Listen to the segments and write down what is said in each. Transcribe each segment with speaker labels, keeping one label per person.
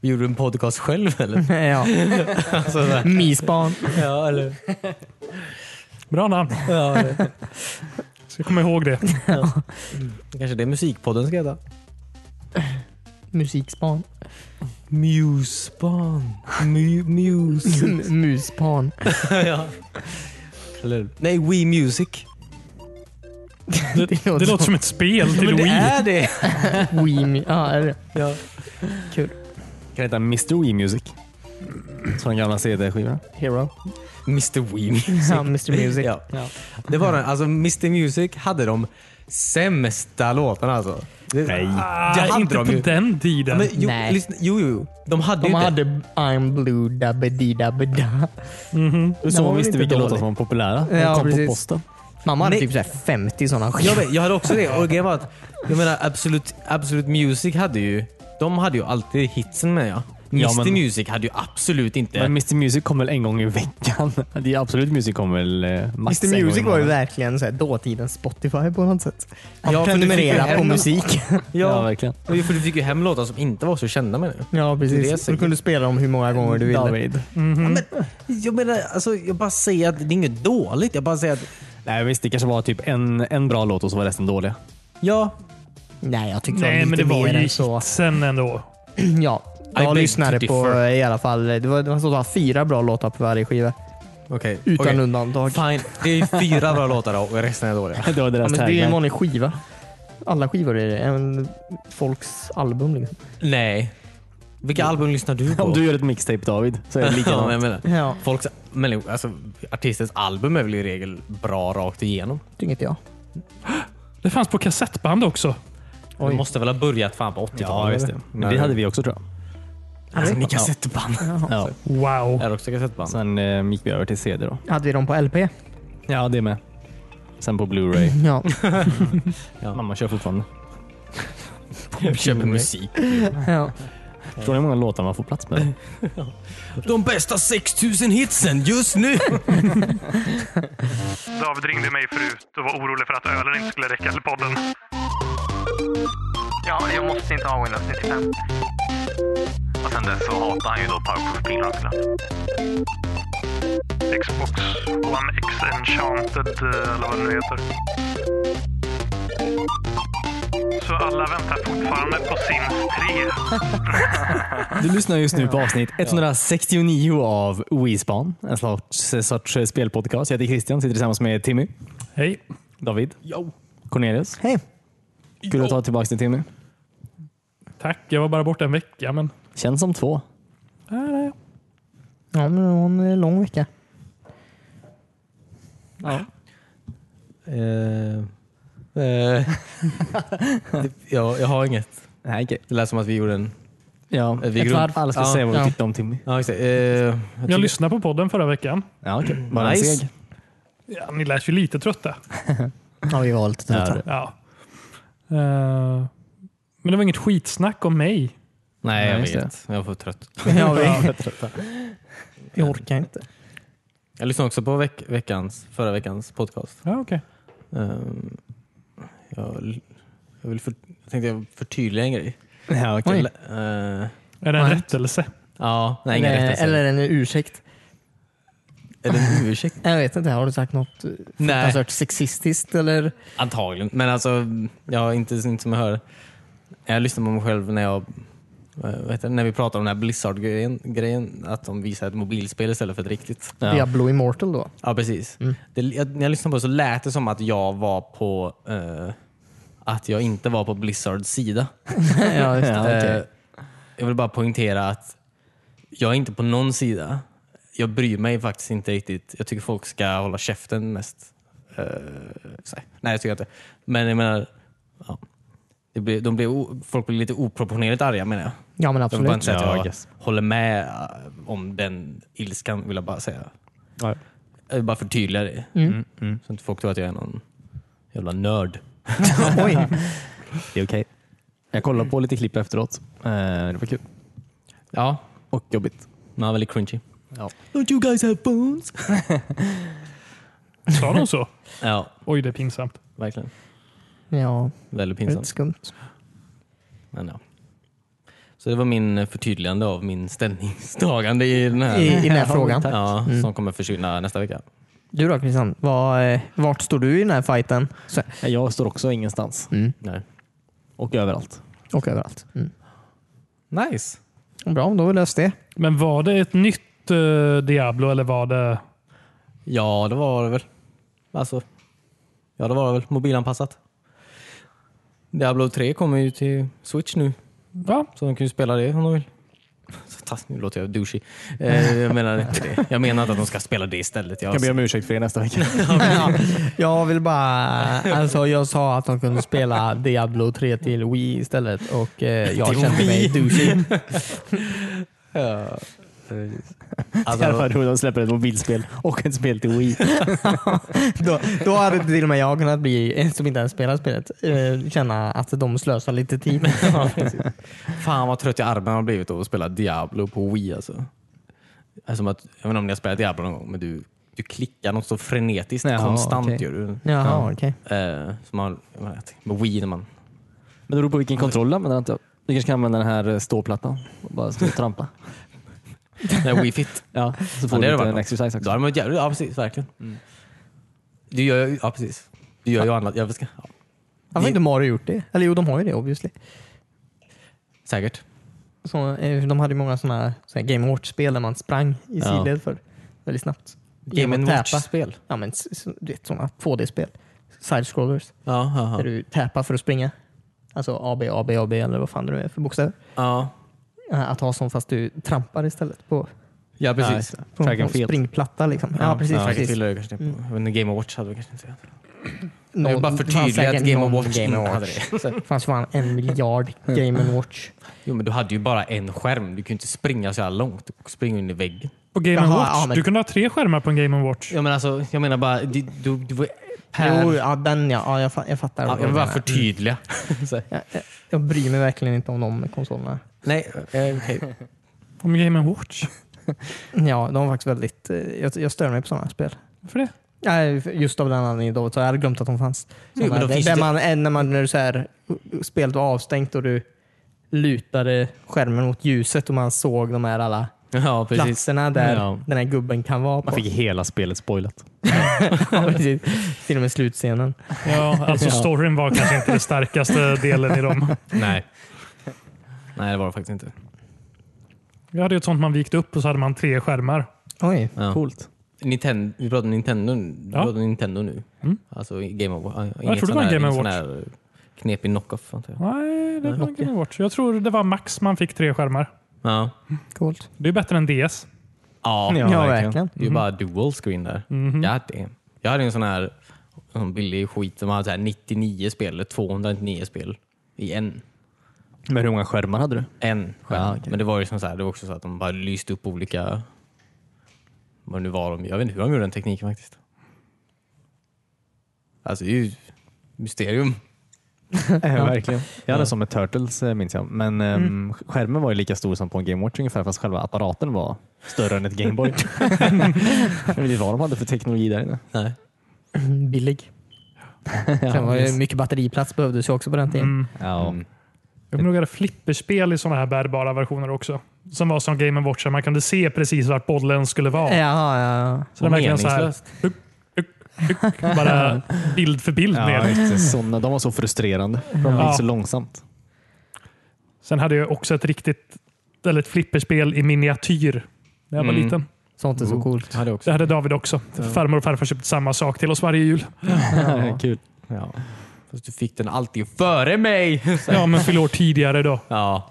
Speaker 1: Gjorde du en podcast själv eller?
Speaker 2: ja.
Speaker 1: Alltså, så här.
Speaker 2: Misbarn.
Speaker 1: ja, eller?
Speaker 3: Bra namn.
Speaker 1: Ja, eller.
Speaker 3: Ska komma ihåg det.
Speaker 1: Kanske det är musikpodden ska heta?
Speaker 2: Musikspan.
Speaker 1: Musbarn. Mu- Muse.
Speaker 2: M- Musbarn.
Speaker 1: ja. Eller hur? Nej, We Music.
Speaker 3: Det,
Speaker 2: Det
Speaker 3: det
Speaker 2: låter
Speaker 3: låter som ett spel till
Speaker 1: Men det
Speaker 3: Wii.
Speaker 1: är det!
Speaker 2: Weemy. Ja, är det?
Speaker 1: Ja.
Speaker 4: Kan heta Mr. Wii Music. Som den gamla CD-skivan.
Speaker 2: Hero.
Speaker 1: Mr We Music.
Speaker 2: Ja, Mr Music.
Speaker 1: Ja.
Speaker 2: Ja.
Speaker 1: Det var den, alltså Mr Music hade de sämsta låtarna alltså. Det,
Speaker 4: Nej.
Speaker 1: det
Speaker 3: Ah,
Speaker 1: hade
Speaker 3: inte
Speaker 1: de
Speaker 3: på
Speaker 1: ju.
Speaker 3: den
Speaker 1: Ja,
Speaker 3: tiden.
Speaker 1: men, jo,
Speaker 2: Nej.
Speaker 1: lyssna, jo, jo, jo. De hade
Speaker 2: De
Speaker 1: ju inte...
Speaker 2: hade I'm blue dabbedi dabbeda. Den var
Speaker 4: Så
Speaker 2: väl
Speaker 4: visste
Speaker 2: inte
Speaker 4: vilka
Speaker 2: dålig.
Speaker 4: låtar som var populära. De
Speaker 2: Ja,
Speaker 4: kom
Speaker 2: precis.
Speaker 4: på posten.
Speaker 2: Mamma hade
Speaker 1: Nej.
Speaker 2: typ så här 50 sådana
Speaker 1: Jag,
Speaker 2: skivor.
Speaker 1: vet, jag hade också det. Och grejen var att, jag menar Absolut, Absolut Music hade ju... De hade ju alltid hitsen med ja. Mr
Speaker 4: Ja, men-
Speaker 1: Music hade ju absolut inte...
Speaker 4: Men Mr. Music kom väl en gång i veckan? Det är Absolut Music kom väl eh, max en
Speaker 2: Mr
Speaker 4: gång i
Speaker 2: Music var ju
Speaker 4: månaden.
Speaker 2: verkligen så här dåtidens Spotify på något sätt. Man
Speaker 1: Ja, för du fick ju
Speaker 2: prenumererade på
Speaker 1: hem-
Speaker 2: musik.
Speaker 4: Ja,
Speaker 1: ja,
Speaker 4: verkligen.
Speaker 1: ja, för du fick ju hem låtar som inte var så kända med det.
Speaker 2: Ja,
Speaker 1: Det är
Speaker 2: precis.
Speaker 1: säkert.
Speaker 2: Du kunde spela dem hur många gånger du ville.
Speaker 4: David.
Speaker 1: Jag menar, alltså, jag bara säger att det är inget dåligt. Jag bara säger att,
Speaker 4: Nej visst, det kanske var typ en, en bra låt och så var resten dåliga.
Speaker 1: ja,
Speaker 2: Nej, jag tyckte
Speaker 3: Nej,
Speaker 2: det var
Speaker 3: men det
Speaker 2: lite
Speaker 3: var
Speaker 2: mer
Speaker 3: ju
Speaker 2: än så.
Speaker 3: sen ändå.
Speaker 2: Ja,
Speaker 1: beg to
Speaker 2: jag lyssnade på
Speaker 1: differ.
Speaker 2: i alla fall, det var, det var så att ha fyra bra låtar på varje skiva.
Speaker 1: okej.
Speaker 2: Utan
Speaker 1: okej.
Speaker 2: undantag.
Speaker 1: Fine, det är fyra bra låtar då och resten är dåliga.
Speaker 4: Det var
Speaker 2: Ja,
Speaker 4: deras
Speaker 2: men det är ju en
Speaker 4: tagline.
Speaker 2: vanlig skiva. Alla skivor är det. En, folks album liksom.
Speaker 1: Nej. Vilka album lyssnar du på?
Speaker 4: Om du gör ett mixtape David så är det
Speaker 1: ja, men jag
Speaker 4: likadant.
Speaker 1: menar.
Speaker 2: Ja,
Speaker 1: Folks, men, alltså, artistens album är väl i regel bra rakt igenom?
Speaker 2: tycker inte jag.
Speaker 3: Det fanns på kassettband också.
Speaker 1: Det måste väl ha börjat fan på 80-talet?
Speaker 4: Ja, visst det. Men det hade vi också tror jag.
Speaker 1: Alltså, ni kassettband.
Speaker 4: Ja.
Speaker 3: Wow.
Speaker 1: Är det också kassettband?
Speaker 4: Sen eh, gick vi över till CD då.
Speaker 2: Hade vi dem på LP?
Speaker 4: Ja, det med. Sen på Blu-ray.
Speaker 2: Ja.
Speaker 4: Mamma kör fortfarande.
Speaker 1: Jag köper musik.
Speaker 2: ja.
Speaker 4: Tror ni hur många låtar man får plats med?
Speaker 1: De bästa 6000 hitsen just nu!
Speaker 5: David ringde mig förut och var orolig för att ölen inte skulle räcka till podden. Ja, jag måste inte ha Windows 95. Och sen dess så hatar han ju då Powerproof-prylar Xbox One X Enchanted, eh, eller vad det nu heter. Så alla väntar fortfarande på Sims 3.
Speaker 4: Du lyssnar just nu på avsnitt 169 av Wispan. En sorts, sorts eh, spelpodcast. Jag heter Christian, sitter tillsammans med Timmy,
Speaker 3: Hej.
Speaker 4: David,
Speaker 1: Jo.
Speaker 4: Cornelius.
Speaker 2: Hej.
Speaker 4: Kul att ta tillbaka till Timmy.
Speaker 3: Tack. Jag var bara borta en vecka, men
Speaker 4: Känns som två.
Speaker 2: Ja, men det var en lång vecka.
Speaker 1: Eh, eh, jag, jag har inget.
Speaker 4: Nej, okej.
Speaker 1: Det lät som att vi gjorde en...
Speaker 4: Ja,
Speaker 1: vi
Speaker 4: ett
Speaker 1: grund-
Speaker 4: varv. Alla ska
Speaker 1: Ja,
Speaker 4: säga vad vi
Speaker 2: ja.
Speaker 4: tyckte om Timmy.
Speaker 1: Ja, exakt. Eh, jag tycker-
Speaker 3: jag lyssnade på podden förra veckan.
Speaker 4: Ja, okej. Bara
Speaker 1: Nice.
Speaker 4: en seg.
Speaker 3: Ja, ni lät ju lite trötta.
Speaker 2: Ja, vi var lite
Speaker 4: Ja,
Speaker 2: trötta.
Speaker 4: det-
Speaker 3: Ja. Eh, men det var inget skitsnack om mig.
Speaker 1: Nej, jag
Speaker 4: Nej, just
Speaker 1: vet. Jag var för trött.
Speaker 2: Ja, vi, vi orkar inte.
Speaker 1: Jag lyssnade också på veck- veckans, förra veckans podcast.
Speaker 3: Ja, okay.
Speaker 1: Ehm, jag, jag, vill för, jag tänkte jag förtydliga en grej.
Speaker 4: Ja, okej.
Speaker 2: Oj.
Speaker 1: Eh,
Speaker 3: Är det en
Speaker 2: Nej.
Speaker 3: rättelse?
Speaker 1: ja, nej, ingen
Speaker 2: eller,
Speaker 1: rättelse.
Speaker 2: eller en ursäkt.
Speaker 1: Är det en ursäkt?
Speaker 2: Jag vet inte, har du sagt något eh,
Speaker 1: nej,
Speaker 2: fruktansvärt sexistiskt eller?
Speaker 1: antagligen. Men alltså, jag inte, inte som jag hör. Jag lyssnar på mig själv när jag eh, vad heter det? när vi pratar om den här Blizzard-grejen, grejen, att de visar ett mobilspel istället för ett riktigt.
Speaker 2: Diablo Immortal då?
Speaker 1: Ja, precis. Det, jag, när jag lyssnade på det så lät det som att jag var på eh, att jag inte var på Blizzards sida.
Speaker 2: ja, just det.
Speaker 4: Ja, Ah, okej.
Speaker 1: Eh, jag vill bara poängtera att jag är inte på någon sida. Jag bryr mig faktiskt inte riktigt. Jag tycker folk ska hålla käften mest. Eh, så här. nej, jag tycker inte. Men jag menar, ja. det blir, de blir, o- folk blir lite oproportionerligt arga menar jag.
Speaker 2: Ja, men
Speaker 1: Jag vill bara
Speaker 2: absolut.
Speaker 1: inte säga
Speaker 4: Ja,
Speaker 1: att
Speaker 4: I
Speaker 1: jag
Speaker 4: guess.
Speaker 1: håller med eh, om den ilskan, vill jag bara säga.
Speaker 4: Ja.
Speaker 1: Jag vill bara förtydliga det.
Speaker 2: Mm.
Speaker 1: Så inte folk tror att jag är någon jävla nörd.
Speaker 2: Oj.
Speaker 4: Det är okej. Jag kollade på lite klipp efteråt. Eh, Det var kul.
Speaker 1: Ja,
Speaker 4: Och jobbigt.
Speaker 1: man är väldigt cringy.
Speaker 4: Ja.
Speaker 1: Don't you guys have phones?
Speaker 3: Sa de så?
Speaker 1: Ja,
Speaker 3: Oj, det är pinsamt.
Speaker 1: verkligen.
Speaker 2: Ja,
Speaker 1: Väldigt
Speaker 2: det är lite
Speaker 1: pinsamt.
Speaker 2: skumt.
Speaker 1: Men ja. Så det var min förtydligande av min ställningstagande i den här,
Speaker 2: I, i den här
Speaker 4: Ja,
Speaker 2: frågan. Mm.
Speaker 4: tack.
Speaker 1: ja, som kommer försvinna nästa vecka.
Speaker 2: Du då Christian, vad, eh, vart står du i den här fighten? Så,
Speaker 4: Ja, Jag står också ingenstans.
Speaker 2: mm.
Speaker 1: Nej.
Speaker 4: Och överallt.
Speaker 2: Och överallt. Mm.
Speaker 1: Nice!
Speaker 2: Bra, då har vi löst det.
Speaker 3: Men var det ett nytt eh, Diablo eller var det...
Speaker 1: Ja, det var det väl. Alltså, ja, det var det väl. Mobilanpassat. Diablo 3 kommer ju till Switch nu,
Speaker 3: Ja,
Speaker 1: så de kan ju spela det om de vill. Så tass, nu låter jag douchey. Eh, jag menar inte det. Jag menar inte att de ska spela det istället. Jag
Speaker 4: Jag ber om ursäkt för det nästa vecka.
Speaker 2: ja, jag vill bara... Alltså jag sa att de kunde spela Diablo 3 till Wii istället och eh, jag
Speaker 1: Till
Speaker 2: kände mig
Speaker 1: Wii.
Speaker 2: douchig.
Speaker 1: Ja.
Speaker 4: Alltså, det
Speaker 1: Alltså,
Speaker 4: var roligt att släppa ett mobilspel och ett spel till Wii.
Speaker 2: Då, då hade till och med jag kunnat bli, eh, som inte ens spelar spelet, eh, känna att de slösar lite tid.
Speaker 1: fan vad trött i armen har blivit av att spela Diablo på Wii. Alltså. Alltså, att, jag vet inte om ni har spelat Diablo någon gång, men du, du klickar något så frenetiskt
Speaker 4: Jaha,
Speaker 1: konstant.
Speaker 4: okej.
Speaker 1: Gör du.
Speaker 2: Jaha, okej.
Speaker 1: Eh, som man, jag menar, jag tänker med Wii när man...
Speaker 4: Men det beror på vilken kontroll du använder. antar jag. Du kanske kan använda den här eh, ståplattan och bara stå och trampa.
Speaker 1: Nej, Wii Fit.
Speaker 4: Ja, så får
Speaker 1: Ja, det hade
Speaker 4: du lite
Speaker 1: varit
Speaker 4: en
Speaker 1: något.
Speaker 4: exercise också.
Speaker 1: Då hade man varit jävligt... Ja, precis. Verkligen. Du gör ju... Ja, precis. Du gör ju annat. Jag ska, ja,
Speaker 2: Varför har inte Mario gjort det? Eller jo, de har ju det obviously.
Speaker 1: säkert.
Speaker 2: Så, eh, de hade ju många sådana här Game Watch-spel där man sprang i
Speaker 1: Ja.
Speaker 2: sidled för väldigt snabbt. Genom
Speaker 1: Game
Speaker 2: att
Speaker 1: and
Speaker 2: täpa.
Speaker 1: Watch-spel.
Speaker 2: Ja, men s- s- du vet sådana 2D-spel. Side-scrollers.
Speaker 1: Ja, ja,
Speaker 2: Där
Speaker 1: ja.
Speaker 2: du täpar för att springa. Alltså A, B, A, B, A, B eller vad fan det nu är för bokstäver.
Speaker 1: ja.
Speaker 2: Eh, Att ha som fast du trampar istället på,
Speaker 1: Ja,
Speaker 4: Ja,
Speaker 1: precis.
Speaker 4: just det.
Speaker 2: på
Speaker 4: Track
Speaker 2: en
Speaker 4: and field.
Speaker 2: springplatta. Liksom. Ja, precis.
Speaker 1: Ja,
Speaker 2: precis.
Speaker 1: Field är det kanske inte. Jag vet inte, Game of Watch hade vi kanske inte.
Speaker 2: Någon-
Speaker 1: jag vill bara
Speaker 2: det fanns
Speaker 1: förtydliga att
Speaker 2: säkert
Speaker 1: Game of
Speaker 2: någon
Speaker 1: Watch
Speaker 2: Game
Speaker 1: inte
Speaker 2: of
Speaker 1: hade
Speaker 2: Watch.
Speaker 1: det. Så-
Speaker 2: Det fanns fan en miljard Game and Watch.
Speaker 1: Jo, men du hade ju bara en skärm. Du kunde inte springa så här långt. Du springer in i väggen.
Speaker 3: på Game
Speaker 2: Jaha,
Speaker 3: Watch.
Speaker 2: ja, men-
Speaker 3: Du kunde ha tre skärmar på en Game Watch.
Speaker 1: Ja, men alltså, jag menar bara... Du, du, du var per...
Speaker 2: Jo, ja, den ja. ja jag, fa- jag fattar.
Speaker 1: Ja,
Speaker 2: vad
Speaker 1: jag
Speaker 2: du
Speaker 1: vill bara
Speaker 2: menar.
Speaker 1: förtydliga. Så-
Speaker 2: Jag, jag, jag bryr mig verkligen inte om de konsolerna.
Speaker 1: Nej, eh, okej.
Speaker 3: Om Game Watch.
Speaker 2: Ja, de var faktiskt väldigt... eh, Jag, jag stör mig på sådana spel.
Speaker 3: Varför det?
Speaker 2: Nej, just av den anledningen. Då, så jag hade glömt att de fanns.
Speaker 1: Jo, men
Speaker 2: Sådana
Speaker 1: de
Speaker 2: där-
Speaker 1: finns
Speaker 2: där
Speaker 1: ju-
Speaker 2: man, eh, när, man, när du så här, spelet var avstängt och du lutade skärmen mot ljuset och man såg de här alla
Speaker 1: Ja, precis.
Speaker 2: platserna där
Speaker 1: Ja.
Speaker 2: den här gubben kan vara på.
Speaker 4: Man fick hela spelet spoilat.
Speaker 2: Ja, precis. Till och med slutscenen.
Speaker 3: Ja, alltså storyn var kanske inte den starkaste delen i dem.
Speaker 1: Nej. Nej, det var det faktiskt inte.
Speaker 3: Jag hade ju ett sånt man vikte upp och så hade man tre skärmar.
Speaker 2: Oj.
Speaker 1: Ja.
Speaker 4: Coolt.
Speaker 1: Nintendo, vi pratar Nintendo, du
Speaker 3: Ja.
Speaker 1: pratar Nintendo nu.
Speaker 3: Mm.
Speaker 1: Alltså i Game of Watch. Inget
Speaker 3: trodde det
Speaker 1: sån
Speaker 3: var en
Speaker 1: här-
Speaker 3: Game
Speaker 1: ingen
Speaker 3: of
Speaker 1: sån här knepig knock-off antar jag. Nej,
Speaker 3: Nej, det var en
Speaker 1: Nokia.
Speaker 3: Game Watch. Jag tror det var max man fick tre skärmar.
Speaker 1: Ja.
Speaker 2: Coolt.
Speaker 3: Det är bättre än DS.
Speaker 1: Ja,
Speaker 4: Ja,
Speaker 2: Ja, verkligen.
Speaker 1: Det är ju bara dual screen där.
Speaker 3: Mhm.
Speaker 1: God damn. Jag hade en sån här en sån billig skit där man hade så här 99 spel, eller 299 spel i en.
Speaker 4: Men hur många skärmar hade du?
Speaker 1: En skärm.
Speaker 4: Ja, okej.
Speaker 1: Men det var ju som så här, det var också så att de bara lyste upp olika... Vad nu var de? Jag vet inte hur de gjorde den tekniken faktiskt. Alltså det är ju mysterium.
Speaker 4: Eh, verkligen. Jag hade som med Turtles eh, minns jag. Men ehm, sk- skärmen var ju lika stor som på en Game Watch ungefär fast själva apparaten var större än ett Game Boy. jag vet inte vad de hade för teknologi där inne.
Speaker 1: Nej.
Speaker 2: Mm, Billig. Sen var det mycket batteriplats behövdes ju också på den tiden.
Speaker 3: Mm.
Speaker 4: Ja.
Speaker 1: Mm.
Speaker 3: Jag kommer ihåg att jag hade flipperspel i sådana här bärbara versioner också. Som var som Game Watch. där Man kunde se precis vart bollen skulle vara.
Speaker 2: Jaha, ja.
Speaker 3: Så det är verkligen så här,
Speaker 1: Meningslöst.
Speaker 3: tuk, tuk, tuk, bara bild för bild
Speaker 4: Ja,
Speaker 3: ner.
Speaker 4: just det. Såna, de var så frustrerande. för De
Speaker 3: Ja.
Speaker 4: gick så långsamt.
Speaker 3: Sen hade jag också ett riktigt eller ett flipperspel i miniatyr när jag var
Speaker 1: Mm.
Speaker 3: liten.
Speaker 2: Sånt är så coolt.
Speaker 1: Jag hade också.
Speaker 3: Det hade David också. Farmor och farfar köpte samma sak till oss varje jul.
Speaker 4: Kul.
Speaker 1: Ja. Fast du fick den alltid före mig.
Speaker 3: Ja, men fyllde år tidigare då.
Speaker 1: Ja.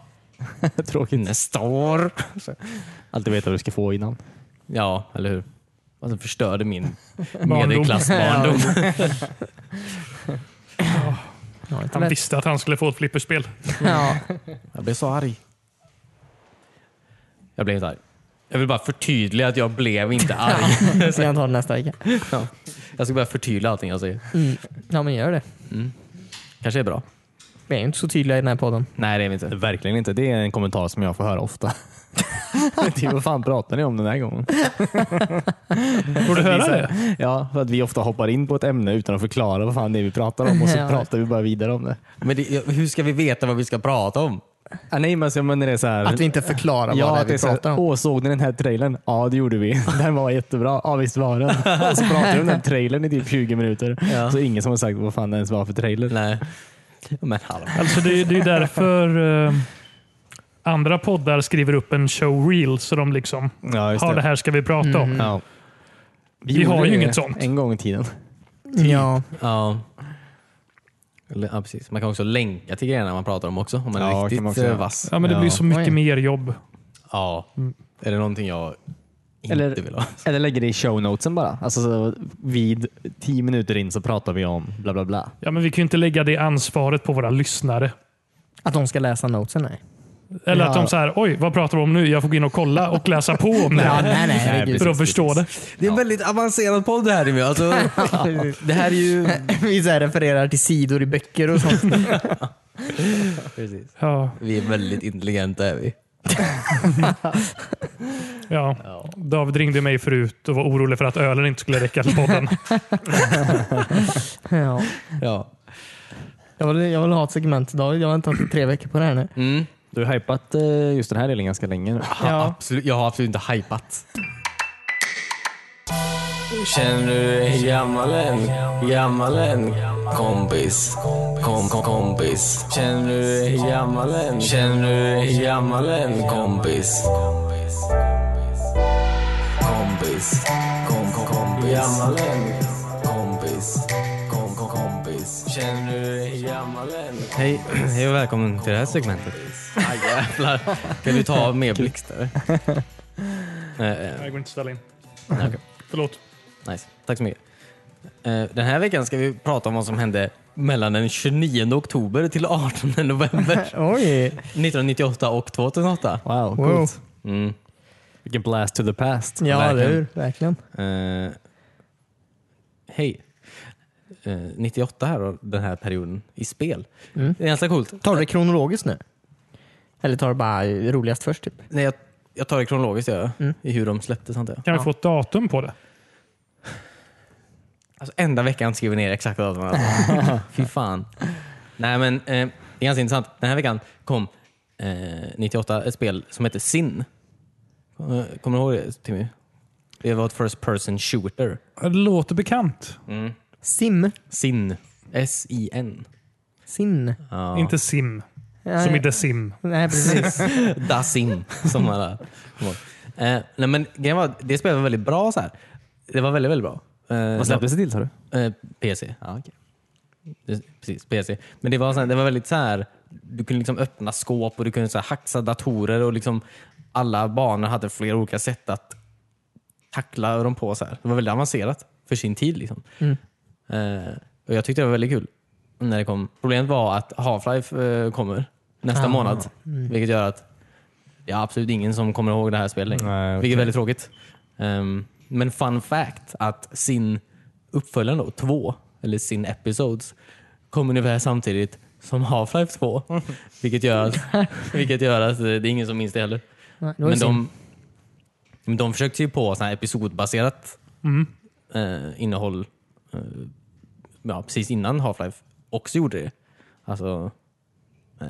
Speaker 4: Tråkigt.
Speaker 1: Nästa år.
Speaker 4: Alltid veta vad du ska få innan.
Speaker 1: Ja, eller hur? Alltså förstörde min
Speaker 3: Barndom.
Speaker 1: medelklassbarndom.
Speaker 2: Ja, inte
Speaker 3: Han
Speaker 2: lätt.
Speaker 3: visste att han skulle få ett flipperspel.
Speaker 2: Ja.
Speaker 1: Jag blev så arg. Jag blev inte arg. Jag vill bara förtydliga att jag blev inte arg.
Speaker 2: Vi kan ta det nästa vecka.
Speaker 1: Jag ska bara förtydliga allting jag säger.
Speaker 2: Ja, men gör det.
Speaker 1: Kanske är bra.
Speaker 2: Vi är ju inte så tydliga i den här podden.
Speaker 1: Nej, det är vi inte.
Speaker 4: Verkligen inte. Det är en kommentar som jag får höra ofta. typ, vad fan pratar ni om den här gången?
Speaker 3: Får du höra det?
Speaker 4: Ja, för att vi ofta hoppar in på ett ämne utan att förklara vad fan det är vi pratar om och så
Speaker 2: Ja.
Speaker 4: pratar vi bara vidare om det.
Speaker 1: Men det, hur ska vi veta vad vi ska prata om?
Speaker 4: Ah, nej, men, alltså, men det är så här,
Speaker 2: Att vi inte förklarar
Speaker 4: ja,
Speaker 2: vad
Speaker 4: att
Speaker 2: det är vi
Speaker 4: så här,
Speaker 2: pratar om.
Speaker 4: Åh, såg ni den här trailern? Ja, det gjorde vi. Den var jättebra. Ja, visst var den. Och så pratade vi om den här trailern i typ 20 minuter.
Speaker 1: Ja.
Speaker 4: Så ingen som har sagt vad fan det ens var för trailer.
Speaker 1: Nej. Men hallå.
Speaker 3: Alltså det, är- det är därför eh, andra poddar skriver upp en showreel så de liksom
Speaker 4: Ja, just
Speaker 3: har det här ska vi prata om.
Speaker 2: Mm.
Speaker 4: Ja.
Speaker 3: Vi har
Speaker 4: gjorde
Speaker 3: ju
Speaker 4: det
Speaker 3: inget sånt.
Speaker 4: En gång i tiden.
Speaker 2: Ja.
Speaker 1: Ja. Eller, ja, precis. Man kan också länka till grejerna man pratar om också om man
Speaker 4: Ja,
Speaker 1: är
Speaker 4: kan
Speaker 1: riktigt
Speaker 4: man också
Speaker 1: eh,
Speaker 4: göra.
Speaker 1: vass.
Speaker 3: Ja, men det
Speaker 4: Ja.
Speaker 3: blir så mycket
Speaker 2: Oj.
Speaker 3: mer jobb.
Speaker 1: Ja. Är det någonting jag inte
Speaker 4: Eller-
Speaker 1: vill ha?
Speaker 4: Eller lägger det i shownotesen bara. Alltså, så vid tio minuter in så pratar vi om bla bla bla.
Speaker 3: Ja, men vi kan ju inte lägga det ansvaret på våra lyssnare.
Speaker 2: Att de ska läsa notesen? Nej.
Speaker 3: Eller
Speaker 4: Ja.
Speaker 3: att de så här, oj, vad pratar de om nu? Jag får gå in och kolla och läsa på om det
Speaker 2: Ja,
Speaker 3: här.
Speaker 2: nej, nej. herregud.
Speaker 3: För att förstå det.
Speaker 1: Det är en väldigt avancerad podd det här. Jimmy. Alltså, det här är ju...
Speaker 2: Vi så här refererar till sidor i böcker och sånt.
Speaker 1: Precis.
Speaker 3: Ja,
Speaker 1: Vi är väldigt intelligenta är vi.
Speaker 3: ja. David ringde mig förut och var orolig för att ölen inte skulle räcka till podden.
Speaker 2: ja.
Speaker 1: Ja.
Speaker 2: jag, vill, jag vill ha ett segment idag. Jag har väntat i tre veckor på det här nu.
Speaker 1: Mm.
Speaker 4: Du har hypat eh, just den här delen ganska länge nu.
Speaker 2: Ja.
Speaker 1: Absolut, jag har absolut inte hypat. Känner du dig gammal än? Gammal än? Kompis. Kom, kom, kompis. Känner du dig gammal än? Känner du dig gammal än? Kompis. Kompis. Kom, kom, kompis. Gammal än? Kompis. Kom, kom, kompis. Känner du dig gammal än? Hej, hej och välkommen till det här segmentet. Aj, jävlar. Kan du ta mer blixtar? Eh,
Speaker 3: Jag går inte att ställa in.
Speaker 1: Nej, okej.
Speaker 3: Förlåt.
Speaker 1: Nice. Tack så mycket. Eh, Den här veckan ska vi prata om vad som hände mellan den 29 oktober till 18 november
Speaker 2: Oj!
Speaker 1: 1998 och 2008.
Speaker 4: Wow,
Speaker 2: Wow.
Speaker 4: coolt.
Speaker 1: Mm.
Speaker 4: Vilken blast to the past.
Speaker 2: Ja,
Speaker 1: Verkligen.
Speaker 2: eller hur? Verkligen.
Speaker 1: Eh, Hej. Eh, 98 här och den här perioden i spel.
Speaker 2: Mm.
Speaker 1: Det är ganska coolt.
Speaker 2: Tar du det kronologiskt nu? Eller tar du bara roligast först? Typ?
Speaker 1: Nej, jag, jag tar det kronologiskt jag,
Speaker 2: Mm.
Speaker 1: i hur de släpptes antar jag.
Speaker 3: Kan vi
Speaker 2: Ja.
Speaker 3: få ett datum på det?
Speaker 1: Alltså, enda veckan skriver ner exakt vad man Fy fan. Nej men eh, det är ganska intressant. Den här veckan kom eh, 98 ett spel som heter Sin. Eh, Kommer du ihåg det Timmy? Det var ett first person shooter.
Speaker 3: Det låter bekant.
Speaker 2: Sim.
Speaker 1: Sin. S-I-N.
Speaker 2: Sin.
Speaker 1: Ja.
Speaker 3: Inte sim,
Speaker 2: Ja,
Speaker 3: som i
Speaker 2: ja.
Speaker 3: The Sim.
Speaker 2: Nej, precis.
Speaker 1: Da Sim. Som alla kommer ihåg. eh, nej, men grejen var, att det spelet var väldigt bra så här. Det var väldigt, väldigt bra. Eh,
Speaker 4: Vad släpptes det till sa du?
Speaker 1: Eh, PC. Det- Precis, PC. Men det var, så här, det var väldigt så här. Du kunde liksom öppna skåp och du kunde så här hacksa datorer och liksom alla banor hade flera olika sätt att tackla dem på. Så här. Det var väldigt avancerat för sin tid. Liksom. Eh, och Jag tyckte det var väldigt kul när det kom. Problemet var att Half-Life eh, kommer nästa
Speaker 2: Ah,
Speaker 1: månad, vilket gör att det är absolut ingen som kommer ihåg det här spelet längre.
Speaker 4: Nej, okej.
Speaker 1: Vilket är väldigt tråkigt. Ehm, men fun fact att sin uppföljande då, två, eller sin episodes, kom ungefär samtidigt som Half-Life 2. Vilket gör, att, vilket gör att eh, det är ingen som minns det heller.
Speaker 2: Nej, det var ju
Speaker 1: Men
Speaker 2: sim.
Speaker 1: de, men de försökte ju på så här episodbaserat eh, innehåll eh, ja, precis innan Half-Life också gjorde det. Alltså, eh,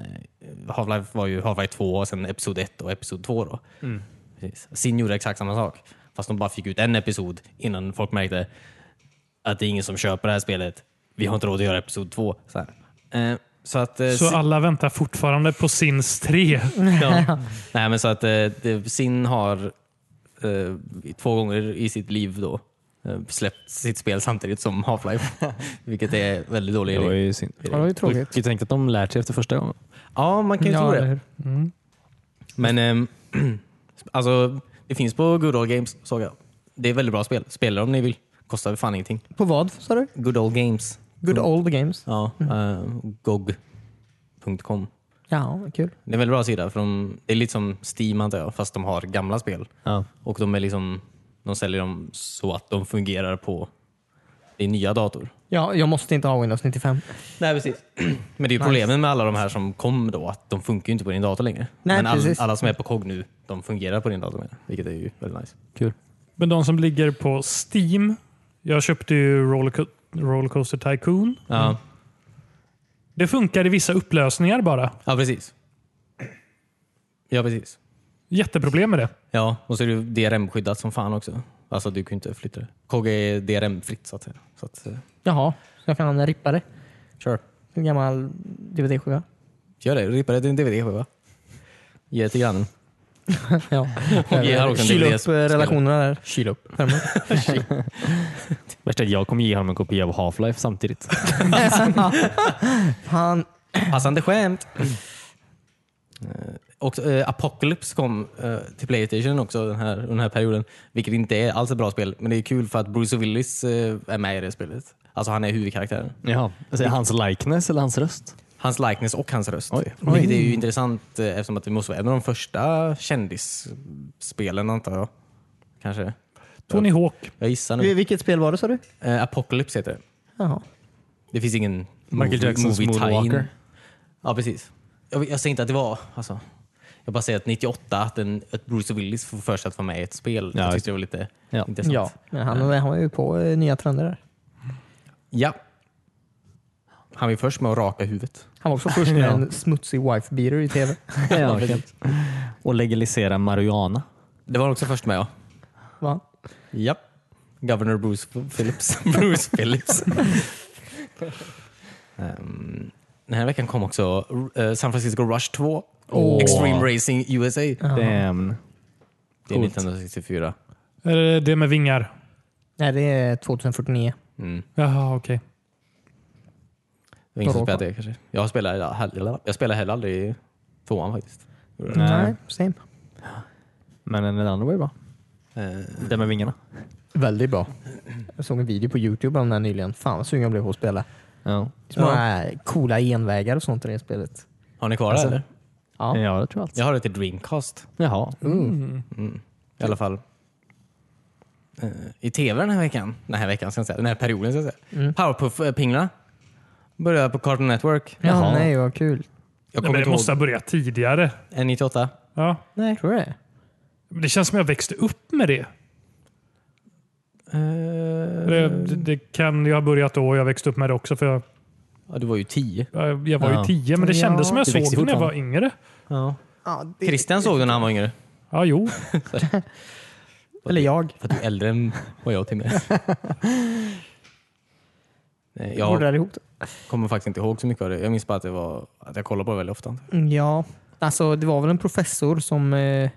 Speaker 1: Half-Life var ju Half-Life 2 och sen Episod 1 och Episod 2. Då.
Speaker 2: Mm.
Speaker 1: Precis. Sin gjorde exakt samma sak, fast de bara fick ut en episod innan folk märkte att det är ingen som köper det här spelet. Vi har inte råd att göra Episod 2. Så, här. Eh, så att eh,
Speaker 3: Så alla väntar fortfarande på Sims 3.
Speaker 1: Ja. Nej, men så att eh, det, Sin har eh, två gånger i sitt liv då eh, släppt sitt spel samtidigt som Half-Life. Vilket är väldigt dålig
Speaker 4: Det var
Speaker 1: idé.
Speaker 4: ju synd.
Speaker 2: Ja, det var ju tråkigt.
Speaker 4: Jag tänkte att de lärt sig efter första gången.
Speaker 1: Ja, man kan ju tro
Speaker 2: Ja, eller
Speaker 1: det.
Speaker 2: hur?
Speaker 1: Men ehm, alltså, det finns på Good Old Games såg jag. Det är väldigt bra spel. Spela om ni vill. Kostar fan ingenting.
Speaker 2: På vad sa du?
Speaker 1: Good Old Games.
Speaker 2: Good old games.
Speaker 1: Ja, eh, GOG.com.
Speaker 2: Ja, kul.
Speaker 1: Det är en väldigt bra sida. För de, det är lite som Steam antar jag, fast de har gamla spel.
Speaker 4: Ja.
Speaker 1: Och de, är liksom, de säljer dem så att de fungerar på din nya dator.
Speaker 2: Ja, jag måste inte ha Windows 95.
Speaker 1: Nej, precis. Men det är ju problemet med alla de här som kom då, att de funkar ju inte på din dator längre.
Speaker 2: Nej,
Speaker 1: Men all,
Speaker 2: precis.
Speaker 1: alla som är på KOG nu, de fungerar på din dator, med, vilket är ju väldigt nice.
Speaker 4: Kul.
Speaker 3: Men de som ligger på Steam. Jag köpte ju Rollerco- Rollercoaster Tycoon.
Speaker 1: Ja,
Speaker 3: Det funkar i vissa upplösningar bara.
Speaker 1: ja precis. Ja, precis.
Speaker 3: Jätteproblem med det.
Speaker 1: Ja, och så är det ju DRM-skyddat som fan också. Alltså du kan ju inte flytta det. KG är DRM-fritt så att säga. Så att, eh,
Speaker 2: Jaha, så jag kan rippa det?
Speaker 1: kör.
Speaker 2: En gammal DVD-skiva?
Speaker 1: Gör det. Rippa det till en DVD-skiva. Ge det till grannen.
Speaker 2: Ja.
Speaker 1: Och ge här också en
Speaker 2: Kyla
Speaker 1: DVD
Speaker 2: upp eh,
Speaker 1: som-
Speaker 2: relationerna där. Kyla upp.
Speaker 4: Värst är att jag kommer ge honom en kopia av Half-Life samtidigt.
Speaker 2: Han,
Speaker 1: Passande skämt. Eh, Och eh, Apocalypse kom eh, till Playstation också den här, under den här perioden. Vilket inte är alls ett bra spel, men det är kul för att Bruce Willis eh, är med i det spelet. Alltså han är huvudkaraktären.
Speaker 4: Jaha. Alltså, är hans likeness eller hans röst?
Speaker 1: Hans likeness och hans röst.
Speaker 4: Oj.
Speaker 1: Vilket är ju intressant eh, eftersom att det måste vara en av de första kändisspelen antar jag. Kanske.
Speaker 3: Tony Hawk.
Speaker 1: Jag gissar nu.
Speaker 2: Vil- vilket spel var det sa du?
Speaker 1: Eh, Apocalypse heter det.
Speaker 2: Jaha.
Speaker 1: Det finns ingen
Speaker 4: Michael
Speaker 1: movie,
Speaker 4: Jacksons
Speaker 1: movie tie-in.
Speaker 4: Moonwalker.
Speaker 1: Ja, precis. Jag, jag säger inte att det var... Alltså, jag bara säger att 98, att, en, att Bruce Willis får för sig att vara med i ett spel.
Speaker 4: Ja,
Speaker 1: jag
Speaker 4: just-
Speaker 1: tyckte det var lite
Speaker 4: Ja.
Speaker 1: intressant.
Speaker 2: Ja, men han, han var ju på eh, nya trender där.
Speaker 1: Ja. Han var ju först med att raka huvudet.
Speaker 2: Han var också först med en smutsig wife beater i tv.
Speaker 4: Ja, verkligen. Och legalisera marijuana.
Speaker 1: Det var han också först med, ja.
Speaker 2: Va?
Speaker 1: Ja. Governor Bruce Phillips. Bruce Phillips. Ehm, den här veckan kom också eh, San Francisco Rush 2.
Speaker 2: Åh.
Speaker 1: Extreme Racing USA.
Speaker 4: Damn.
Speaker 1: Det är 1964.
Speaker 3: Är det det med vingar?
Speaker 2: Nej, det är 2049.
Speaker 1: Mm.
Speaker 3: Jaha, okej.
Speaker 1: Det var ingen som
Speaker 2: Doroka.
Speaker 1: spelade det kanske. Jag spelar, heller- jag spelar heller aldrig tvåan faktiskt.
Speaker 4: Nej.
Speaker 2: same.
Speaker 4: Men den andra var ju bra.
Speaker 1: Eh,
Speaker 4: Den med vingarna.
Speaker 2: Väldigt bra. Jag såg en video på Youtube om den här nyligen. Fan vad sugen jag blev på att spela.
Speaker 4: Ja.
Speaker 2: Det är Så många coola envägar och sånt i det spelet.
Speaker 1: Har ni kvar
Speaker 4: Alltså,
Speaker 1: det eller?
Speaker 2: Ja.
Speaker 4: ja, det tror jag. Alltså.
Speaker 1: Jag har det till Dreamcast
Speaker 4: Jaha.
Speaker 1: i alla fall. Eh, I tv den här veckan, den här veckan ska jag säga, den här perioden ska jag säga. Powerpuff-pingla började på Cartoon Network.
Speaker 2: Ja,
Speaker 4: Jaha.
Speaker 2: nej vad kul.
Speaker 1: Jag
Speaker 3: Nej,
Speaker 1: kommer
Speaker 3: men
Speaker 1: inte
Speaker 3: det måste
Speaker 1: ihåg.
Speaker 3: ha börjat tidigare.
Speaker 1: N98.
Speaker 3: Ja.
Speaker 2: Nej. Tror du det?
Speaker 3: Men Det känns som jag växte upp med
Speaker 1: Mm.
Speaker 3: det. Det,
Speaker 1: Eh,
Speaker 3: det, det kan jag ha börjat då och jag växte upp med det också. För jag,
Speaker 1: Ja, du var ju 10.
Speaker 3: jag- jag var
Speaker 4: Ja.
Speaker 3: ju tio, men det
Speaker 2: Ja.
Speaker 3: kändes som jag
Speaker 4: Det
Speaker 3: såg
Speaker 4: växte
Speaker 3: det när jag var
Speaker 4: fortfarande.
Speaker 3: yngre.
Speaker 1: Ja.
Speaker 2: Ja, det-
Speaker 1: Christian såg den när han var yngre.
Speaker 3: Ja, jo.
Speaker 2: Eller jag.
Speaker 1: För att du är äldre än vad jag till och med. Eh,
Speaker 2: Ja. Borde
Speaker 1: Jag
Speaker 2: det ihop det?
Speaker 1: kommer faktiskt inte ihåg så mycket av det. Jag minns bara att, det var, att jag kollade på det väldigt ofta.
Speaker 2: Mm, Ja, alltså det var väl en professor som eh,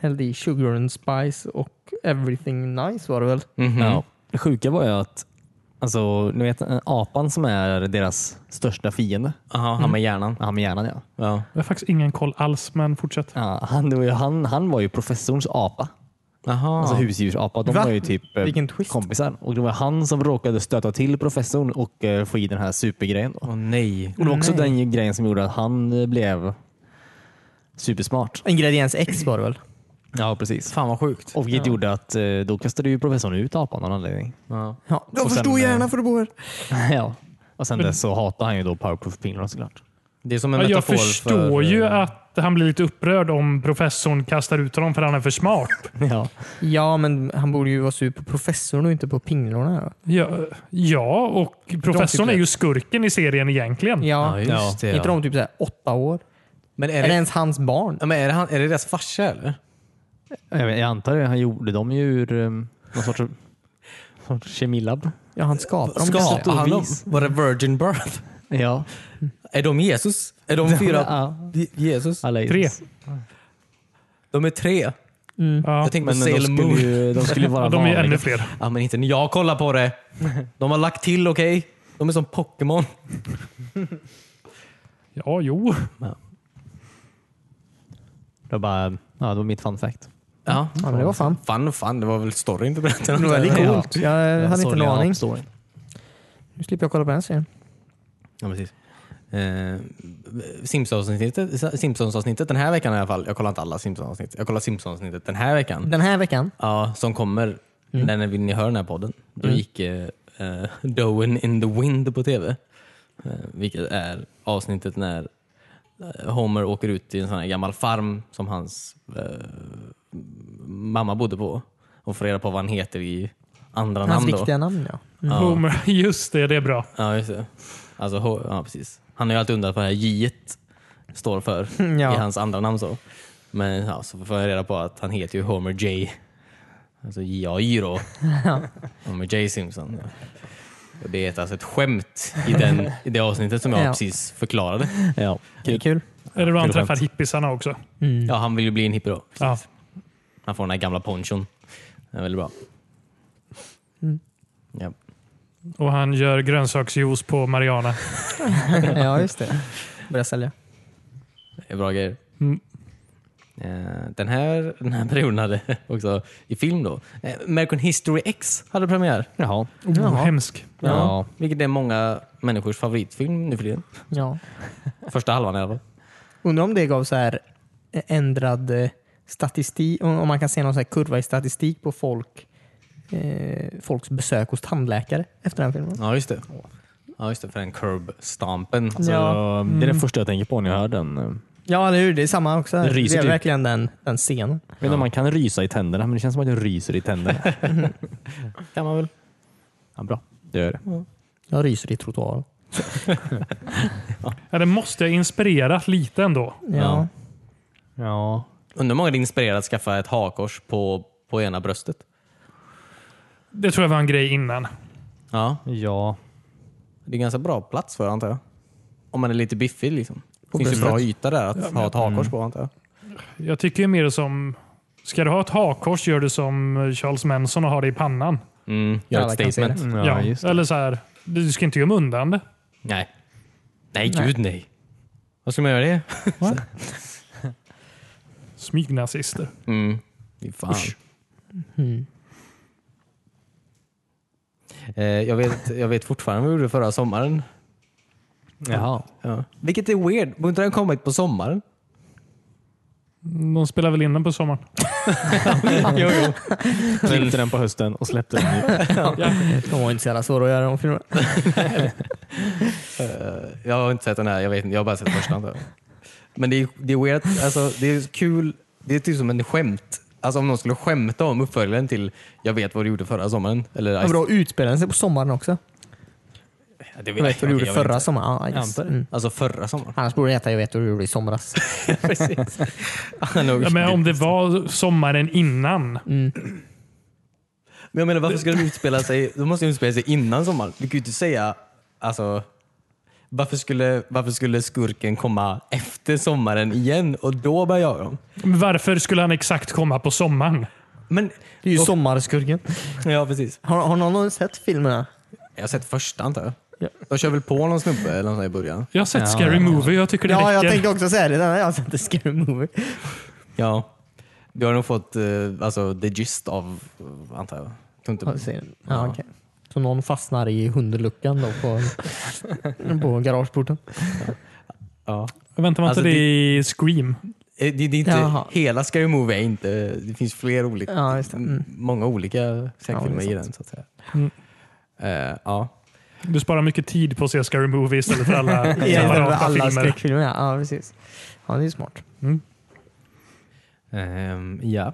Speaker 2: hällde i sugar and spice och everything nice var det väl?
Speaker 1: Mhm.
Speaker 4: Ja. Det sjuka var ju att Alltså, ni vet eh, apan som är deras största fiende.
Speaker 1: Aha, han med hjärnan.
Speaker 4: Han med hjärnan ja.
Speaker 1: Ja.
Speaker 3: Jag har faktiskt ingen koll alls, men fortsätt.
Speaker 4: ja han, det var ju, han, han var ju professorns apa.
Speaker 1: Aha.
Speaker 4: Alltså husdjursapa. De
Speaker 2: Va?
Speaker 4: var ju typ eh,
Speaker 2: Vilken twist.
Speaker 4: kompisar. Och det var han som råkade stöta till professorn och eh, få i den här supergrejen. Då.
Speaker 1: Åh nej.
Speaker 4: Och det var också den grejen som gjorde att han eh, blev supersmart.
Speaker 2: Ingrediens X var det väl?
Speaker 4: Ja, precis.
Speaker 1: Fan vad sjukt.
Speaker 4: Och det gjorde att eh, då kastade ju professorn ut apan av någon anledning.
Speaker 1: Ja.
Speaker 2: Ja. Jag
Speaker 4: Och sen, förstår eh, gärna
Speaker 2: för att bo här.
Speaker 4: ja. Och sen dess så hatade han ju då powerpuff-pinglorna såklart.
Speaker 1: Det är som en
Speaker 3: Ja, jag
Speaker 1: metafor
Speaker 3: förstår
Speaker 1: för,
Speaker 3: ju
Speaker 1: eh,
Speaker 3: att han blir lite upprörd om professorn kastar ut honom för han är för smart.
Speaker 4: Ja.
Speaker 2: Ja, men han borde ju vara sur på professorn och inte på pinglorna. då.
Speaker 3: Ja, ja och professorn är
Speaker 1: det.
Speaker 3: ju skurken i serien egentligen.
Speaker 2: Ja,
Speaker 1: Ja, just det.
Speaker 2: Är inte
Speaker 1: Ja.
Speaker 2: de typ såhär åtta år?
Speaker 1: Men är
Speaker 2: Är det
Speaker 1: det,
Speaker 2: ens hans barn?
Speaker 1: ja, men är det, han, är det deras farsa eller?
Speaker 4: Jag, vet, jag antar det. Han gjorde dem ju ur um, någon sorts, sorts kemilab.
Speaker 2: Ja, han skapar dem. kanske.
Speaker 1: Skapade han dem?
Speaker 4: vis.
Speaker 1: Var det virgin birth?
Speaker 4: Ja.
Speaker 1: Är de Jesus? Är de fyra?
Speaker 4: Ja.
Speaker 1: Je- Jesus?
Speaker 4: Alla är-
Speaker 3: Tre.
Speaker 1: De är tre.
Speaker 3: Ja.
Speaker 1: Jag tänkte på
Speaker 4: Men de
Speaker 1: Sailor Moon.
Speaker 4: skulle, ju, de skulle ju vara
Speaker 3: De är ju
Speaker 4: vanliga.
Speaker 3: ännu fler.
Speaker 1: Ja, men inte när jag kollar på det. De har lagt till, okej? De är som Pokémon.
Speaker 3: Ja, jo.
Speaker 4: Det var, bara, ja, det var mitt fun fact.
Speaker 1: Ja.
Speaker 2: Ja, men det var fan.
Speaker 1: Fan och fan, det var väl storyn du berättade?
Speaker 2: Det var väldigt
Speaker 4: Ja.
Speaker 2: coolt. Jag hade inte en
Speaker 4: Sorgliga
Speaker 2: aning.
Speaker 4: story.
Speaker 2: Nu slipper jag kolla på den serien.
Speaker 1: Ja, precis. Eh, Simpsons-avsnittet, Simpsons-avsnittet den här veckan i alla fall. Jag kollar inte alla Simpsons-avsnitt. Jag kollar Simpsons-avsnittet den här veckan.
Speaker 2: Den här veckan.
Speaker 1: Ja, som kommer när ni, ni hör den här podden. Då gick eh, eh, Doin in the Wind på tv. Eh, vilket är avsnittet när eh, Homer åker ut till en sån här gammal farm som hans eh, mamma bodde på och får reda på vad han heter i andra
Speaker 2: Hans
Speaker 1: namn. Då.
Speaker 2: riktiga namn ja.
Speaker 3: Homer. Just det, det är bra.
Speaker 1: Ja, just det. Alltså, ho- ja, precis. Han har ju alltid undrat vad det här J står för
Speaker 2: Ja.
Speaker 1: i hans andra namn. Så. Men ja, så får jag reda på att han heter ju Homer J. Alltså J.A.J. då. Homer J. Simpson. Ja. Och det är alltså ett skämt i, den, i det avsnittet som jag
Speaker 2: Ja.
Speaker 1: precis förklarade.
Speaker 4: Ja.
Speaker 2: Det är kul.
Speaker 3: Är det då han
Speaker 1: Kul skämt.
Speaker 3: träffar hippisarna också?
Speaker 2: Mm.
Speaker 1: Ja, han vill ju bli en hippie då.
Speaker 3: Ja.
Speaker 1: Han får den här gamla ponchon. Den är väldigt bra.
Speaker 2: Mm.
Speaker 1: Ja.
Speaker 3: Och han gör grönsaksjuice på Mariana. Oh,
Speaker 2: ja, just det. Börja sälja.
Speaker 1: Det är bra grejer.
Speaker 3: Mm.
Speaker 1: Eh, Den här, den här perioden hade också i film då. eh, American History X hade premiär.
Speaker 4: Jaha.
Speaker 3: Oh, hemsk.
Speaker 1: Ja.
Speaker 4: Ja.
Speaker 1: Vilket är många människors favoritfilm nu för tiden.
Speaker 2: Ja.
Speaker 1: Första halvan i alla fall.
Speaker 2: Undrar om det gav så här ändrad eh, statistik, om om man kan se någon så här kurva i statistik på folk eh, folks besök hos tandläkare efter den filmen.
Speaker 1: Ja, just det. Ja, just det. För den curb-stampen.
Speaker 4: Så,
Speaker 2: Ja.
Speaker 4: Eh, Det är det första jag tänker på när jag hör den. Vet
Speaker 2: Ja, eller hur? Det är samma också.
Speaker 4: Det
Speaker 2: Det,
Speaker 4: ryser
Speaker 2: är
Speaker 4: typ.
Speaker 2: verkligen den, den scenen.
Speaker 4: inte om man kan rysa i tänderna, men det känns som att jag ryser i tänderna.
Speaker 1: kan man väl.
Speaker 4: Ja, bra, det gör det.
Speaker 2: Jag ryser i trottoaren.
Speaker 3: Ja, det måste jag inspirerat lite ändå.
Speaker 2: Ja.
Speaker 4: Ja. Ja.
Speaker 1: Undrar hur många det inspirerade att skaffa ett hakkors på, på ena bröstet.
Speaker 3: Det tror jag var en grej innan.
Speaker 1: Ja,
Speaker 4: Ja.
Speaker 1: det är ganska bra plats för antar jag. Om man är lite biffig liksom. Det finns ju
Speaker 2: bröstet.
Speaker 1: bra yta där att ha ett hakkors på antar jag.
Speaker 3: Jag tycker ju mer som... Ska du ha ett hakkors, gör du som Charles Manson och har det i pannan.
Speaker 1: Mm, gör
Speaker 2: Alla kan
Speaker 1: ett
Speaker 2: se
Speaker 1: statement.
Speaker 4: Ja, just det.
Speaker 3: Eller så här, du ska inte gömma undan det.
Speaker 1: Nej. Nej, gud nej. Vad ska man göra det?
Speaker 3: Smygnazister.
Speaker 1: Mm. Fy Fan. Mm-hmm. Eh, jag, vet, jag vet fortfarande vad vi gjorde förra sommaren.
Speaker 4: Jaha.
Speaker 1: Ja. Vilket är weird. Borde inte den kommit på sommaren?
Speaker 3: De spelar väl in den på sommaren?
Speaker 1: jo, jo.
Speaker 4: Klippte den på hösten och släppte den. i-
Speaker 2: Mm. De var inte så jävla svåra att göra de filmerna.
Speaker 1: Eh, jag har inte sett den här. Jag, vet inte, jag har bara sett första. antar jag. Men det är, det är weird. Alltså, det är kul. Det är typ som en skämt. Alltså om någon skulle skämta om uppföljaren till Jag vet vad du gjorde förra sommaren. Eller,
Speaker 2: Men bra utspelade sig på sommaren också.
Speaker 1: Ja, det
Speaker 2: Jag vet vad du
Speaker 1: jag
Speaker 2: gjorde
Speaker 1: vet
Speaker 2: förra
Speaker 1: inte.
Speaker 2: sommaren. Ja, just.
Speaker 1: Antar det.
Speaker 2: Mm.
Speaker 1: Alltså förra sommaren.
Speaker 2: Annars borde det heta Jag vet vad du gjorde i somras.
Speaker 1: Precis. Ja, nog.
Speaker 3: Ja, men om det var sommaren innan.
Speaker 1: Men jag menar varför ska den utspela sig? Då måste den utspela sig innan sommaren. Du kan ju inte säga, alltså, varför skulle, varför skulle skurken komma efter sommaren igen och då börjar jag dem?
Speaker 3: Men varför skulle han exakt komma på sommaren?
Speaker 1: Men,
Speaker 2: Det är ju sommarskurken.
Speaker 1: ja precis.
Speaker 2: Har, har någon sett filmerna?
Speaker 1: Jag har sett första antar jag.
Speaker 2: Ja.
Speaker 1: De kör väl på någon snubbe eller något sånt i början?
Speaker 3: Jag har sett Scary Movie jag tycker det
Speaker 2: Ja, jag
Speaker 3: räcker.
Speaker 2: tänkte också säga det. Den har jag sett i Scary Movie.
Speaker 1: Ja. Du har nog fått eh, alltså, the gist av, eh, antar jag. Jag tror inte-
Speaker 2: Ja, ser den. Ja, okej. Så någon fastnar i hundluckan då på, på garageporten?
Speaker 1: Ja.
Speaker 3: Väntar man
Speaker 1: Alltså,
Speaker 3: inte det i Scream?
Speaker 1: Eh, Det, det är inte,
Speaker 2: Jaha.
Speaker 1: hela Scary Movie är inte, det finns fler olika,
Speaker 2: Ja, just det. Mm.
Speaker 1: många olika skräckfilmer
Speaker 2: Ja,
Speaker 1: i
Speaker 2: det är
Speaker 1: den så att säga. Eh, ja.
Speaker 3: Du sparar mycket tid på att se Scary Movie istället för alla
Speaker 2: I alla,
Speaker 3: separata
Speaker 2: alla
Speaker 3: filmer.
Speaker 2: skräckfilmer, ja. ja precis. Ja, det är ju smart.
Speaker 1: Ehm, ja.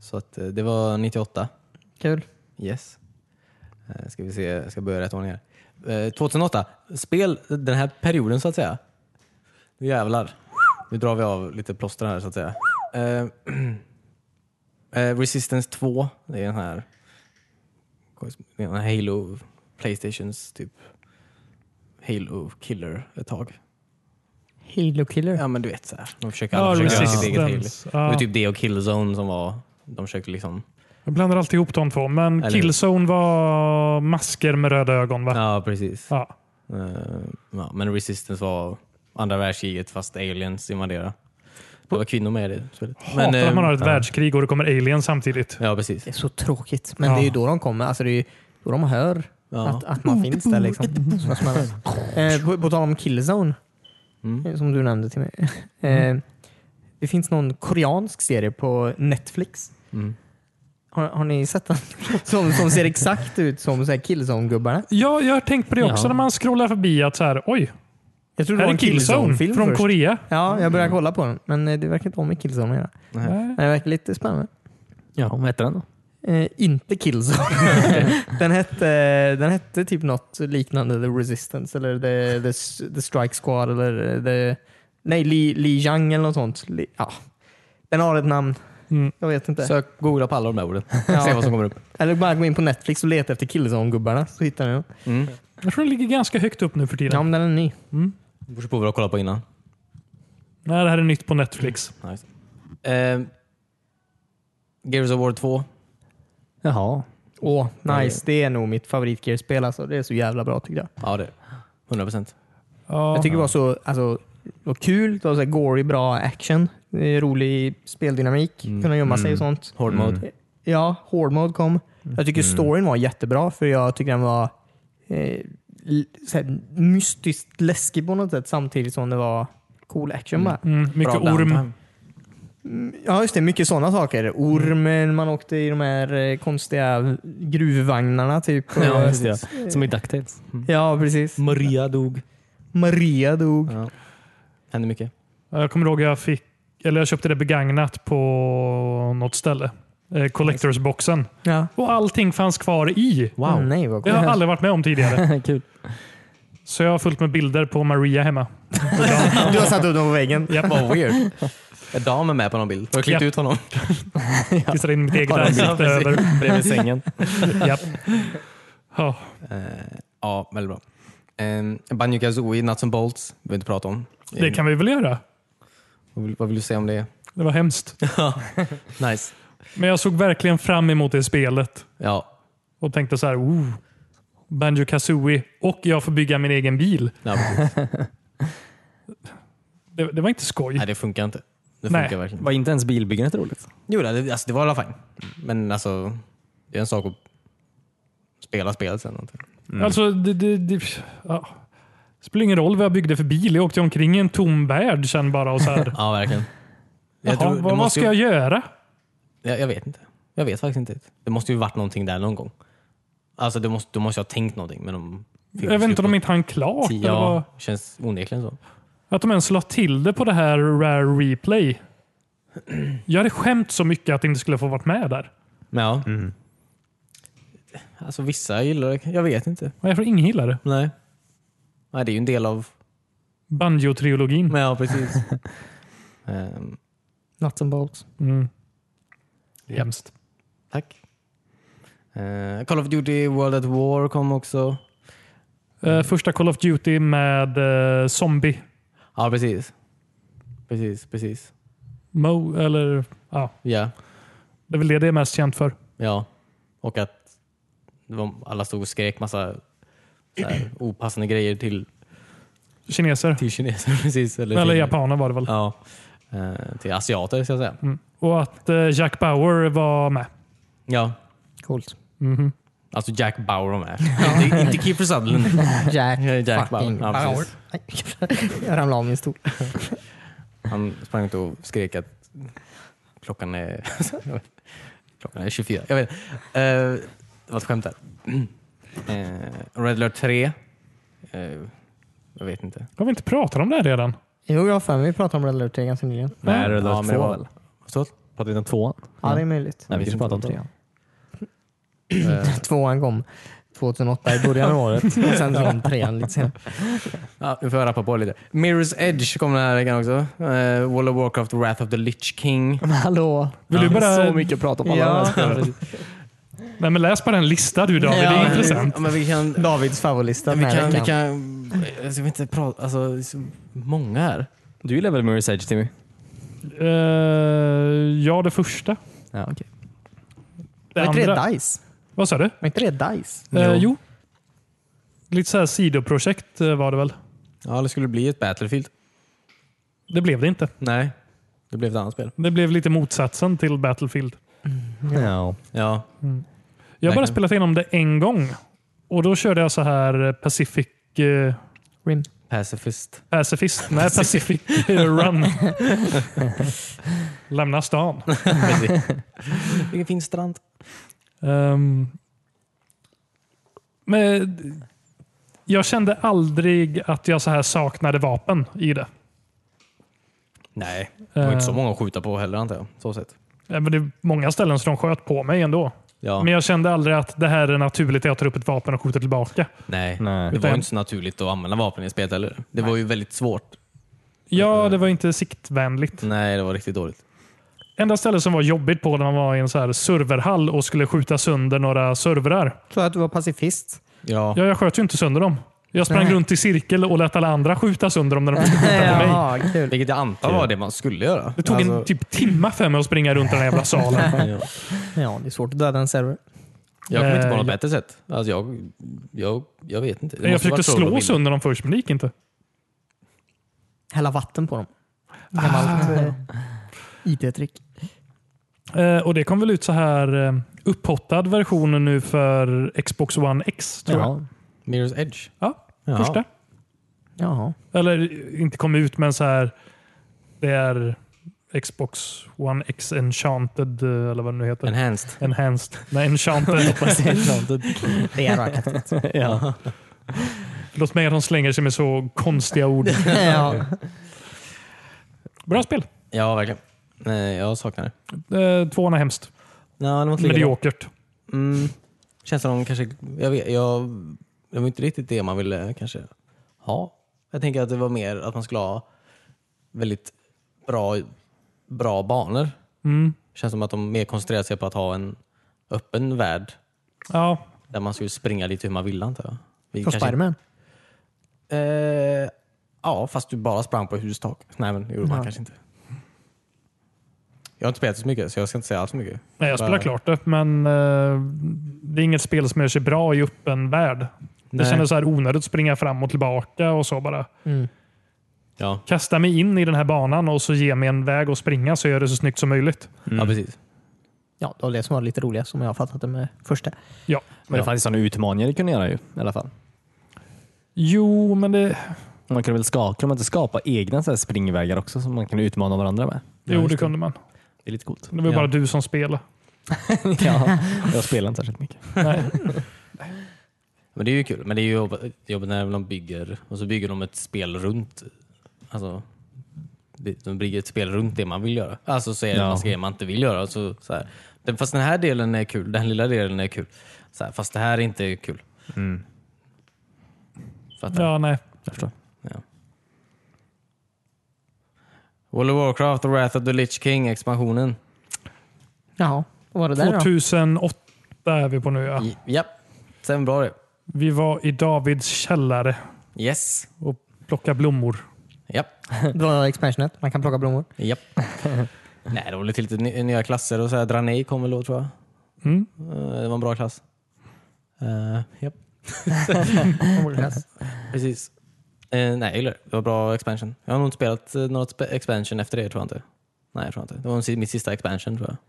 Speaker 1: Så att eh, det var 98.
Speaker 2: Kul.
Speaker 1: Yes. Eh, ska vi se, jag ska börja i rätt ordning här. Eh, 2008. Spel den här perioden så att säga. Nu jävlar. Nu drar vi av lite plåster här så att säga. Eh, eh, Resistance 2. Det är den här, det är den här Halo Playstations typ Halo Killer ett tag.
Speaker 2: Halo Killer.
Speaker 1: Ja men du vet såhär. De försöker,
Speaker 3: Ja,
Speaker 1: alla försöker göra sitt eget Halo.
Speaker 3: Resistance.
Speaker 1: Det var
Speaker 3: Ja.
Speaker 1: typ det och Killzone som var... De försökte liksom...
Speaker 3: Jag blandar alltid ihop de två, men
Speaker 1: Eller hur?
Speaker 3: Killzone var masker med röda ögon va?
Speaker 1: Ja, precis.
Speaker 3: Ja.
Speaker 1: Eh, ja, men Resistance var andra världskriget fast aliens invaderade. Det var kvinnor med i det spelet.
Speaker 3: Hatar
Speaker 1: Men,
Speaker 3: att man
Speaker 1: eh,
Speaker 3: har ett
Speaker 1: ja.
Speaker 3: världskrig och det kommer aliens samtidigt.
Speaker 1: Ja, precis.
Speaker 2: Det är så tråkigt. Men
Speaker 3: Ja.
Speaker 2: det är ju då de kommer. Alltså, det är ju då de hör
Speaker 1: Ja.
Speaker 2: att, att man finns där. Liksom. Såna smällar. Eh, på, på tal om Killzone,
Speaker 1: Mm.
Speaker 2: eh, som du nämnde till mig. Eh, det finns någon koreansk serie på Netflix.
Speaker 1: Mm.
Speaker 2: Har, har ni sett den? Som, som ser exakt ut som så här Killzone-gubbarna.
Speaker 3: Ja, jag har tänkt på det också
Speaker 4: Ja.
Speaker 3: när man scrollar förbi att så här, oj,
Speaker 2: Jag tror det
Speaker 3: här
Speaker 2: var
Speaker 3: är
Speaker 2: en
Speaker 3: Killzone
Speaker 2: Killzone-film
Speaker 3: från
Speaker 2: först.
Speaker 3: Korea.
Speaker 2: Ja, jag började kolla på den. Men eh, det verkar inte vara med Killzone att göra.
Speaker 3: Nej.
Speaker 2: Men det verkar lite spännande.
Speaker 4: Ja, vad heter den då?
Speaker 2: Eh, inte Killzone. den, hette, den hette typ något liknande The Resistance eller eh, The, the, the Strike Squad eller The... Nej, Li, Li Jiang eller något sånt. Li, ja. Den har ett namn.
Speaker 3: Mm.
Speaker 2: Jag vet inte.
Speaker 1: Sök, googla på alla de där orden. Se
Speaker 2: Ja.
Speaker 1: vad som kommer upp.
Speaker 2: Eller bara gå in på Netflix och leta efter Killzone-gubbarna så hittar ni dem.
Speaker 1: Mm.
Speaker 3: Jag tror den ligger ganska högt upp nu för tiden.
Speaker 2: Ja, men den är ny.
Speaker 1: Det beror på vad du har kollat på innan.
Speaker 3: Nej, det här är nytt på Netflix.
Speaker 1: Nice. Eh, Gears of War 2.
Speaker 4: Jaha.
Speaker 2: Åh, nice. Det är nog mitt favoritgearspel. Alltså. Det är så jävla bra tycker jag.
Speaker 1: Ja, det 100 procent.
Speaker 3: Ja.
Speaker 2: Jag tycker det var så alltså, det var kul. Det var så här gory, bra action. Det är Rolig speldynamik. Kunna gömma sig och sånt.
Speaker 1: Hård mode.
Speaker 2: Ja, Hard Mode kom. Jag tycker storyn var jättebra för jag tycker den var eh, l- så här, mystiskt läskig på något sätt samtidigt som det var cool action bara.
Speaker 3: Mm, mycket
Speaker 1: Bra
Speaker 3: orm.
Speaker 1: downtime.
Speaker 2: Ja, just det. Mycket sådana saker. Ormen, man åkte i de här eh, konstiga gruvvagnarna typ. Och-
Speaker 1: Ja, just det.
Speaker 4: Som i DuckTales.
Speaker 2: ja, precis.
Speaker 1: Maria dog.
Speaker 2: Maria dog.
Speaker 1: Ja. Hände mycket.
Speaker 3: Ja, Jag kommer ihåg jag fick, eller jag köpte det begagnat på något ställe. Eh, Collectors-boxen.
Speaker 2: Ja.
Speaker 3: Och allting fanns kvar i. Mm.
Speaker 2: Åh, Mm, nej, vad
Speaker 3: Det
Speaker 2: coolt.
Speaker 3: har jag aldrig varit med om tidigare.
Speaker 4: Kul.
Speaker 3: Så jag har fullt med bilder på Maria hemma.
Speaker 2: Du har satt upp dem på väggen.
Speaker 3: Japp.
Speaker 1: Vad weird. Är Dam är med på någon bild. Har jag klippt
Speaker 3: Ja.
Speaker 1: ut honom?
Speaker 3: Klistrar in mitt eget
Speaker 1: Ja,
Speaker 3: ansikte
Speaker 1: precis.
Speaker 3: över.
Speaker 1: Bredvid sängen.
Speaker 3: Japp. Ja.
Speaker 1: Eh, ja, väldigt bra. Um, Banjo Kazooie, Nuts and Bolts. behöver vi inte prata om.
Speaker 3: Det kan vi väl göra?
Speaker 1: vad, vill, vad vill du säga om det?
Speaker 3: Det var hemskt.
Speaker 1: nice.
Speaker 3: Men jag såg verkligen fram emot det spelet
Speaker 1: Ja,
Speaker 3: och tänkte så här, oh, Banjo Kazooie och jag får bygga min egen bil.
Speaker 1: ja precis.
Speaker 3: Det, det var inte skoj.
Speaker 1: Nej, det funkar inte. Det
Speaker 3: Nej.
Speaker 1: funkar verkligen
Speaker 4: Var inte ens bilbyggandet roligt?
Speaker 1: Jo, det, alltså, det var i alla fall. Men alltså, det är en sak att spela spelet sen. antar jag.
Speaker 3: Alltså, det, det, det, ja. det spelar ingen roll vad jag byggde för bil. Jag åkte omkring i en tom värld sen bara och så här,
Speaker 1: Ja, verkligen.
Speaker 3: Jaha,
Speaker 1: Jag tror- det
Speaker 3: vad, vad
Speaker 1: måste
Speaker 3: ska
Speaker 1: ju-
Speaker 3: jag göra?
Speaker 1: Jag, jag vet inte. Jag vet faktiskt inte. Det måste ju varit någonting där någon gång. Alltså, du måste, du måste ju ha tänkt någonting. Men de
Speaker 3: Jag vet inte om de inte hann klart.
Speaker 1: Tio,
Speaker 3: eller vad-
Speaker 1: ja, känns onekligen så.
Speaker 3: Att de ens la till det på det här Rare Replay. Jag hade skämt så mycket att jag inte skulle få varit med där.
Speaker 1: Men ja.
Speaker 3: Mm.
Speaker 1: Alltså, vissa gillar det. Jag vet inte.
Speaker 3: Men Jag tror ingen gillar det.
Speaker 1: Nej. Nej, det är ju en del av...
Speaker 3: Banjo-trilogin.
Speaker 1: Men ja, precis. Ehm,
Speaker 2: Nuts and bolts.
Speaker 3: Mm. Hemskt.
Speaker 1: tack. Eh, Call of Duty World at War kom också.
Speaker 3: Eh, första Call of Duty med eh, zombie.
Speaker 1: Ja, precis. Precis, precis.
Speaker 3: Mo, eller, ja,
Speaker 1: Ja,
Speaker 3: det är väl det det är mest känt för.
Speaker 1: ja. Och att det var- alla stod och skrek massa så här, opassande grejer till,
Speaker 3: Kineser.
Speaker 1: till kineser. Precis, eller
Speaker 3: Eller
Speaker 1: till,
Speaker 3: japaner var det väl.
Speaker 1: Ja, eh, till asiater ska jag säga.
Speaker 3: Mm. Och att eh, Jack Bauer var med.
Speaker 1: Ja,
Speaker 2: Coolt.
Speaker 3: Mhm.
Speaker 1: alltså Jack Bauer var med. inte, inte Kiefer Sutherland.
Speaker 2: Jack,
Speaker 1: Jack
Speaker 2: fucking
Speaker 1: Bauer. Ja, precis.
Speaker 2: Bauer. jag ramlade av min stol.
Speaker 1: Han sprang ut och skrek att klockan är, klockan är 24. Jag vet, eh, det var ett skämt där. Eh, Red Alert 3. Eh, jag vet inte.
Speaker 3: Har vi inte pratat om det här redan?
Speaker 2: Jo, jag har för mig vi pratade om Red Alert 3 ganska nyligen.
Speaker 4: Nej, det
Speaker 1: Ja,
Speaker 4: var
Speaker 1: men
Speaker 4: två
Speaker 1: det var-
Speaker 4: väl?
Speaker 1: Förstått?
Speaker 4: Pratade vi om tvåan?
Speaker 2: Ja, det är möjligt.
Speaker 4: Mm. Nej, vi
Speaker 1: Vilken
Speaker 4: ska prata om
Speaker 1: tvåan?
Speaker 4: trean.
Speaker 1: Eh,
Speaker 2: Tvåan kom 2008 i början av året och sen så kom trean lite senare.
Speaker 1: Ja, nu får jag rappa på lite. Mirror's Edge kom den här veckan också. Eh, World of Warcraft Wrath of the Lich King.
Speaker 2: Men hallå?
Speaker 3: Vill du bara...
Speaker 4: mycket att prata
Speaker 2: Ja.
Speaker 3: Nej, men läs bara en lista du David. det är intressant.
Speaker 1: Ja, men vi kan...
Speaker 2: Davids favoritlista den
Speaker 1: Vi
Speaker 2: här
Speaker 1: kan, vi
Speaker 2: veckan.
Speaker 1: kan, jag ska inte prata, alltså det är så många här.
Speaker 4: Du gillar väl Mirror's Edge Timmy?
Speaker 3: Eh, ja, det första.
Speaker 4: Ja, okay.
Speaker 3: Det
Speaker 2: Var inte
Speaker 3: andra.
Speaker 2: det Dice?
Speaker 3: Vad sa du?
Speaker 2: Var inte det Dice?
Speaker 3: Jo. Eh, jo. Lite så här sidoprojekt eh, var det väl.
Speaker 1: Ja, det skulle bli ett Battlefield.
Speaker 3: Det blev det inte.
Speaker 1: Nej, det blev ett annat spel.
Speaker 3: Det blev lite motsatsen till Battlefield.
Speaker 1: Ja,
Speaker 4: ja.
Speaker 3: Jag har bara
Speaker 1: Verkligen.
Speaker 3: spelat igenom det en gång. Och då körde jag så här eh, Pacific... Eh,
Speaker 2: Rim.
Speaker 1: Pacifist.
Speaker 3: Pacifist? Nej, Pacific eh, Run. Lämna stan.
Speaker 1: Vilken fin strand.
Speaker 3: Ehm, men jag kände aldrig att jag så här saknade vapen i det.
Speaker 1: Nej, det var inte så många att skjuta på heller antar jag. Så sett.
Speaker 3: Eh, men det är många ställen som de sköt på mig ändå.
Speaker 1: Ja,
Speaker 3: Men jag kände aldrig att det här är naturligt att jag tar upp ett vapen och skjuter tillbaka.
Speaker 1: nej. Det
Speaker 4: Nej.
Speaker 1: var ju
Speaker 3: Utan-
Speaker 1: inte så naturligt att använda vapen i spelet heller. Det var ju väldigt svårt.
Speaker 3: Ja, det var inte siktvänligt.
Speaker 1: Nej, det var riktigt dåligt.
Speaker 3: Enda stället som var jobbigt på när man var i en så här serverhall och skulle skjuta sönder några servrar.
Speaker 2: Tror att du var pacifist?
Speaker 1: Ja.
Speaker 3: Ja, jag sköt ju inte sönder dem. Jag sprang
Speaker 2: Nej.
Speaker 3: runt i cirkel och lät alla andra skjuta sönder dem när de försökte skjuta på mig.
Speaker 2: Jaha, kul.
Speaker 1: Vilket jag antar var det man skulle göra. Alltså,
Speaker 3: Det tog en typ timma för mig att springa runt i den här jävla salen.
Speaker 1: Ja.
Speaker 2: Ja, det är svårt att döda en server.
Speaker 1: Jag kommer inte på
Speaker 3: Eh,
Speaker 1: något
Speaker 3: ja.
Speaker 1: bättre sätt. Alltså jag, jag, jag vet inte. Det
Speaker 3: Jag
Speaker 1: måste
Speaker 3: försökte
Speaker 1: vara troll och
Speaker 3: slå
Speaker 1: bild.
Speaker 3: sönder dem först, men det gick inte.
Speaker 2: Hälla vatten på dem. Gammalt eh, IT-trick.
Speaker 3: Eh, och Det kom väl ut så här eh, upphottad version nu för Xbox One X, tror jag.
Speaker 4: Ja.
Speaker 1: Mirror's Edge.
Speaker 3: Ja,
Speaker 1: Ja.
Speaker 3: första.
Speaker 2: Jaha.
Speaker 3: Eller inte kom ut, men så här. Det är Xbox One X Enchanted, eh, eller vad det nu heter.
Speaker 1: Enhanced.
Speaker 3: Enhanced. Nej, Enchanted.
Speaker 2: Det är rökaktigt.
Speaker 4: ja.
Speaker 3: Låt mig att de slänger sig med så konstiga ord.
Speaker 2: ja.
Speaker 3: Bra spel.
Speaker 1: Ja, verkligen. Nej, jag saknar det.
Speaker 3: Eh, Tvåan är hemskt.
Speaker 1: Ja, det var inte lika bra.
Speaker 3: Mediokert.
Speaker 1: Mm. Känns som de kanske... Jag vet, jag, det var inte riktigt det man ville kanske ha. Jag tänker att det var mer att man skulle ha väldigt bra, bra banor.
Speaker 3: Mm.
Speaker 1: Känns som att de mer koncentrerar sig på att ha en öppen värld
Speaker 3: Ja,
Speaker 1: där man skulle springa lite hur man vill antar jag. Vi
Speaker 2: Från
Speaker 1: kanske-
Speaker 2: Spiderman.
Speaker 1: Eh, ja, fast du bara sprang på hustak. Nej, men det gjorde man
Speaker 2: Ja.
Speaker 1: kanske inte. Jag har inte spelat så mycket, så jag ska inte säga alls så mycket.
Speaker 3: Nej, jag spelar
Speaker 1: Bara-
Speaker 3: klart det, men eh, det är inget spel som gör sig bra i öppen värld. Det
Speaker 1: Nej.
Speaker 3: kändes så här onödigt att springa fram och tillbaka och så bara.
Speaker 2: Mm.
Speaker 1: Ja,
Speaker 3: Kasta mig in i den här banan och så ge mig en väg att springa så gör jag det så snyggt som möjligt.
Speaker 1: ja precis.
Speaker 2: Ja, det var det som var lite roligast som jag har fattat det med första.
Speaker 3: Ja.
Speaker 4: Men det fanns ju sådana utmaningar du kunde göra ju, i alla fall.
Speaker 3: Jo, men det,
Speaker 4: Man kunde väl skaka, kan man inte skapa egna så här springvägar också som man kan utmana varandra med?
Speaker 1: Ja,
Speaker 3: jo,
Speaker 1: just
Speaker 3: det
Speaker 1: det.
Speaker 3: kunde man.
Speaker 4: Det är lite coolt.
Speaker 3: Det var
Speaker 1: Ja.
Speaker 3: bara du som spelade.
Speaker 4: ja, jag spelar inte särskilt mycket.
Speaker 3: Nej.
Speaker 1: Men det är ju kul. Men det är ju jobb- jobbigt när de bygger och så bygger de ett spel runt. Alltså, det- de bygger ett spel runt det man vill göra. Alltså så är det
Speaker 4: Ja.
Speaker 1: en massa grejer man inte vill göra. Alltså, Så, så här. Den, fast den här delen är kul, den lilla delen är kul. Så här, fast det här är inte kul. Fattar?
Speaker 3: Ja, nej.
Speaker 4: Jag förstår.
Speaker 1: Ja. World of Warcraft, The Wrath of the Lich King, expansionen.
Speaker 2: Jaha, vad var det där då?
Speaker 3: 2008 är vi på nu. Ja.
Speaker 1: I- Ja, sen bra det.
Speaker 3: Vi var i Davids källare
Speaker 1: Yes.
Speaker 3: och plockade blommor.
Speaker 1: Ja.
Speaker 2: Det var expansionet. Man kan plocka blommor.
Speaker 1: Ja. Nej, det var lite, lite ny- nya klasser och så här. Dranej kom väl då tror jag.
Speaker 3: Mm.
Speaker 1: Eh, Det var en bra klass. Eh, ja, precis. Eh, nej, jag gillar det. Det var bra expansion. Jag har nog inte spelat uh, något spe- expansion efter det tror jag inte. Nej, jag tror inte. Det var si- mitt sista expansion tror jag.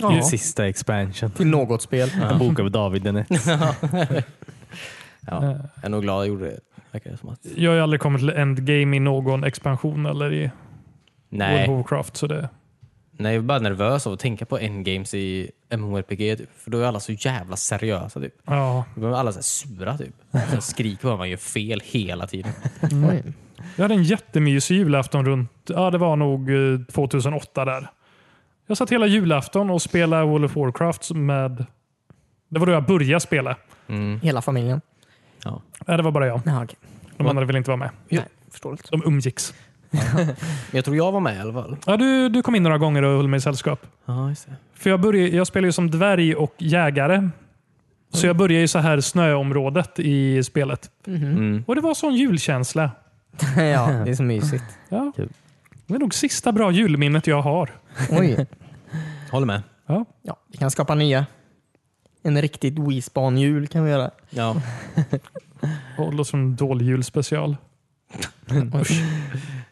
Speaker 4: Ja.
Speaker 2: Ja.
Speaker 4: Sista expansion.
Speaker 2: Till något spel.
Speaker 4: Jag bokade på David den ett.
Speaker 1: Ja. Jag är nog glad jag gjorde det. Verkar det som att...
Speaker 3: Jag har ju aldrig kommit till endgame i någon expansion eller i World
Speaker 1: Nej.
Speaker 3: of Warcraft. Så det,
Speaker 1: Nej, jag var bara nervös av att tänka på endgames i MMORPG. Typ. För då är alla så jävla seriösa. Typ.
Speaker 3: ja.
Speaker 1: Då är alla så här sura typ. Så skriker bara man gör fel hela tiden.
Speaker 2: Oj.
Speaker 3: Jag hade en jättemysig julafton runt, ja det var nog eh, 2008 där. Jag satt hela julafton och spelade World of Warcraft med, det var då jag började spela.
Speaker 1: Mm.
Speaker 2: Hela familjen.
Speaker 3: Nej, det var bara jag.
Speaker 2: Jaha, okej.
Speaker 3: De andra ville inte vara med.
Speaker 2: Nej, förståeligt.
Speaker 3: De umgicks.
Speaker 1: Men jag tror jag var med i alla fall.
Speaker 3: Ja, du, du kom in några gånger och höll mig i sällskap.
Speaker 1: Ja, just det.
Speaker 3: För jag, började, jag spelar ju som dvärg och jägare. Så jag började ju så här snöområdet i spelet.
Speaker 1: Mm.
Speaker 3: Och det var sån julkänsla.
Speaker 2: ja, det är så mysigt.
Speaker 3: Ja. Det är nog sista bra julminnet jag har.
Speaker 2: Oj.
Speaker 1: Håller med.
Speaker 3: Ja.
Speaker 2: Ja, vi kan skapa nya. En riktigt Wispan-jul kan vi göra.
Speaker 1: Ja.
Speaker 3: Och det låter som en dålig julspecial.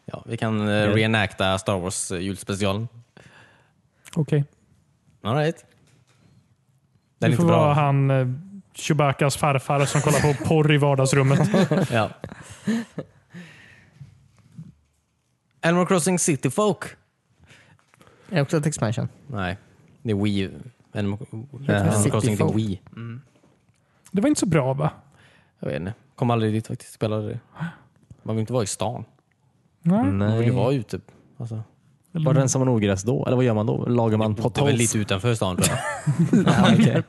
Speaker 1: ja, vi kan uh, reenacta Star Wars eh, julspecialen.
Speaker 3: Okej.
Speaker 1: All right. Den är
Speaker 3: Du får
Speaker 1: inte
Speaker 3: vara
Speaker 1: bra.
Speaker 3: han eh, Chewbaccas farfar som kollar på porr i vardagsrummet.
Speaker 1: Ja. Animal Crossing City Folk.
Speaker 2: Är det också ett expansion?
Speaker 1: Nej, det är Wii. Animal, Animal
Speaker 2: City
Speaker 1: Crossing det är
Speaker 2: Folk.
Speaker 1: Wii.
Speaker 3: Det var inte så bra va?
Speaker 1: Jag vet inte. Kom aldrig dit faktiskt. Spelade det. Man vill inte vara i stan.
Speaker 3: Nej.
Speaker 1: Man vill ju
Speaker 4: Nej.
Speaker 1: vara ute. Alltså.
Speaker 4: Var rensar man ogräs då? Eller vad gör man då? Lagar man
Speaker 1: Det var väl
Speaker 4: potholes?
Speaker 1: lite utanför stan tror jag. Nej,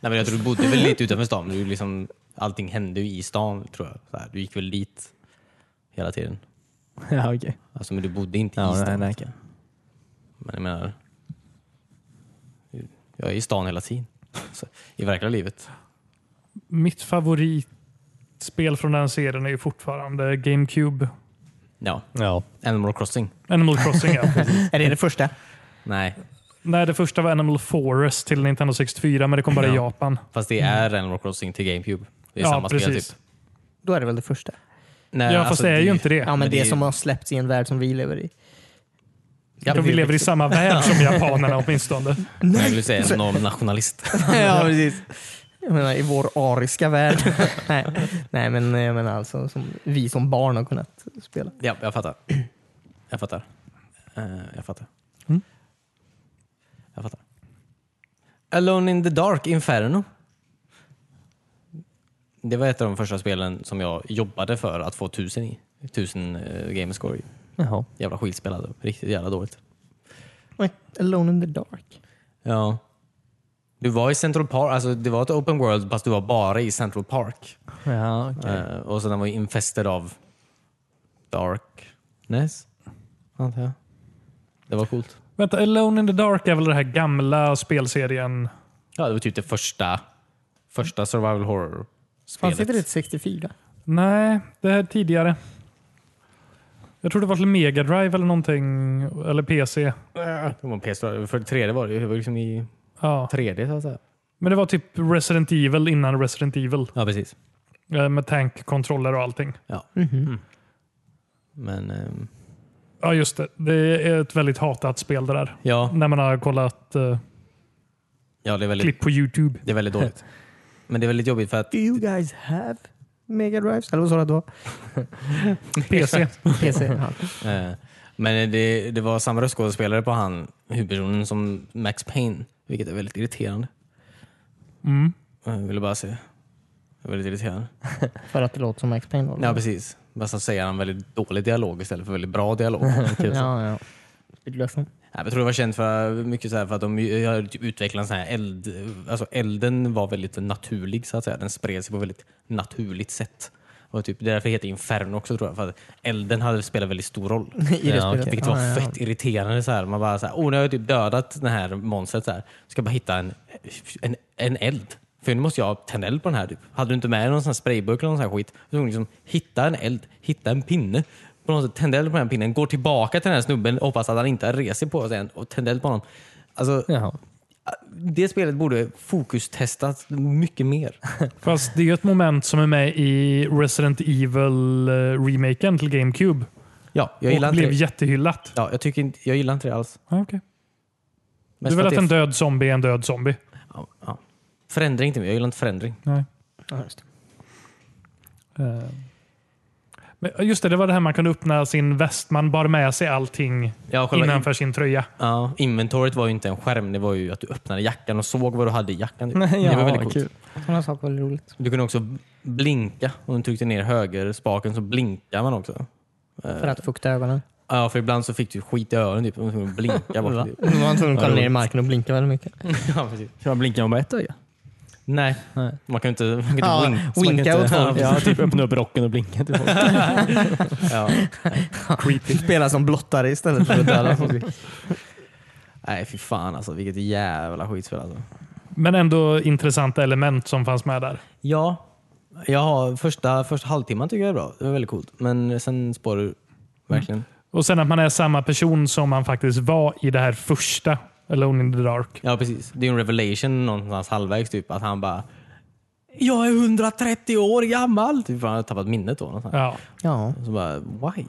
Speaker 1: men jag tror du bodde väl lite utanför stan. Du liksom, allting hände ju i stan tror jag. Så här, du gick väl dit hela tiden.
Speaker 4: ja, okej.
Speaker 1: Alltså, men du bodde inte i
Speaker 4: Ja,
Speaker 1: stan.
Speaker 4: nej, nej, okej.
Speaker 1: Men jag menar, Jag är i stan hela tiden. Så, I verkliga livet.
Speaker 3: Mitt favoritspel från den serien är ju fortfarande GameCube.
Speaker 1: Ja,
Speaker 4: Ja.
Speaker 1: Animal Crossing.
Speaker 3: Animal Crossing ja.
Speaker 2: Är det det första?
Speaker 1: Nej,
Speaker 3: Nej, det första var Animal Forest till Nintendo 64, men det kom bara i
Speaker 1: Ja.
Speaker 3: Japan.
Speaker 1: fast det är Animal Crossing till GameCube. Det är
Speaker 3: Mm. Ja,
Speaker 1: samma spel
Speaker 3: precis.
Speaker 1: typ.
Speaker 2: Då är det väl det första?
Speaker 1: Nej,
Speaker 3: Ja, fast
Speaker 1: alltså,
Speaker 3: det är ju inte det.
Speaker 2: Ja, men,
Speaker 1: men
Speaker 2: det,
Speaker 1: det är ju-
Speaker 2: som har släppts i en värld som vi lever i.
Speaker 1: Ja,
Speaker 3: De vi lever i samma värld som japanerna åtminstone.
Speaker 1: Men Jag skulle säga en enorm nationalist.
Speaker 2: ja, precis. Jag menar, i vår ariska värld. Nej. Nej, men jag menar alltså som vi som barn har kunnat spela.
Speaker 1: Ja, jag fattar. Jag fattar. Eh, jag fattar.
Speaker 3: Mm.
Speaker 1: Jag fattar. Alone in the Dark Inferno. Det var ett av de första spelen som jag jobbade för att få tusen i. Tusen uh, gamerscore i.
Speaker 4: Jaha.
Speaker 1: Jävla skitspel hade jag. Riktigt jävla dåligt.
Speaker 2: Oj, Alone in the dark.
Speaker 1: Ja. Du var i Central Park, alltså det var ett open world fast du var bara i Central Park.
Speaker 4: Ja, okej.
Speaker 1: Eh, och så den var ju infested av darkness, antar jag. Det var coolt.
Speaker 3: Vänta, Alone in the Dark är väl den här gamla spelserien?
Speaker 1: Ja, det var typ det första, första survival horror-spelet.
Speaker 2: Fanns inte det till 64?
Speaker 3: Nej, det här är tidigare. Jag tror det var till Mega Drive eller någonting, eller PC.
Speaker 1: Det var PS4. För det tredje var det ju. Det var liksom i
Speaker 3: Ja.
Speaker 1: 3D så att säga.
Speaker 3: Men det var typ Resident Evil innan Resident Evil
Speaker 1: Ja, precis.
Speaker 3: eh, med tankkontroller och allting.
Speaker 1: Ja. Mm. Men ehm,
Speaker 3: Ja, just det. Det är ett väldigt hatat spel det där.
Speaker 1: ja,
Speaker 3: När man har kollat eh,
Speaker 1: ja, det är väldigt,
Speaker 3: klipp på YouTube.
Speaker 1: det är väldigt dåligt. Men det är väldigt jobbigt för att
Speaker 2: Do you guys have Mega Drives? Eller vad sa du att det var?
Speaker 3: PC.
Speaker 2: PC? Ja.
Speaker 1: Eh, Men det, det var samma röstskådespelare på han, huvudpersonen, som Max Payne. Vilket är väldigt irriterande.
Speaker 3: Mm.
Speaker 1: Jag ville bara se. Det är Väldigt irriterande.
Speaker 2: För att det låter som Max Payne? då, eller?
Speaker 1: Ja, precis. Men så säger han väldigt dålig dialog istället för väldigt bra dialog. Kul.
Speaker 2: Ja, ja. Är du ledsen?
Speaker 1: Nej, men Jag tror det var känt för, mycket så här för att de ju- har typ utvecklat en sån här eld... Alltså elden var väldigt naturlig så att säga. Den spred sig på ett väldigt naturligt sätt. Och typ, det är därför det heter Inferno också tror jag. För att elden hade spelat väldigt stor roll.
Speaker 2: I det
Speaker 4: Ja,
Speaker 2: spelet.
Speaker 4: okej.
Speaker 1: Vilket
Speaker 2: Ja,
Speaker 1: var
Speaker 2: ja, ja.
Speaker 1: fett irriterande. Så här. Man bara så här, oh, nu har jag typ dödat det här monstret. Så här. Ska bara hitta en, en, en eld. För nu måste jag tända eld på den här. Typ. Hade du inte med dig någon sån här sprayburk eller någon sån här skit. Så hon liksom, hitta en eld, hitta en pinne. På något sätt, tända eld på den här pinnen, går tillbaka till den här snubben och hoppas att han inte reser på sig än och tända eld på honom. Alltså,
Speaker 4: Jaha.
Speaker 1: det spelet borde fokustestas mycket mer.
Speaker 3: Fast det är ju ett moment som är med i Resident Evil-remaken till GameCube.
Speaker 1: Ja, jag gillar
Speaker 3: och
Speaker 1: inte
Speaker 3: blev
Speaker 1: det.
Speaker 3: jättehyllat.
Speaker 1: Ja, jag, tycker inte, jag gillar inte det alls.
Speaker 3: Ah, okay.
Speaker 1: Mest
Speaker 3: Du vill
Speaker 1: för
Speaker 3: att
Speaker 1: det är-
Speaker 3: en död zombie är en död zombie?
Speaker 1: ja, ja. Förändring till mig. Jag gillar inte förändring.
Speaker 3: Nej.
Speaker 2: Ja, just det.
Speaker 3: Eh. Men just det, det var det här man kunde öppna sin väst. Man bar med sig allting
Speaker 1: Ja, själva
Speaker 3: innanför sin tröja.
Speaker 1: Ja, inventoriet var ju inte en skärm, det var ju att du öppnade jackan och såg vad du hade i jackan. typ. det var
Speaker 4: Ja,
Speaker 1: väldigt coolt.
Speaker 4: kul.
Speaker 2: Sådana saker var väldigt roligt.
Speaker 1: Du kunde också blinka. Om du tryckte ner högerspaken så blinkade man också.
Speaker 2: För att fukta ögonen.
Speaker 1: Ja, för ibland så fick du skit i öronen typ. Man var tvungen att blinka bort.
Speaker 2: Nu var han tvungen att kolla ner i marken och blinka väldigt mycket.
Speaker 1: ja, precis.
Speaker 4: Kan man blinka med ett öga?
Speaker 1: Nej,
Speaker 4: Nej.
Speaker 1: man kan inte, man kan inte
Speaker 2: Ja,
Speaker 1: blinka.
Speaker 4: Så man kan
Speaker 2: Winka åt
Speaker 4: inte-
Speaker 2: folk.
Speaker 4: Ja, typ öppna upp rocken och blinka till folk.
Speaker 1: Ja.
Speaker 3: Creepy.
Speaker 2: Spela som blottare istället för att döda folk.
Speaker 1: Nej, fy fan alltså. Vilket jävla skitspel alltså.
Speaker 3: Men ändå intressanta element som fanns med där.
Speaker 1: Ja, jag har första, första halvtimman tycker jag är bra. Det var väldigt coolt. Men sen spårar du verkligen.
Speaker 3: Och sen att man är samma person som man faktiskt var i det här första Alone in the Dark.
Speaker 1: Ja, precis. Det är en revelation någonstans halvvägs typ att han bara jag är 130 år gammal! Typ, för han har tappat minnet då. någonstans.
Speaker 3: Ja.
Speaker 2: Ja,
Speaker 1: Så bara, why?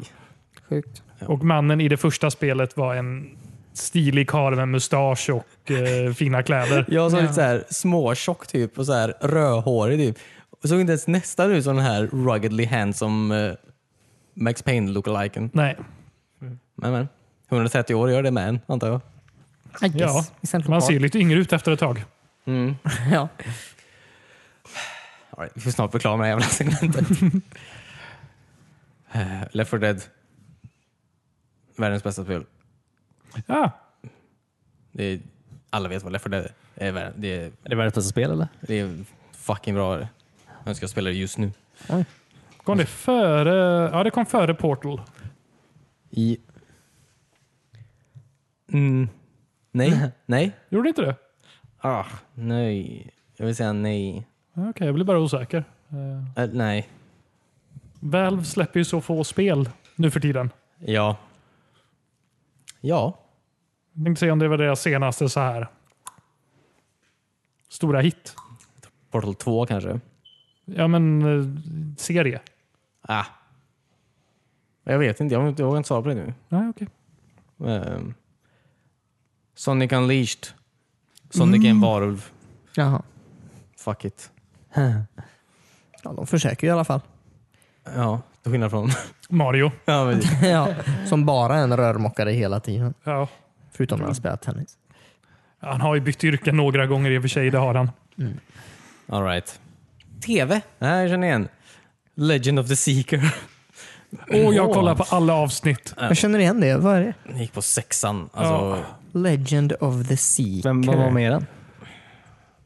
Speaker 2: sjukt.
Speaker 3: Och mannen i det första spelet var en stilig karl med mustasch och eh, fina kläder.
Speaker 1: Jag såg lite så här småtjock typ och så här rödhårig typ. Och såg inte ens nästan ut som den här ruggedly handsome eh, Max Payne lookaliken.
Speaker 3: Nej,
Speaker 1: Men men, 130 år gör det med en, antar jag.
Speaker 2: I guess.
Speaker 3: Ja,
Speaker 2: I Central
Speaker 3: man
Speaker 2: Park.
Speaker 3: ser ju lite yngre ut efter ett tag.
Speaker 1: Mm.
Speaker 2: Ja.
Speaker 1: All right, vi får snart bli klara med det här jävla segmentet. Eh, Left 4 Dead. Världens bästa spel.
Speaker 3: Ja,
Speaker 1: Det är, alla vet vad Left 4 Dead är. värd. Det är,
Speaker 4: Är det världens bästa spel eller?
Speaker 1: det är fucking bra. Jag önskar jag spelade det just nu.
Speaker 3: kom det före? Ja, det kom före Portal.
Speaker 1: I... Mm. Nej, nej.
Speaker 3: Gjorde det inte det?
Speaker 1: Ah, nej. Jag vill säga nej.
Speaker 3: Okej, jag blir bara osäker. Eh,
Speaker 1: Eh, nej.
Speaker 3: Valve släpper ju så få spel nu för tiden.
Speaker 1: Ja. Ja.
Speaker 3: Jag tänkte se om det var deras senaste så här stora hit.
Speaker 1: Portal 2 kanske.
Speaker 3: Ja, men eh, serie.
Speaker 1: Ah. Jag vet inte. Jag vågar inte- jag vågar inte svara på det nu.
Speaker 3: Nej, okej.
Speaker 1: Ehm. Sonic Unleashed. Sonic är en varulv.
Speaker 2: Jaha.
Speaker 1: Fuck it.
Speaker 2: Ja, de försöker ju i alla fall.
Speaker 1: Ja, till skillnad från...
Speaker 3: Mario.
Speaker 1: ja, men,
Speaker 2: ja, som bara en rörmokare hela tiden.
Speaker 3: Ja.
Speaker 2: Förutom när han spelar tennis.
Speaker 3: Han har ju bytt yrke några gånger i och för sig, det har han.
Speaker 1: all right. TV? Nej, jag känner igen. Legend of the Seeker.
Speaker 3: Och jag kollar på alla avsnitt.
Speaker 2: Jag känner igen det. Vad är det?
Speaker 1: Den gick på sexan. Alltså,
Speaker 2: Legend of the Sea.
Speaker 4: Vem vad var med i den?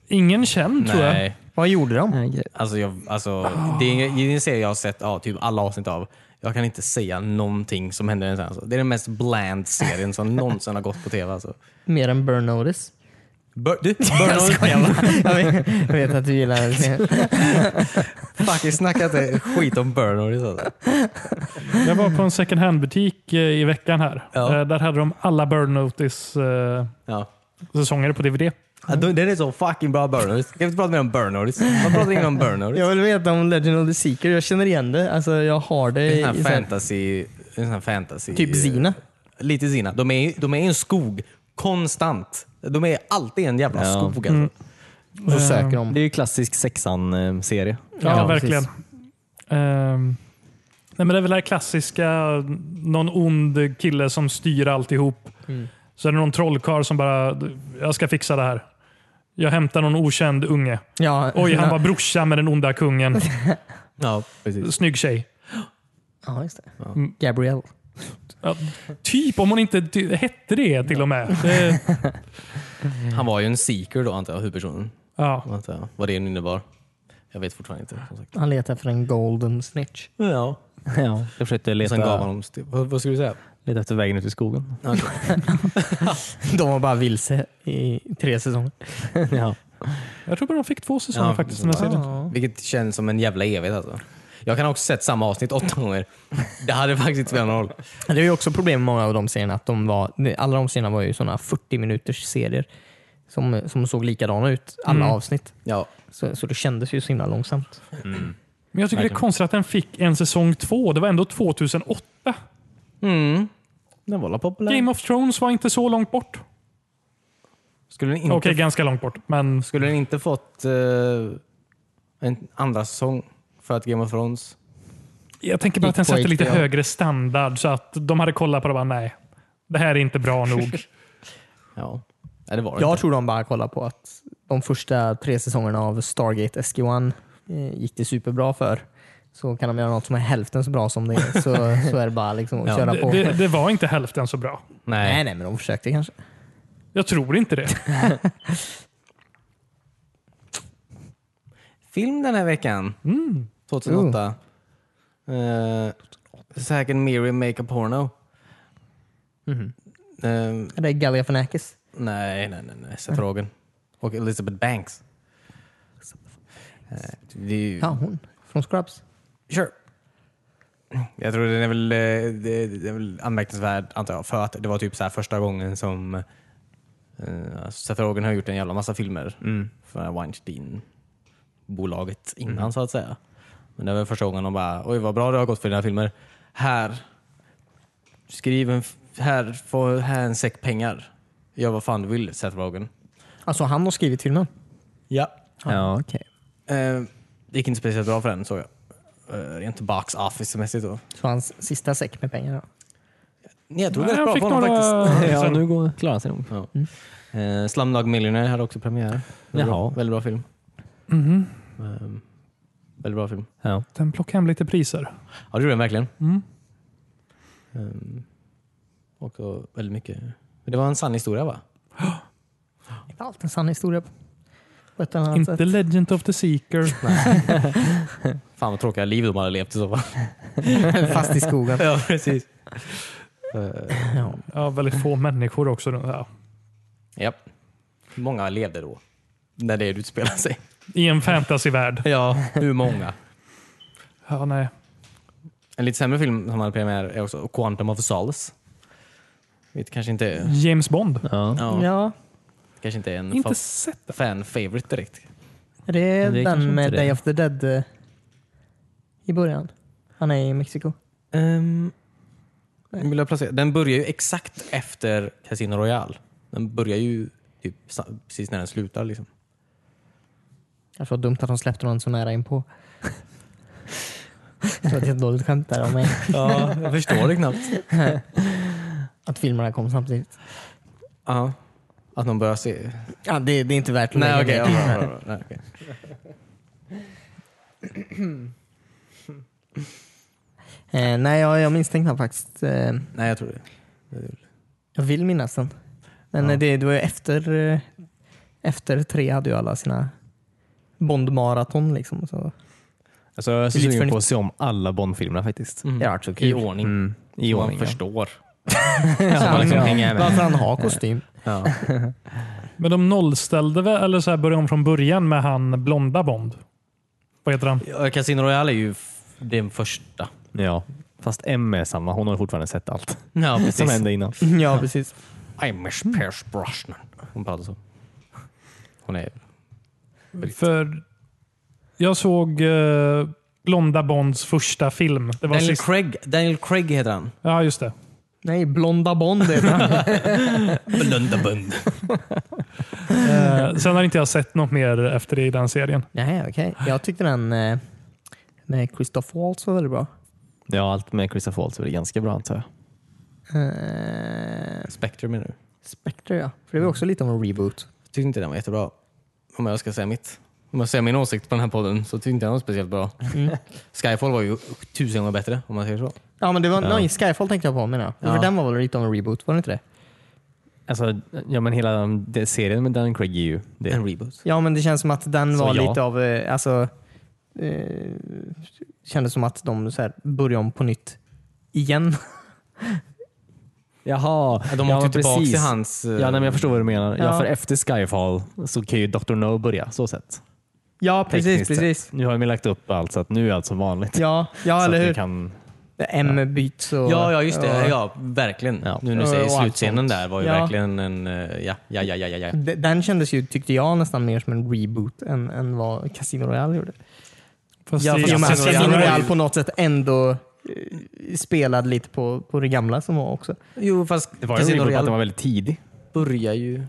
Speaker 3: Ingen känd tror jag.
Speaker 1: nej.
Speaker 2: Vad gjorde de?
Speaker 1: Alltså, jag, alltså, det, är, ingen- det är en serie jag har sett ja, typ alla avsnitt av. Jag kan inte säga någonting som händer i den. sen, Alltså. Det är den mest bland serien som någonsin har gått på tv. Alltså.
Speaker 2: Mer än Burn Notice.
Speaker 1: Bör, du, bör någon,
Speaker 2: jag, vet, jag vet att du gillar den. serien.
Speaker 1: fucking snacka inte skit om Burnout. Alltså.
Speaker 3: Jag var på en second hand-butik eh, i veckan här.
Speaker 1: Ja.
Speaker 3: Eh, Där hade de alla Burn Notice-säsonger
Speaker 1: Ja.
Speaker 3: på DVD.
Speaker 1: Ja, då- Den är så fucking bra Burnout. Kan vi inte prata mer om Burnout? Man pratar ingen om Burnout.
Speaker 2: Jag vill veta om Legend of the Seeker. Jag känner igen det. Alltså, jag har det.
Speaker 1: Det är
Speaker 2: i-
Speaker 1: en sån
Speaker 2: så
Speaker 1: här
Speaker 2: här-
Speaker 1: fantasy... En sån här fantasy
Speaker 2: Typ Zina.
Speaker 1: Lite Zina. De är, de är i en skog. Konstant. De är alltid i en jävla
Speaker 4: Ja.
Speaker 1: skog. Alltså. Eh,
Speaker 3: Mm.
Speaker 2: Och så söker de.
Speaker 4: Det är ju klassisk sexan-serie.
Speaker 3: Ja,
Speaker 2: Ja,
Speaker 3: verkligen.
Speaker 2: precis.
Speaker 3: Ehm, nej, men det är väl det här klassiska, någon ond kille som styr alltihop.
Speaker 2: Mm.
Speaker 3: Så är det någon trollkarl som bara, jag ska fixa det här. Jag hämtar någon okänd unge.
Speaker 2: Ja,
Speaker 3: Oj, han
Speaker 2: ja.
Speaker 3: var brorsa med den onda kungen.
Speaker 1: Ja, precis.
Speaker 3: Snygg tjej.
Speaker 2: Ja, just det. Gabrielle.
Speaker 3: Ja, typ, om hon inte ty- hette det till och med. Det,
Speaker 1: Han var ju en seeker då antar jag, huvudpersonen.
Speaker 3: ja.
Speaker 1: Antar jag. Vad det nu innebar. Jag vet fortfarande inte. Som sagt.
Speaker 2: Han letar efter en golden snitch.
Speaker 1: Ja.
Speaker 4: Ja, jag försökte
Speaker 1: Och sen gav han
Speaker 4: leta,
Speaker 1: honom... Vad, vad skulle du säga?
Speaker 4: leta efter vägen ut i skogen.
Speaker 2: De var bara vilse i tre säsonger.
Speaker 4: ja.
Speaker 3: Jag tror bara de fick två säsonger
Speaker 1: Ja,
Speaker 3: faktiskt. Den här serien.
Speaker 1: Vilket känns som en jävla evighet alltså. Jag kan ha också sett samma avsnitt åtta gånger. Det hade faktiskt inte spelat någon roll.
Speaker 2: Det är ju också problem med många av de serierna. Att de var, alla de serierna var ju sådana 40 minuters serier som, som såg likadana ut, alla
Speaker 3: Mm.
Speaker 2: avsnitt.
Speaker 1: Ja.
Speaker 2: Så, så det kändes ju så himla långsamt.
Speaker 3: Men jag tycker det är konstigt att den fick en säsong två. Det var ändå 2008.
Speaker 1: Mm. Den var la populär.
Speaker 3: Game of Thrones var inte så långt bort.
Speaker 1: Skulle den inte,
Speaker 3: Okej, ganska långt bort. Men
Speaker 1: skulle den inte fått eh, en andra säsong för att Game of Thrones...
Speaker 3: jag tänker bara att den
Speaker 1: Gick på
Speaker 3: sätter lite
Speaker 1: HBO.
Speaker 3: högre standard så att de hade kollat på det och bara nej, det här är inte bra nog.
Speaker 1: Ja. Nej, det var det
Speaker 2: Jag
Speaker 1: inte.
Speaker 2: tror de bara kollade på att de första tre säsongerna av Stargate SG-1 eh, gick det superbra för. Så kan de göra något som är hälften så bra som det är. Så, så är det bara liksom att
Speaker 1: Ja,
Speaker 2: köra på.
Speaker 3: det, det, det var inte hälften så bra.
Speaker 1: Nej.
Speaker 2: Nej, nej, men de försökte kanske.
Speaker 3: Jag tror inte det.
Speaker 1: Film den här veckan. 2008. Uh. Zack and Miri Make a Porno. Eh,
Speaker 2: Det är Galifianakis.
Speaker 1: Nej, nej, nej. nej. Seth Rogen. Och Elizabeth Banks. Eh, Det är ju...
Speaker 2: Ja, hon. Från Scrubs.
Speaker 1: Sure. Jag tror den är väl, eh, det- det är väl anmärkningsvärd, antar jag, för att det var typ så här första gången som eh, Seth Rogen har gjort en jävla massa filmer för Weinstein-bolaget innan, så att säga. Men det var första gången de bara, oj vad bra det har gått för dina filmer. Här, skriv en, f- här, få, här en säck pengar. Gör vad fan du vill, Seth Rogen.
Speaker 2: Alltså han har skrivit filmen.
Speaker 1: Ja.
Speaker 4: Ja, okej.
Speaker 1: Eh, det gick inte speciellt bra för den, såg jag. Eh, rent box office-mässigt då.
Speaker 2: Så hans sista säck med pengar. Då.
Speaker 1: Nej, jag tror
Speaker 3: Nej,
Speaker 1: det är bra
Speaker 3: fick
Speaker 1: på honom
Speaker 3: några-
Speaker 1: faktiskt.
Speaker 4: Ja,
Speaker 3: sen-
Speaker 4: nu går, klarar han sig nog.
Speaker 1: Ja. Eh, Slumdog Millionaire hade också premiär. Väldigt bra,
Speaker 4: Jaha.
Speaker 1: väldigt bra film.
Speaker 3: Mhm.
Speaker 1: Ehm, väldigt bra film.
Speaker 4: Ja.
Speaker 3: Den plockade hem lite priser.
Speaker 1: Ja, det gjorde den verkligen.
Speaker 3: Mm.
Speaker 1: Ehm, också väldigt mycket. Men det var en sann historia va?
Speaker 2: Det är allt en sann historia på, på ett eller annat
Speaker 3: Inte
Speaker 2: sätt.
Speaker 3: Legend of the Seeker.
Speaker 1: Fan vad tråkiga liv de hade levt i så fall.
Speaker 2: Fast i skogen.
Speaker 1: ja, precis. Eh,
Speaker 2: Ja.
Speaker 3: Ja, väldigt få människor också. Ja.
Speaker 1: Japp. Hur många levde då? När det utspelar sig.
Speaker 3: I en fantasyvärld.
Speaker 1: Ja, hur många?
Speaker 3: Ja, nej.
Speaker 1: En lite sämre film som hade premiär är också Quantum of Solace. Vilket kanske inte är,
Speaker 3: James Bond.
Speaker 4: Ja.
Speaker 1: ja,
Speaker 2: Ja,
Speaker 1: kanske inte är en
Speaker 3: Inte
Speaker 1: fa-
Speaker 3: sett den.
Speaker 1: fan favorite direkt.
Speaker 2: är det,
Speaker 4: Men det är kanske
Speaker 2: den med
Speaker 4: inte det.
Speaker 2: Day of the Dead eh, i början? Han är i Mexiko.
Speaker 1: Ehm, vill jag placera. Den börjar ju exakt efter Casino Royale. Den börjar ju typ, sa- precis när den slutar. Liksom.
Speaker 2: Kanske var dumt att de släppte någon så nära inpå. det var ett jättedåligt skämt där om mig.
Speaker 1: Ja, jag förstår det knappt.
Speaker 2: Att filmerna kom samtidigt.
Speaker 1: Ja. Att de börjar se...
Speaker 2: Ja, det, det är inte värt att
Speaker 1: Nej,
Speaker 2: lägga
Speaker 1: okej.
Speaker 2: ner
Speaker 1: ja,
Speaker 2: tid
Speaker 1: bra, bra,
Speaker 2: här.
Speaker 1: bra. Nej, okej.
Speaker 2: Eh, nej, jag, jag minns den knappt faktiskt. Eh,
Speaker 1: Nej, jag tror det.
Speaker 2: jag vill minnas den. Men
Speaker 1: Ja.
Speaker 2: eh, det, det var ju efter, eh, efter tre hade ju alla sina Bond-maraton. Liksom, så.
Speaker 4: Alltså, jag är så
Speaker 2: Lite
Speaker 4: sugen
Speaker 2: för-
Speaker 4: på att se om alla Bond-filmerna faktiskt.
Speaker 1: Mm.
Speaker 2: Det har varit så kul.
Speaker 1: I ordning.
Speaker 4: Mm. I
Speaker 1: Så
Speaker 4: ordning.
Speaker 1: Man
Speaker 4: ja.
Speaker 1: förstår.
Speaker 2: Så
Speaker 1: man
Speaker 2: han-
Speaker 1: liksom hänger med.
Speaker 2: Varför han har kostym.
Speaker 1: Ja.
Speaker 3: Men de nollställde väl, eller så här började om från början med han blonda Bond. Vad heter han?
Speaker 1: Ja, Casino Royale är ju f- den första.
Speaker 4: Ja. Fast M är samma. Hon har fortfarande sett allt
Speaker 1: Ja,
Speaker 4: som hände innan.
Speaker 2: Ja, precis.
Speaker 1: Amish Pierce Brosnan. Hon pratar så. Hon är...
Speaker 3: För jag såg eh, blonda Bonds första film. Det var
Speaker 1: Daniel
Speaker 3: sist.
Speaker 1: Craig, Daniel Craig heter han.
Speaker 3: Ja, just det.
Speaker 2: Nej, Blonda Bond är det.
Speaker 1: Blundabund.
Speaker 3: Eh, sen har inte jag sett något mer efter det i den serien.
Speaker 2: Nej, okej. Jag tyckte den eh, med Christoph Waltz var väldigt bra.
Speaker 4: Ja, allt med Christopher Waltz är det ganska bra antar jag.
Speaker 2: Eh,
Speaker 1: Spectrum menar du?
Speaker 2: Spectre ja. För det var också lite av en reboot.
Speaker 1: Tyckte inte den var jättebra. Om jag ska säga mitt. Om jag säger min åsikt på den här podden så tyckte inte jag den var speciellt bra. Skyfall var ju tusen gånger bättre om man säger så.
Speaker 2: Ja, men det var, nej, Skyfall tänkte jag på menar jag.
Speaker 1: Ja.
Speaker 2: För den var väl lite av en reboot, var det inte det?
Speaker 4: Alltså, ja, men hela um, det serien med Dan Craig är ju det.
Speaker 1: En reboot.
Speaker 2: Ja, men det känns som att den
Speaker 4: Så
Speaker 2: var
Speaker 4: ja.
Speaker 2: lite av... eh, Alltså, eh, kändes som att de så här, började om på nytt igen.
Speaker 4: Jaha,
Speaker 1: De åkte
Speaker 4: ja, men
Speaker 1: tillbaka
Speaker 4: precis.
Speaker 1: till hans... eh,
Speaker 4: Ja, nej, men jag förstår vad du menar. Ja.
Speaker 2: Ja.
Speaker 4: för efter Skyfall så kan ju Dr. No börja, så sett.
Speaker 2: ja,
Speaker 4: Tekniskt Sett. Nu har vi lagt upp allt så att nu är allt som vanligt.
Speaker 2: Ja, ja
Speaker 4: så
Speaker 2: eller
Speaker 4: att vi
Speaker 2: hur?
Speaker 4: Kan...
Speaker 2: M byts och...
Speaker 1: Ja, ja just det.
Speaker 2: och-
Speaker 1: Ja, verkligen.
Speaker 4: Ja.
Speaker 1: Nu när du
Speaker 2: Och-
Speaker 1: säger
Speaker 2: och allt
Speaker 1: slutscenen
Speaker 2: sånt.
Speaker 1: där var ju
Speaker 2: Ja.
Speaker 1: verkligen en... eh, Ja, ja, ja, ja, ja. ja.
Speaker 2: D- Den kändes ju, tyckte jag, nästan mer som en reboot än, än vad Casino Royale gjorde.
Speaker 3: Fast
Speaker 1: Ja,
Speaker 3: i-
Speaker 1: fast
Speaker 2: I och med att
Speaker 1: Casino
Speaker 2: Casino
Speaker 1: Royale-
Speaker 2: Royale på något sätt ändå eh, spelade lite på, på det gamla som var också.
Speaker 1: Jo, fast
Speaker 4: Det var ju en reboot att den var väldigt tidig.
Speaker 1: börjar ju...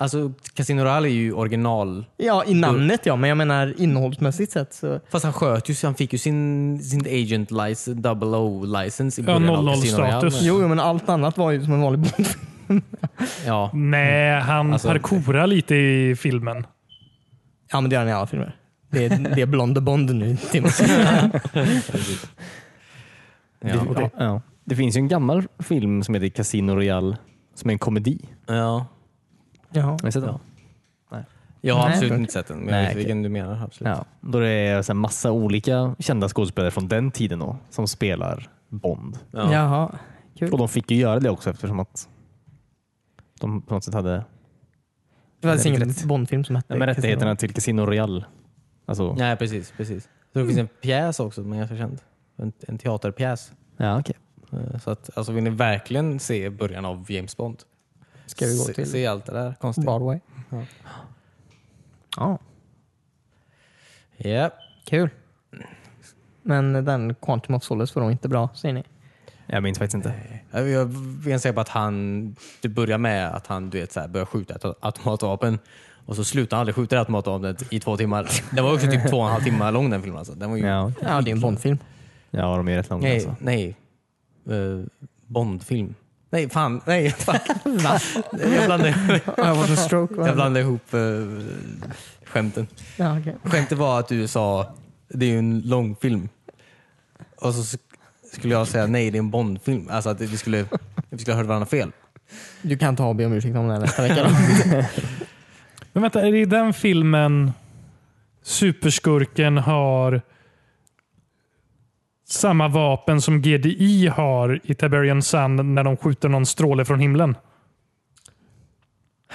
Speaker 1: Alltså, Casino Royale är ju original.
Speaker 2: Ja, i namnet ja, men jag menar innehållsmässigt sett så...
Speaker 1: Fast han sköt ju, så han fick ju sin, sin agent license, double O license i
Speaker 3: Ja,
Speaker 1: början av
Speaker 3: 00
Speaker 1: Casino Royale.
Speaker 3: status.
Speaker 2: Jo, jo, men allt annat var ju som en vanlig bond.
Speaker 1: Ja.
Speaker 3: Nej, han
Speaker 1: Alltså-
Speaker 3: parkourar lite i filmen.
Speaker 2: Ja, men det gör han i alla filmer. Det är, det är Blonde Bond nu, Tim.
Speaker 1: Ja.
Speaker 4: det, ja. Ja. det finns ju en gammal film som heter Casino Royale som är en komedi.
Speaker 1: ja.
Speaker 2: Jaha.
Speaker 4: Har ni sett den?
Speaker 1: Jag har
Speaker 2: Nej,
Speaker 1: absolut
Speaker 2: okej.
Speaker 1: inte sett den, men
Speaker 4: Nej,
Speaker 1: jag vet
Speaker 4: okej.
Speaker 1: vilken du menar. Absolut.
Speaker 4: Ja. Då det är så här massa olika kända skådespelare från den tiden då, som spelar Bond.
Speaker 1: Ja.
Speaker 2: Jaha. Kul.
Speaker 4: Och de fick ju göra det också eftersom att de på något sätt hade
Speaker 2: Det fanns
Speaker 4: Det är
Speaker 2: ingen
Speaker 4: riktigt.
Speaker 2: Bondfilm som hette
Speaker 4: Nej, men
Speaker 2: Casino.
Speaker 4: rättigheterna till Casino Royale. Alltså,
Speaker 1: Nej, precis. precis. Jag tror det finns en pjäs också som är ganska känd. En, en teaterpjäs.
Speaker 4: ja, okej.
Speaker 1: Eh, Så att, alltså, vill ni verkligen se början av James Bond?
Speaker 2: Ska vi gå
Speaker 1: se,
Speaker 2: till-
Speaker 1: se allt det där konstiga.
Speaker 2: Broadway.
Speaker 1: Ja.
Speaker 2: Ja,
Speaker 1: Ja.
Speaker 2: kul. Men den Quantum of Solace var nog inte bra, säger ni?
Speaker 4: Jag minns faktiskt inte.
Speaker 1: Jag jag är ganska säker på att han, det börjar med att han du vet, så här, börjar skjuta ett automatvapen och så slutar han aldrig skjuta det automatvapnet i två timmar. Den var också typ två och en halv timme lång den filmen. Alltså. Den var ju,
Speaker 4: Ja,
Speaker 2: Ja, det är en Bondfilm.
Speaker 4: ja de är rätt långa.
Speaker 1: Nej,
Speaker 4: Alltså.
Speaker 1: nej. Eh, Bondfilm. Nej, fan. Nej, fuck. jag, blandade,
Speaker 2: Jag var en stroke. va?
Speaker 1: jag blandade ihop uh, skämten.
Speaker 2: Ja, okej.
Speaker 1: Skämtet var att du sa det är ju en lång film. Och så sk- skulle jag säga nej, det är en Bondfilm. Alltså att vi skulle, vi skulle ha hört varandra fel.
Speaker 2: Du kan ta och be om ursäkt om det här nästa vecka. Då.
Speaker 3: Men vänta, är det i den filmen superskurken har samma vapen som GDI har i Tiberian Sun när de skjuter någon stråle från himlen?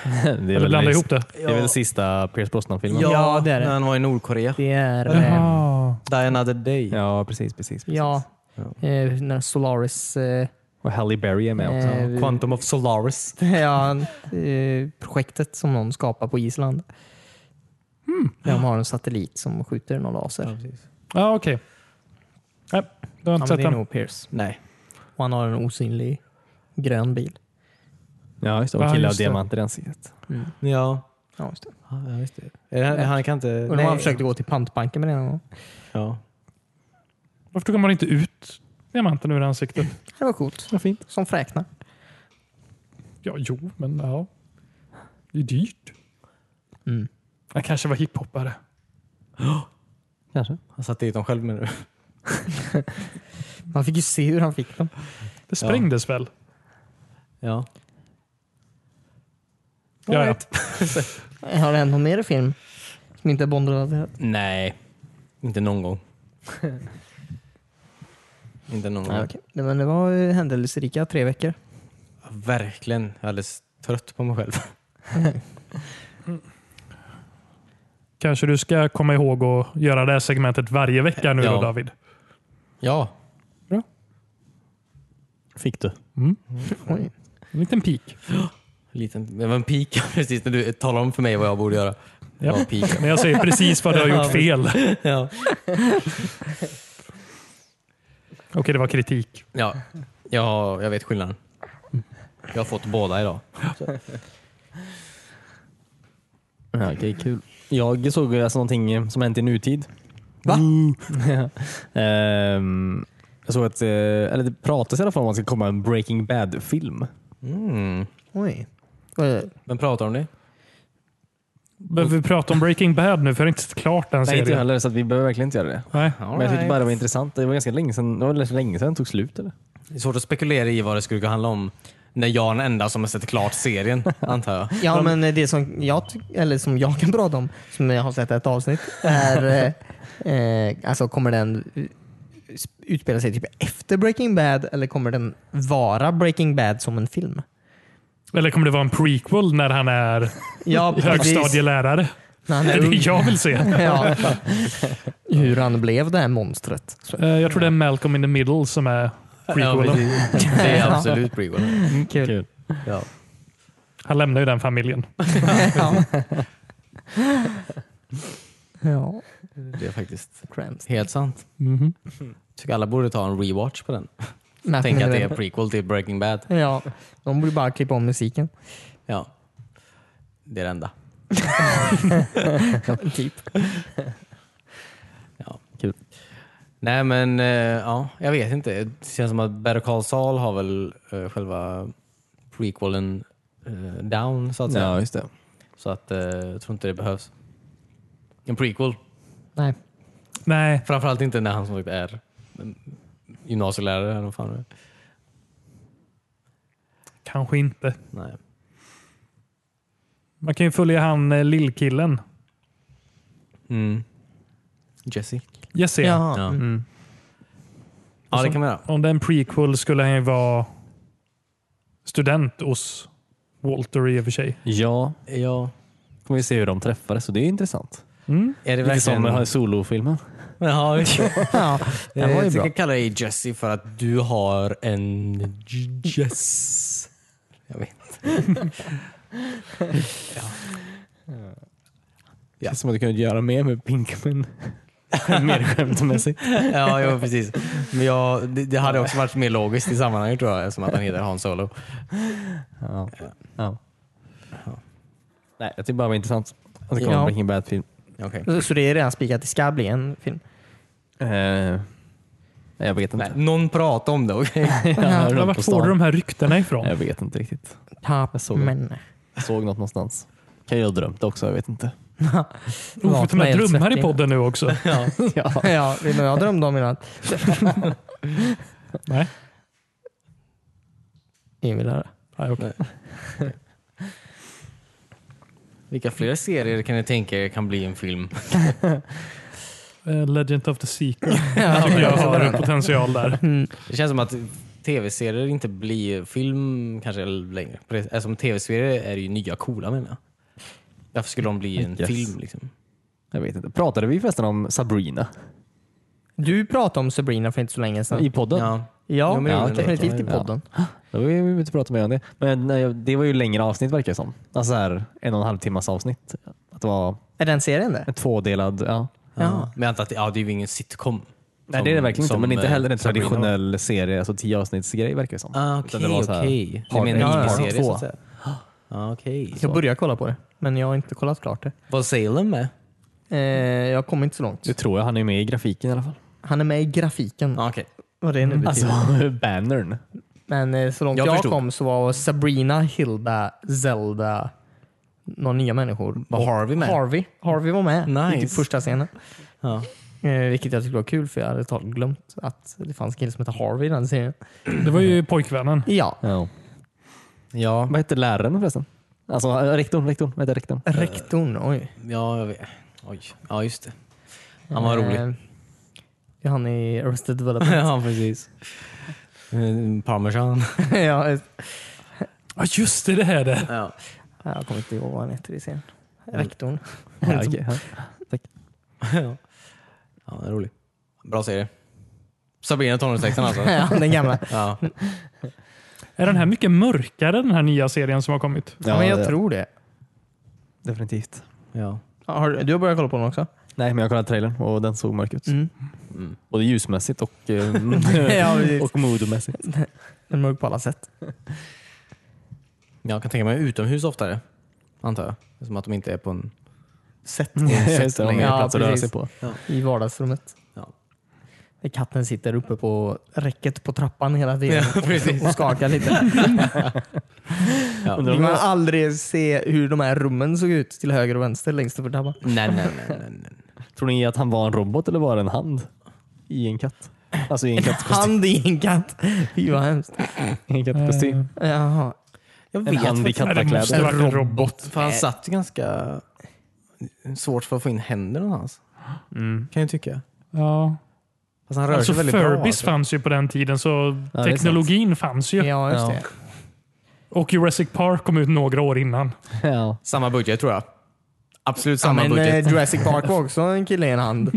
Speaker 4: det är
Speaker 3: Eller blanda
Speaker 4: väl,
Speaker 3: ihop det.
Speaker 4: Det är väl sista Pierce Brosnan-filmen?
Speaker 2: Ja, det är det.
Speaker 1: när han var i Nordkorea.
Speaker 2: Det är... eh,
Speaker 3: Jaha.
Speaker 1: Die another day.
Speaker 4: Ja, precis, precis. precis.
Speaker 2: Ja.
Speaker 4: Ja.
Speaker 2: Eh, när Solaris... Eh,
Speaker 4: Och Halle Berry är med också.
Speaker 2: eh, vi-
Speaker 1: Quantum of Solaris.
Speaker 2: ja, eh, projektet som någon skapar på Island.
Speaker 1: Hmm.
Speaker 2: Där de har en satellit som skjuter någon laser. Ja,
Speaker 3: Ja, okej. Nej, du har
Speaker 2: men
Speaker 3: inte sett
Speaker 2: det är
Speaker 3: den.
Speaker 2: nog Pierce.
Speaker 1: Nej.
Speaker 2: Och han har en osynlig grön bil.
Speaker 4: Ja, just det. Och
Speaker 3: Ja,
Speaker 4: killar och
Speaker 3: just det.
Speaker 4: diamanter i ansiktet.
Speaker 1: Ja.
Speaker 2: Ja, just det.
Speaker 1: Ja, just det. Är det- Han kan inte...
Speaker 2: Undrar om
Speaker 1: Nej.
Speaker 2: han försökte gå till pantbanken med det någon gång.
Speaker 1: Ja.
Speaker 3: Varför tog man inte ut diamanten ur ansiktet?
Speaker 2: Det var coolt.
Speaker 4: Vad fint.
Speaker 2: Som fräknar.
Speaker 3: Ja, jo, men ja. Det är dyrt.
Speaker 2: Mm.
Speaker 3: Jag kanske var hiphoppare.
Speaker 4: Kanske.
Speaker 1: Han satte dit dem själv med nu.
Speaker 2: Man fick ju se hur han fick dem.
Speaker 3: Det sprängdes väl?
Speaker 1: Ja.
Speaker 3: Ja, ja.
Speaker 2: Har det hänt någon mer i film som inte är Bondrelaterat?
Speaker 1: Nej. Inte någon gång. inte någon gång.
Speaker 2: Nej, okej. Nej, Men det var ju händelserika tre veckor.
Speaker 1: Verkligen. Jag är alldeles trött på mig själv.
Speaker 3: Kanske du ska komma ihåg att göra det här segmentet varje vecka nu
Speaker 1: Ja.
Speaker 3: då David.
Speaker 1: Ja.
Speaker 4: Fick du?
Speaker 2: Oj.
Speaker 3: En liten pik.
Speaker 1: Liten, det var en pika precis när du talade om för mig vad jag borde göra. Det
Speaker 3: Ja.
Speaker 1: var en pika.
Speaker 3: När jag säger precis vad du har gjort fel.
Speaker 1: Ja.
Speaker 3: Okej, det var kritik.
Speaker 1: Ja. ja, jag vet skillnaden. Jag har fått båda idag.
Speaker 4: Ja, okej, kul. Jag såg alltså någonting som hänt i nutid.
Speaker 2: Va?
Speaker 4: Ja. Ehm, jag såg att, eh, eller det pratas i alla fall om att det ska komma en Breaking Bad-film.
Speaker 1: Mm.
Speaker 2: Oj. Oj.
Speaker 1: Vem pratar om det?
Speaker 3: Behöver vi prata om Breaking Bad nu? För jag har inte sett klart den
Speaker 4: Nej, inte jag
Speaker 3: serien.
Speaker 4: heller, så att vi behöver verkligen inte göra det.
Speaker 3: Nej.
Speaker 4: Men jag tyckte bara det var intressant. Det var ganska länge sedan, det var ganska länge sedan den tog slut. Eller?
Speaker 1: Det är svårt att spekulera i vad det skulle kunna handla om när jag är den enda som har sett klart serien, antar jag.
Speaker 2: Ja, men det som jag, ty- eller som jag kan prata om, som jag har sett ett avsnitt, är... eh, eh, alltså kommer den eh, utspela sig typ efter Breaking Bad eller kommer den vara Breaking Bad som en film?
Speaker 3: Eller kommer det vara en prequel när han är
Speaker 2: Ja,
Speaker 3: högstadielärare?
Speaker 2: När han
Speaker 3: Det
Speaker 2: är
Speaker 3: är det
Speaker 2: ung.
Speaker 3: jag vill se.
Speaker 2: ja. Hur han blev det här monstret. Så,
Speaker 3: Eh, Jag tror det är Malcolm in the Middle som är
Speaker 1: Ja,
Speaker 3: prequelen.
Speaker 1: precis. det är absolut prequel.
Speaker 2: Mm, kul.
Speaker 1: Ja.
Speaker 3: Han lämnar ju den familjen.
Speaker 2: ja. ja,
Speaker 1: Det är faktiskt
Speaker 2: Cramps.
Speaker 1: helt sant.
Speaker 3: Mhm.
Speaker 1: Tycker alla borde ta en rewatch på den. Tänk att det är prequel till Breaking Bad.
Speaker 2: Ja, de borde bara klippa om musiken.
Speaker 1: Ja. Det är det enda.
Speaker 2: typ.
Speaker 1: Ja, kul. Nej men eh, ja, jag vet inte. Det känns som att Better Call Saul har väl eh, själva prequelen eh, down så att säga.
Speaker 4: just det.
Speaker 1: Så att eh, jag tror inte det behövs. En prequel.
Speaker 2: Nej.
Speaker 3: Nej,
Speaker 1: Framförallt inte när han som sagt är mm, gymnasielärare. Eller vad fan det är.
Speaker 3: kanske inte.
Speaker 1: Nej.
Speaker 3: Man kan ju följa han eh, lillkillen.
Speaker 1: Mm. Jesse.
Speaker 3: Jesse.
Speaker 2: Ja.
Speaker 1: Ja.
Speaker 2: Mm.
Speaker 1: Ja det kan man göra.
Speaker 3: Om det är en prequel skulle han ju vara student hos Walter i och för sig.
Speaker 4: Ja,
Speaker 1: Ja.
Speaker 4: kommer vi se hur de träffades så det är intressant.
Speaker 1: Är det
Speaker 4: Lite som den här
Speaker 1: verkligen...
Speaker 4: solofilmen.
Speaker 1: Ja, just det.
Speaker 2: Ja, det var ju
Speaker 1: jag
Speaker 2: bra.
Speaker 1: tycker jag kallar dig Jesse för att du har en Jess. Jag vet inte.
Speaker 4: Det känns som att du kunde göra mer med Pinkman. mer skämtmässigt.
Speaker 1: Ja, jo, precis. Men jag, det, det hade också varit mer logiskt i sammanhanget tror jag, eftersom att han heter Han Solo.
Speaker 4: Ja. Ja. Nej, jag tyckte bara det var intressant. Att det kommer
Speaker 2: Ja.
Speaker 4: en Breaking Bad-film.
Speaker 1: Okej.
Speaker 2: Så det är redan spikat, det ska bli en film.
Speaker 4: Eh, jag vet
Speaker 1: Nej,
Speaker 4: inte.
Speaker 1: Någon pratar om det, okej?
Speaker 4: Jag hör runt på
Speaker 3: Vart får
Speaker 4: stan.
Speaker 3: du de här ryktena ifrån?
Speaker 4: Jag vet inte riktigt.
Speaker 2: Top
Speaker 4: Jag såg den.
Speaker 2: men.
Speaker 4: Jag såg något någonstans. Kan jag ha drömt det också? Jag vet inte.
Speaker 3: Oh, vi tar med
Speaker 2: Vakna
Speaker 3: drömmar i
Speaker 2: helt
Speaker 3: podden nu också.
Speaker 1: Ja.
Speaker 4: Ja.
Speaker 2: Ja, det är nog jag drömde om i natt.
Speaker 3: Nej,
Speaker 2: Ingen vill höra.
Speaker 3: Nej okej.
Speaker 1: Vilka fler serier kan ni tänka er kan bli en film?
Speaker 3: Eh, Legend of the Secret tycker jag har potential där.
Speaker 4: Mm.
Speaker 1: Det känns som att tv-serier inte blir film kanske längre. På det- Eftersom tv-serier är ju nya coola menar jag. Varför skulle de bli en
Speaker 4: Yes.
Speaker 1: film? Liksom?
Speaker 4: Jag vet inte. Pratade vi förresten om Sabrina
Speaker 2: Du pratade om Sabrina för inte så länge sedan.
Speaker 4: i podden?
Speaker 1: Ja.
Speaker 2: Ja,
Speaker 1: Jo, men det
Speaker 2: ja
Speaker 1: gjorde vi.
Speaker 2: definitivt i
Speaker 4: Ja.
Speaker 2: podden.
Speaker 4: Då vill vi inte prata mer om det. Men nej, det var ju längre avsnitt verkar det som. Alltså så här, en och en halv timmas avsnitt. Att det var
Speaker 2: Är den serien det?
Speaker 4: en tvådelad... Ja.
Speaker 2: Ja.
Speaker 1: Men jag antar att ja, det är ju ingen sitcom.
Speaker 4: Nej
Speaker 1: Som-
Speaker 4: det är det verkligen
Speaker 1: som,
Speaker 4: inte. Men inte
Speaker 1: eh,
Speaker 4: heller en
Speaker 1: Sabrina var.
Speaker 4: traditionell serie, alltså tio avsnittsgrej verkar det som.
Speaker 1: Ah,
Speaker 4: Utan
Speaker 1: Okej,
Speaker 4: det var så här,
Speaker 1: okej. Du
Speaker 4: part
Speaker 1: menar
Speaker 2: ett, part
Speaker 1: tv-serie
Speaker 4: två.
Speaker 1: så att säga? Ah, Okej.
Speaker 2: Jag börjar kolla på det, men jag har inte kollat klart det.
Speaker 1: Var Salem med?
Speaker 2: Eh, jag kommer inte så långt.
Speaker 4: Det tror jag. Han är med i grafiken i alla fall.
Speaker 2: Han är med i grafiken.
Speaker 1: Ah, Okej.
Speaker 2: Vad det nu betyder.
Speaker 4: Alltså bannern.
Speaker 2: Men eh, så långt
Speaker 1: Jag
Speaker 2: Mm. jag,
Speaker 1: förstod.
Speaker 2: kom så var Sabrina, Hilda, Zelda, några nya människor.
Speaker 1: Var Harvey med?
Speaker 2: Harvey. Harvey var med i typ
Speaker 1: Nice.
Speaker 2: första scenen.
Speaker 1: Ja.
Speaker 2: Eh, vilket jag tyckte var kul för jag hade totalt glömt att det fanns en kille som hette Harvey i den serien.
Speaker 3: Det var ju pojkvännen.
Speaker 2: Ja,
Speaker 4: Ja.
Speaker 1: Ja,
Speaker 4: Vad hette läraren förresten? Alltså eh, rektorn, rektorn. Vad hette rektorn?
Speaker 2: rektorn. Oj.
Speaker 1: ja, jag vet. Oj. Ja, just det. Han var rolig.
Speaker 2: Eh, det är han i Arrested Development.
Speaker 1: ja, precis. Eh, Parmesan.
Speaker 2: ja, eh,
Speaker 3: Ja, just det. Det här är det.
Speaker 1: Ja.
Speaker 2: jag kommer inte ihåg vad han heter i serien. Rektorn.
Speaker 4: Ja, okej, ja.
Speaker 1: ja, Ja, det är rolig. Bra serie. Sabrina tonårstexten alltså.
Speaker 2: ja, den gamla.
Speaker 1: Ja.
Speaker 3: Är den här mycket mörkare, den här nya serien som har kommit?
Speaker 2: Ja, men jag
Speaker 4: det-
Speaker 2: tror det.
Speaker 4: Definitivt.
Speaker 1: Ja.
Speaker 2: Har, du- du har börjat kolla på den också?
Speaker 4: Nej, men jag kollade trailern och den såg mörk ut.
Speaker 2: Mm.
Speaker 1: Mm.
Speaker 4: Både ljusmässigt och, eh,
Speaker 2: Ja, precis.
Speaker 4: och moodmässigt.
Speaker 2: Den är mörk på alla sätt.
Speaker 1: Jag kan tänka mig utomhus oftare, antar jag. Eftersom att de inte är på en...
Speaker 2: Sätt.
Speaker 4: Just det, de har mer
Speaker 2: Ja,
Speaker 4: plats att röra sig
Speaker 2: precis.
Speaker 4: på.
Speaker 2: I vardagsrummet.
Speaker 1: Ja.
Speaker 2: Där Katten sitter uppe på räcket på trappan hela tiden
Speaker 1: Ja, precis.
Speaker 2: och skakar lite.
Speaker 4: Undrar
Speaker 2: Du
Speaker 4: om
Speaker 2: kan
Speaker 4: jag-
Speaker 2: aldrig se hur de här rummen såg ut till höger och vänster längst upp i trappan.
Speaker 1: Nej, nej, nej. nej, nej.
Speaker 4: Tror ni att han var en robot eller var det en hand i en katt? Alltså i en kattkostym.
Speaker 2: Hand i en katt. Fy vad hemskt.
Speaker 4: I en kattkostym.
Speaker 2: Jaha.
Speaker 1: Jag
Speaker 4: En hand i
Speaker 1: faktiskt inte.
Speaker 3: Nej, det måste
Speaker 4: kattakläder.
Speaker 3: vara en robot.
Speaker 1: För han satt ju ganska svårt för att få in händer någonstans. Kan jag tycka.
Speaker 3: Ja.
Speaker 1: Fast han rör
Speaker 3: Alltså,
Speaker 1: sig väldigt bra.
Speaker 3: Furbies
Speaker 1: alltså.
Speaker 3: fanns ju på den tiden, så
Speaker 4: det är
Speaker 3: teknologin fanns ju.
Speaker 2: Ja, just det.
Speaker 3: Och Jurassic Park kom ut några år innan.
Speaker 4: Ja.
Speaker 1: Samma budget tror jag. Absolut
Speaker 2: Ja,
Speaker 1: samma
Speaker 2: men
Speaker 1: budget.
Speaker 2: eh, Jurassic Park var också en kille i en hand.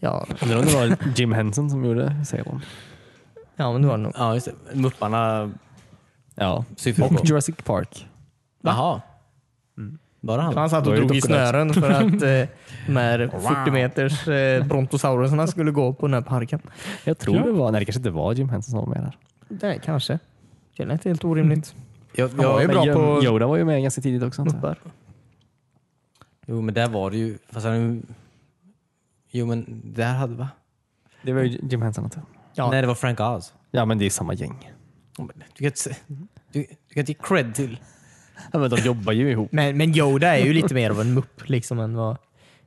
Speaker 2: ja,
Speaker 4: Undrar om det var Jim Henson som gjorde Salem.
Speaker 2: ja, men det var det nog.
Speaker 1: Ja, just det. Mupparna
Speaker 4: Ja.
Speaker 1: syftar på.
Speaker 4: Och Jurassic Park.
Speaker 1: Jaha. Bara han?
Speaker 2: Mm. Han satt
Speaker 4: Då
Speaker 2: och
Speaker 4: är det
Speaker 2: drog i
Speaker 4: dokulärt.
Speaker 2: snören för att eh, de här 40 meters eh, brontosaurusarna skulle gå på den här parken.
Speaker 4: Jag tror
Speaker 3: Ja.
Speaker 4: det var, nej det kanske inte var Jim Henson som var med där.
Speaker 2: Det kanske. Mm. Det lät helt orimligt.
Speaker 1: Jag, jag,
Speaker 2: var ju
Speaker 1: men
Speaker 2: bra
Speaker 1: jag-
Speaker 2: på-
Speaker 4: Yoda var ju med ganska tidigt också. antar jag.
Speaker 2: Muppar.
Speaker 1: Jo, men där var det ju... Fast han, jo, men där hade... Va?
Speaker 4: Det var ju Jim Henson. antar jag.
Speaker 2: Ja.
Speaker 1: Nej, det var Frank Oz.
Speaker 4: Ja men det är samma gäng.
Speaker 1: Ja, men Du kan inte, se- du, du kan inte ge cred till...
Speaker 4: Ja, men de jobbar ju ihop.
Speaker 2: Men, men Yoda är ju lite mer av en mupp liksom än vad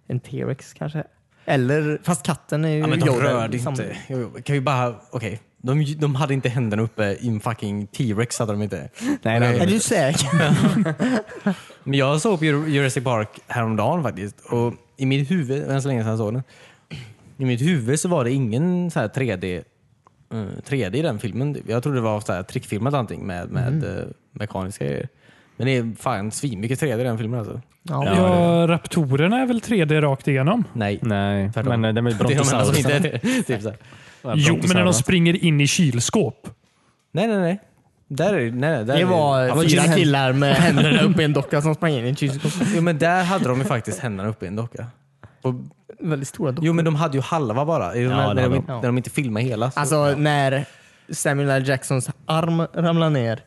Speaker 2: en T-rex kanske är. Eller, fast katten är ju
Speaker 1: Ja, men de
Speaker 2: Yoda.
Speaker 1: rörde
Speaker 2: liksom.
Speaker 1: inte... Jo, jo, kan vi bara... Okej. De, de hade inte händerna uppe i en fucking T-Rex hade de inte.
Speaker 4: Nej, nej,
Speaker 2: Är
Speaker 4: nej.
Speaker 2: du säker?
Speaker 1: Men jag såg på Jur- Jurassic Park häromdagen faktiskt och i mitt huvud, det var så länge sedan jag såg den, i mitt huvud så var det ingen så här 3D, eh, 3D i den filmen. Jag trodde det var så här trickfilmat allting med, med eh, mekaniska grejer. Men det är fan svinmycket 3D i den filmen alltså.
Speaker 2: Ja,
Speaker 3: Ja, Raptorerna är väl 3D rakt igenom?
Speaker 1: Nej.
Speaker 4: Nej,
Speaker 1: Tvärtom.
Speaker 4: men eh, det är med
Speaker 1: Det är de enda som
Speaker 4: brontosaurus.
Speaker 1: inte är det. Typ så här.
Speaker 3: Jo, men när de springer in i kylskåp.
Speaker 1: Nej, nej, nej. Där är, nej, där
Speaker 2: Det
Speaker 1: är-
Speaker 2: var
Speaker 4: men
Speaker 2: fyra
Speaker 4: Jim-
Speaker 2: killar med händerna uppe i en docka som sprang in i en kylskåp.
Speaker 1: Jo, men där hade de ju faktiskt händerna uppe i en docka. Och,
Speaker 2: Väldigt stora dockor.
Speaker 1: jo, men de hade ju halva bara.
Speaker 4: det
Speaker 1: när,
Speaker 4: hade
Speaker 1: när, de,
Speaker 4: de.
Speaker 1: inte- när de inte filmade hela. Så.
Speaker 2: Alltså när Samuel L. Jacksons arm ramlade ner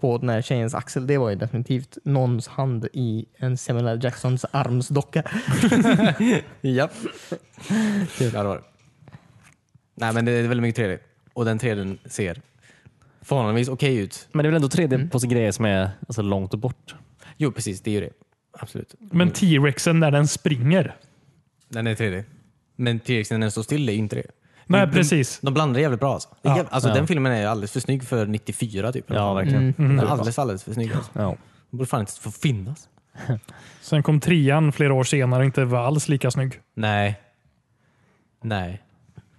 Speaker 2: på den här tjejens axel, det var ju definitivt någons hand i en Samuel L. Jacksons armsdocka.
Speaker 1: Japp. Kul. Ja, det var det. Nej, men det är väldigt mycket 3D. Och den 3D ser förhållandevis okej ut.
Speaker 4: Men det är väl ändå 3D på så grejer som är alltså, långt och bort.
Speaker 1: Jo, precis. Det är ju det. Absolut.
Speaker 3: Men T-rexen när den springer.
Speaker 1: Den är 3D. Men T-Rexen när den står still är ju inte det.
Speaker 3: Nej,
Speaker 1: de,
Speaker 3: precis.
Speaker 1: De blandar jävligt bra alltså. Det är
Speaker 3: Ja.
Speaker 1: jävligt, alltså
Speaker 4: Ja.
Speaker 1: Den filmen är alldeles för snygg för 94 typ.
Speaker 4: Ja, verkligen.
Speaker 1: Den är alldeles, alldeles för snygg. Alltså.
Speaker 4: Ja.
Speaker 1: Den borde fan inte få finnas.
Speaker 3: Sen kom trean flera år senare och inte var alls lika snygg.
Speaker 1: Nej. Nej.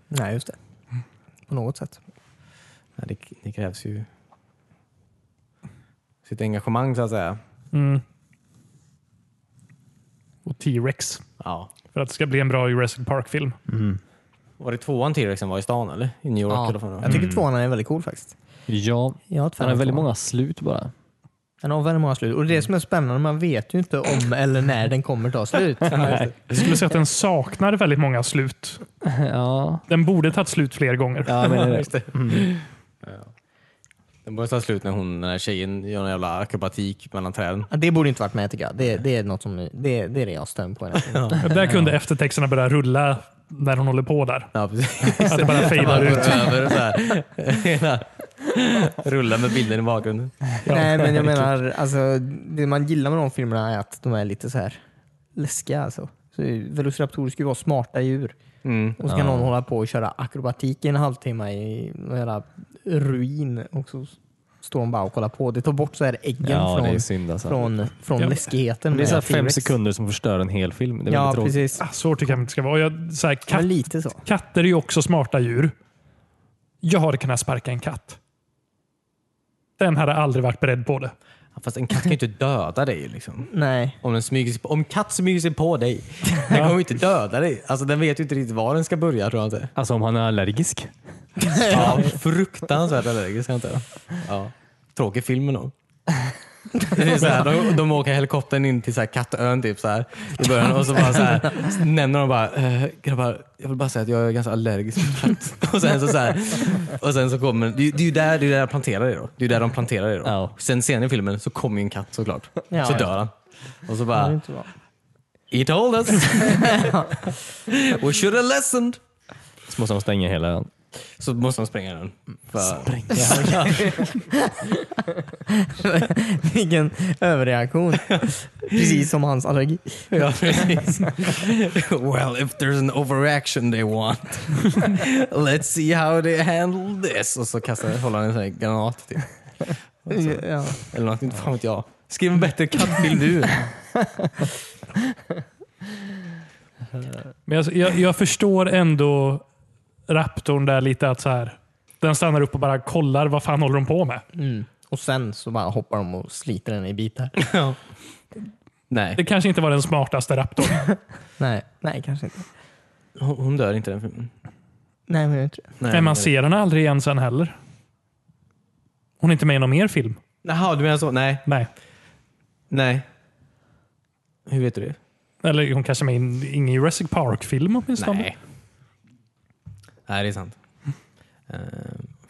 Speaker 2: Nej, just det. på något sätt.
Speaker 1: Ja, det, det krävs ju sitt engagemang så att säga.
Speaker 3: Mm. Och T-Rex.
Speaker 1: Ja.
Speaker 3: För att det ska bli en bra Jurassic Park-film.
Speaker 1: Var det tvåan T-rexen var i stan eller? I New York?
Speaker 2: Ja,
Speaker 1: Eller vad det var?
Speaker 2: jag tycker tvåan är väldigt cool faktiskt.
Speaker 4: Ja,
Speaker 2: Jag har ett
Speaker 4: den
Speaker 2: fan
Speaker 4: har
Speaker 2: av
Speaker 4: väldigt
Speaker 2: tvåan.
Speaker 4: många slut bara.
Speaker 2: Den har väldigt många slut. Och det är det som är spännande, man vet ju inte om eller när den kommer ta slut.
Speaker 3: Jag skulle säga att den saknar väldigt många slut.
Speaker 4: ja,
Speaker 3: Den borde tagit slut fler gånger.
Speaker 4: ja men det.
Speaker 1: Den börjar ta slut när hon, den här tjejen gör en jävla akrobatik mellan träden.
Speaker 2: Ja, Det borde inte varit med tycker jag. Det, det, är, något som, det, det är det jag stämmer på.
Speaker 3: Där kunde eftertexterna börja rulla när hon håller på där.
Speaker 1: Ja, precis.
Speaker 3: Att det bara fejdar
Speaker 1: Bara
Speaker 3: ut.
Speaker 1: går över och så här. Hela- Rullar med bilden i bakgrunden.
Speaker 2: Nej, men jag menar, alltså, det man gillar med de filmerna är att de är lite så här läskiga. Alltså. Så Velociraptorer ska ju vara smarta djur.
Speaker 1: Mm.
Speaker 2: Och så kan någon hålla på och köra akrobatik i en halvtimme i någon jävla ruin. Och så står de bara och kollar på. Det tar bort så här äggen
Speaker 4: Ja, det är
Speaker 2: från,
Speaker 4: synd alltså.
Speaker 2: från, från
Speaker 3: Ja.
Speaker 2: läskigheten.
Speaker 4: Det är
Speaker 2: med
Speaker 4: så här fem
Speaker 2: T-Rex.
Speaker 4: sekunder som förstör en hel film. Det är
Speaker 2: Ja,
Speaker 4: väldigt tråkigt.
Speaker 2: precis.
Speaker 3: Ah, Så tycker jag inte det ska vara. Jag, så här,
Speaker 2: Ja,
Speaker 3: katt,
Speaker 2: lite så.
Speaker 3: katter är ju också smarta djur. Jag hade kunnat sparka en katt. Den hade aldrig varit beredd på det.
Speaker 1: Ja, Fast en katt kan ju inte döda dig. Liksom.
Speaker 2: Nej.
Speaker 1: Om, den smyger sig på, om katt smyger sig på dig, den kommer ju inte döda dig. Alltså, den vet ju inte riktigt var den ska börja tror jag inte.
Speaker 4: Alltså om han är allergisk.
Speaker 1: Ja, fruktansvärt allergisk antar jag. Ja. Tråkig film nog. Det är så här, de, de åker helikoptern in till så här kattön typ så här, i början och så bara så här, så nämner de bara eh, “grabbar, jag vill bara säga att jag är ganska allergisk mot katt”. Och sen så, så, här, och sen så kommer, det, är ju- det är ju där, det är där jag planterar det då. Det är ju där de planterar det då.
Speaker 4: Ja.
Speaker 1: Sen senare i filmen så kommer ju en katt såklart.
Speaker 2: Ja.
Speaker 1: så dör han. Och så
Speaker 2: Det
Speaker 4: Ah.
Speaker 2: är
Speaker 1: bara
Speaker 2: inte bra.
Speaker 1: “He told us! We should have listened!”
Speaker 4: Så måste han stänga hela ön.
Speaker 1: Så måste de spränga den. För,
Speaker 2: Vilken överreaktion. Precis som hans allergi.
Speaker 1: Ja, precis. well, if there's an overreaction they want, let's see how they handle this. Och så kastar, håller han en sån här granat typ.
Speaker 4: Alltså.
Speaker 2: Ja.
Speaker 1: Eller något, inte fan vet jag. Skriv en bättre kattbild du.
Speaker 3: Men jag, jag, jag förstår ändå raptorn där lite att så här, den stannar upp och bara kollar vad fan håller de på med.
Speaker 2: Mm. Och sen så bara hoppar de och sliter den i bitar.
Speaker 1: Nej,
Speaker 3: Det kanske inte var den smartaste raptorn.
Speaker 2: Nej, nej kanske inte.
Speaker 1: hon, hon dör inte i den filmen.
Speaker 2: Nej, men jag tror
Speaker 1: Nej,
Speaker 3: Men man
Speaker 1: det-
Speaker 3: ser henne aldrig igen sen heller. Hon är inte med i någon mer film.
Speaker 1: Jaha, du menar så? Nej.
Speaker 3: Nej.
Speaker 1: Nej. Hur vet du det?
Speaker 3: Eller hon kanske är med i en- ingen Jurassic Park-film åtminstone.
Speaker 1: Nej. Nej, det är sant. Eh,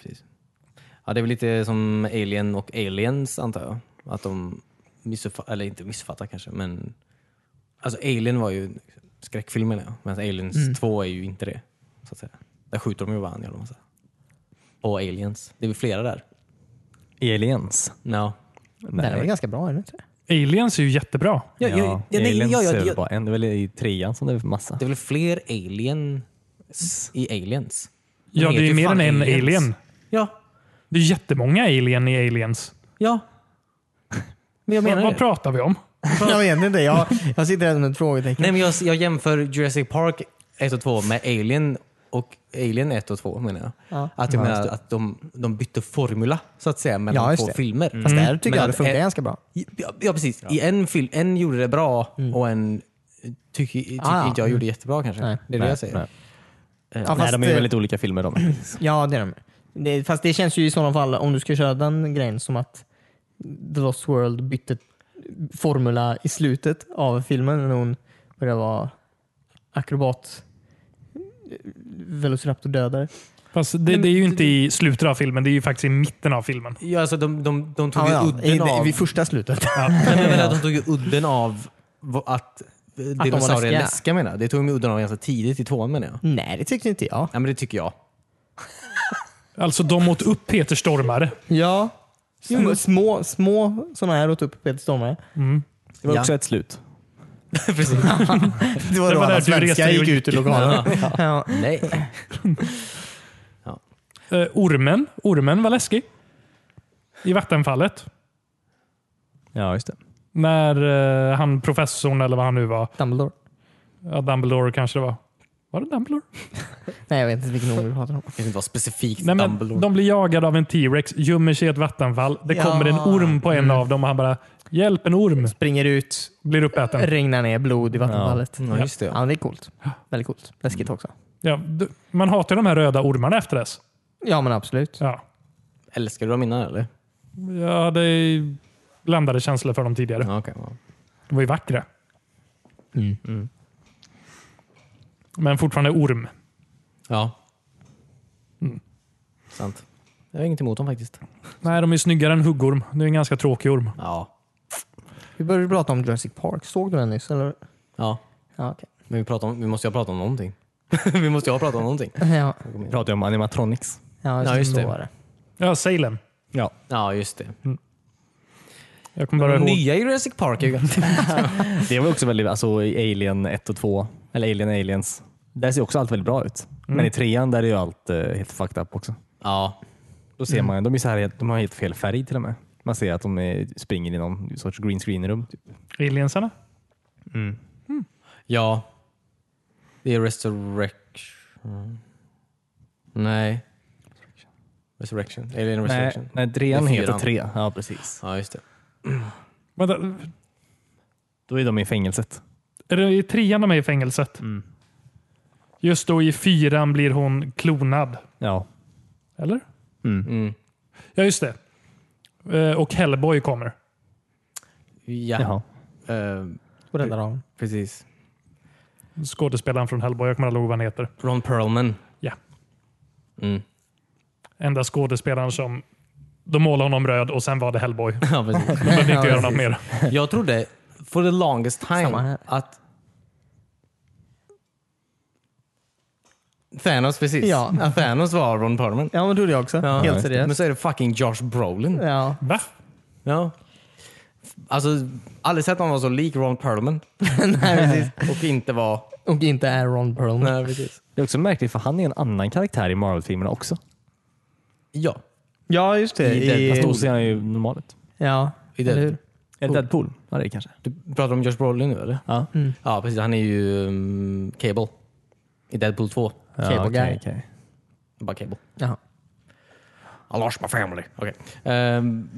Speaker 1: precis. Ja, det är väl lite som Alien och Aliens antar jag. Att de missuppfattar, eller inte missuppfattar kanske, men alltså Alien var ju en skräckfilm menar jag, medan Aliens
Speaker 3: Mm.
Speaker 1: 2 är ju inte det. Så att säga. Där skjuter de ju varandra jävla massa. Och Aliens. Det är väl flera där?
Speaker 4: Aliens.
Speaker 1: No.
Speaker 2: det. Den är väl ganska bra, är den inte?
Speaker 3: Aliens är ju jättebra.
Speaker 1: Ja, ja,
Speaker 4: Ja,
Speaker 1: ja, nej,
Speaker 4: aliens
Speaker 1: ja, ja,
Speaker 4: är väl
Speaker 1: ja.
Speaker 4: bara en. Det är väl i trean som det är massa.
Speaker 1: Det är väl fler aliens i Aliens? De
Speaker 3: Ja, det är
Speaker 1: heter
Speaker 3: ju
Speaker 1: ju
Speaker 3: mer
Speaker 1: fan
Speaker 3: än en
Speaker 1: aliens.
Speaker 3: alien.
Speaker 1: Ja,
Speaker 3: Det är jättemånga alien i aliens.
Speaker 1: ja. Men jag menar
Speaker 3: Vad,
Speaker 1: det.
Speaker 3: vad pratar vi om?
Speaker 2: Jag vet inte. Jag, jag sitter här som ett frågetecken.
Speaker 1: Nej, men jag, jag jämför Jurassic Park 1 och 2 med Alien och Alien 1 och 2 menar jag.
Speaker 2: Ja.
Speaker 1: Att jag menar att de, de bytte formula så att säga mellan
Speaker 2: Ja, just
Speaker 1: två
Speaker 2: det. Mm.
Speaker 1: filmer.
Speaker 2: Fast där tycker
Speaker 1: Mm. Men
Speaker 2: jag det
Speaker 1: att
Speaker 2: funkar
Speaker 1: en-
Speaker 2: ganska bra.
Speaker 1: Ja, ja precis. I en film, en gjorde det bra och en tycker tycker
Speaker 2: Mm. Ah, ja.
Speaker 1: inte jag gjorde jättebra kanske.
Speaker 2: Nej.
Speaker 1: Det är det jag säger.
Speaker 4: Nej,
Speaker 2: Ja,
Speaker 4: nej de är
Speaker 2: eh,
Speaker 4: ju väldigt olika filmer de.
Speaker 2: Ja, det är de. Det, fast det känns ju i sådana fall, om du ska köra den grejen, som att The Lost World bytte formula i slutet av filmen när hon började vara akrobat velociraptor-dödare.
Speaker 3: Fast det, det är ju inte i slutet av filmen, det är ju faktiskt i mitten av filmen.
Speaker 1: Ja, alltså, de, de, de tog
Speaker 2: Ja,
Speaker 1: ju
Speaker 2: ja, i,
Speaker 1: udden av...
Speaker 2: Vid första slutet.
Speaker 1: Nej, men jag menar, de tog ju udden av vad- att eh,
Speaker 2: var
Speaker 1: dinosaurier är
Speaker 2: läskiga.
Speaker 1: läskiga menar jag. Det tog de udden av ganska tidigt i tvåan menar jag.
Speaker 2: Nej, det tyckte inte jag.
Speaker 1: Ja, men det tycker jag.
Speaker 3: Alltså de åt upp Peter Stormare.
Speaker 2: Ja. Små, små, små sådana här åt upp Peter Stormare.
Speaker 4: Det var
Speaker 1: Ja.
Speaker 4: också ett slut.
Speaker 1: precis.
Speaker 2: Det var
Speaker 3: Det
Speaker 2: då
Speaker 3: var där
Speaker 2: alla
Speaker 3: du reste
Speaker 2: svenskar
Speaker 3: dig och
Speaker 2: gick ut ur lokalen. Ja.
Speaker 1: Nej.
Speaker 3: Eh, ormen. Ormen var läskig. I vattenfallet.
Speaker 4: Ja, just det.
Speaker 3: När eh, han professorn, eller vad han nu var,
Speaker 2: Dumbledore.
Speaker 3: ja, Dumbledore kanske det var, Var det Dumbledore?
Speaker 2: Nej, jag vet inte vilken nummer vi pratar om.
Speaker 1: Det kan inte vara specifikt
Speaker 3: Nej, men
Speaker 1: Dumbledore.
Speaker 3: de blir jagade av en T-rex, gömmer sig i ett vattenfall. Det
Speaker 2: Ja.
Speaker 3: kommer en orm på en
Speaker 2: Mm.
Speaker 3: av dem och han bara “Hjälp, en orm!”
Speaker 2: Springer ut,
Speaker 3: blir uppäten.
Speaker 2: regnar ner blod i vattenfallet.
Speaker 1: Ja, just det.
Speaker 2: Ja, det är coolt. Väldigt coolt. Läskigt också.
Speaker 3: Ja, d- man hatar ju de här röda ormarna efter dess.
Speaker 2: Ja, men absolut.
Speaker 3: Ja.
Speaker 1: Älskar du dem innan eller?
Speaker 3: Jag hade blandade känslor för dem tidigare.
Speaker 1: Ja, okej, ja.
Speaker 3: De var ju vackra.
Speaker 2: Mm.
Speaker 3: Men fortfarande orm.
Speaker 1: ja. Mm. Sant. Jag har inget emot dem faktiskt.
Speaker 3: Nej, de är snyggare än huggorm. Det är en ganska tråkig orm.
Speaker 1: Ja.
Speaker 2: Vi började prata om Jurassic Park. Såg du den nyss? Eller?
Speaker 1: ja.
Speaker 2: Ja, okej.
Speaker 1: Men vi, pratar om, vi måste ju prata om någonting. vi måste ju ha pratat om någonting.
Speaker 2: Ja,
Speaker 4: Vi pratar ju om animatronics.
Speaker 2: ja,
Speaker 1: Ja, just
Speaker 2: just
Speaker 1: det.
Speaker 2: det. Så var det.
Speaker 3: Ja, Salem.
Speaker 4: Ja.
Speaker 1: Ja, just det.
Speaker 3: Jag kommer bara ihåg.
Speaker 1: Nya Jurassic Park är ju
Speaker 4: Det var också väldigt, alltså i Alien 1 och 2, eller Alien Aliens, där ser också allt väldigt bra ut. Men i trean där är ju allt eh, helt fucked up också.
Speaker 1: Ja.
Speaker 4: Då ser man, de, är så här, helt- de har helt fel färg till och med. Man ser att de är, springer i någon sorts green screen-rum. Typ.
Speaker 3: Aliensarna.
Speaker 1: Ja. Det är Resurrection. Nej. Resurrection. Alien Resurrection.
Speaker 4: Nej, nej, trean
Speaker 1: Det är
Speaker 4: heter
Speaker 1: fyran.
Speaker 4: tre. Ja, precis.
Speaker 1: Ja, just det.
Speaker 3: Vänta,
Speaker 4: Då är de i fängelset.
Speaker 3: är det i trean de är i fängelset?
Speaker 4: Mm.
Speaker 3: Just då i fyran blir hon klonad.
Speaker 4: Ja.
Speaker 3: Eller?
Speaker 1: Mm.
Speaker 3: Ja, just det. Eh, Och Hellboy kommer.
Speaker 1: Ja.
Speaker 4: Jaha.
Speaker 1: Eh,
Speaker 2: Och räddade honom.
Speaker 1: precis.
Speaker 3: Skådespelaren från Hellboy. Jag kommer aldrig ihåg vad han heter.
Speaker 1: Ron Perlman.
Speaker 3: Ja.
Speaker 1: Mm.
Speaker 3: Enda skådespelaren som... De målade honom röd och sen var det Hellboy. De
Speaker 1: Ja, precis.
Speaker 3: behövde inte
Speaker 2: Ja,
Speaker 3: göra något
Speaker 2: precis.
Speaker 3: mer.
Speaker 1: Jag trodde for the longest
Speaker 2: Samma
Speaker 1: time
Speaker 2: här.
Speaker 1: att Thanos precis.
Speaker 2: Ja.
Speaker 1: Att Thanos var Ron Perlman.
Speaker 2: Ja, men trodde jag också.
Speaker 1: Ja.
Speaker 2: Helt
Speaker 1: Men
Speaker 2: seriöst.
Speaker 1: så är det fucking Josh Brolin.
Speaker 2: Ja.
Speaker 3: Va?
Speaker 1: Ja. Alltså, aldrig sett någon vara så lik Ron Perlman
Speaker 2: Nej, precis.
Speaker 1: och inte vara...
Speaker 2: Och inte är Ron Perlman.
Speaker 1: Nej, precis.
Speaker 4: Det är också märkligt för han är en annan karaktär i Marvel-filmerna också.
Speaker 1: Ja,
Speaker 2: Ja, just det.
Speaker 1: I-
Speaker 4: Fast då ser han ju normal ut.
Speaker 2: ja,
Speaker 1: i
Speaker 2: eller
Speaker 1: det.
Speaker 2: hur?
Speaker 4: Eller Deadpool var det kanske.
Speaker 1: Du pratar om Josh Brolin nu eller? Mm.
Speaker 4: Ja.
Speaker 1: Ja, precis. Han är ju um, Cable i Deadpool 2.
Speaker 2: Cable
Speaker 4: okej,
Speaker 2: guy.
Speaker 4: okej.
Speaker 1: Bara Cable.
Speaker 2: Jaha.
Speaker 1: I lost my family. Okej. Ehm,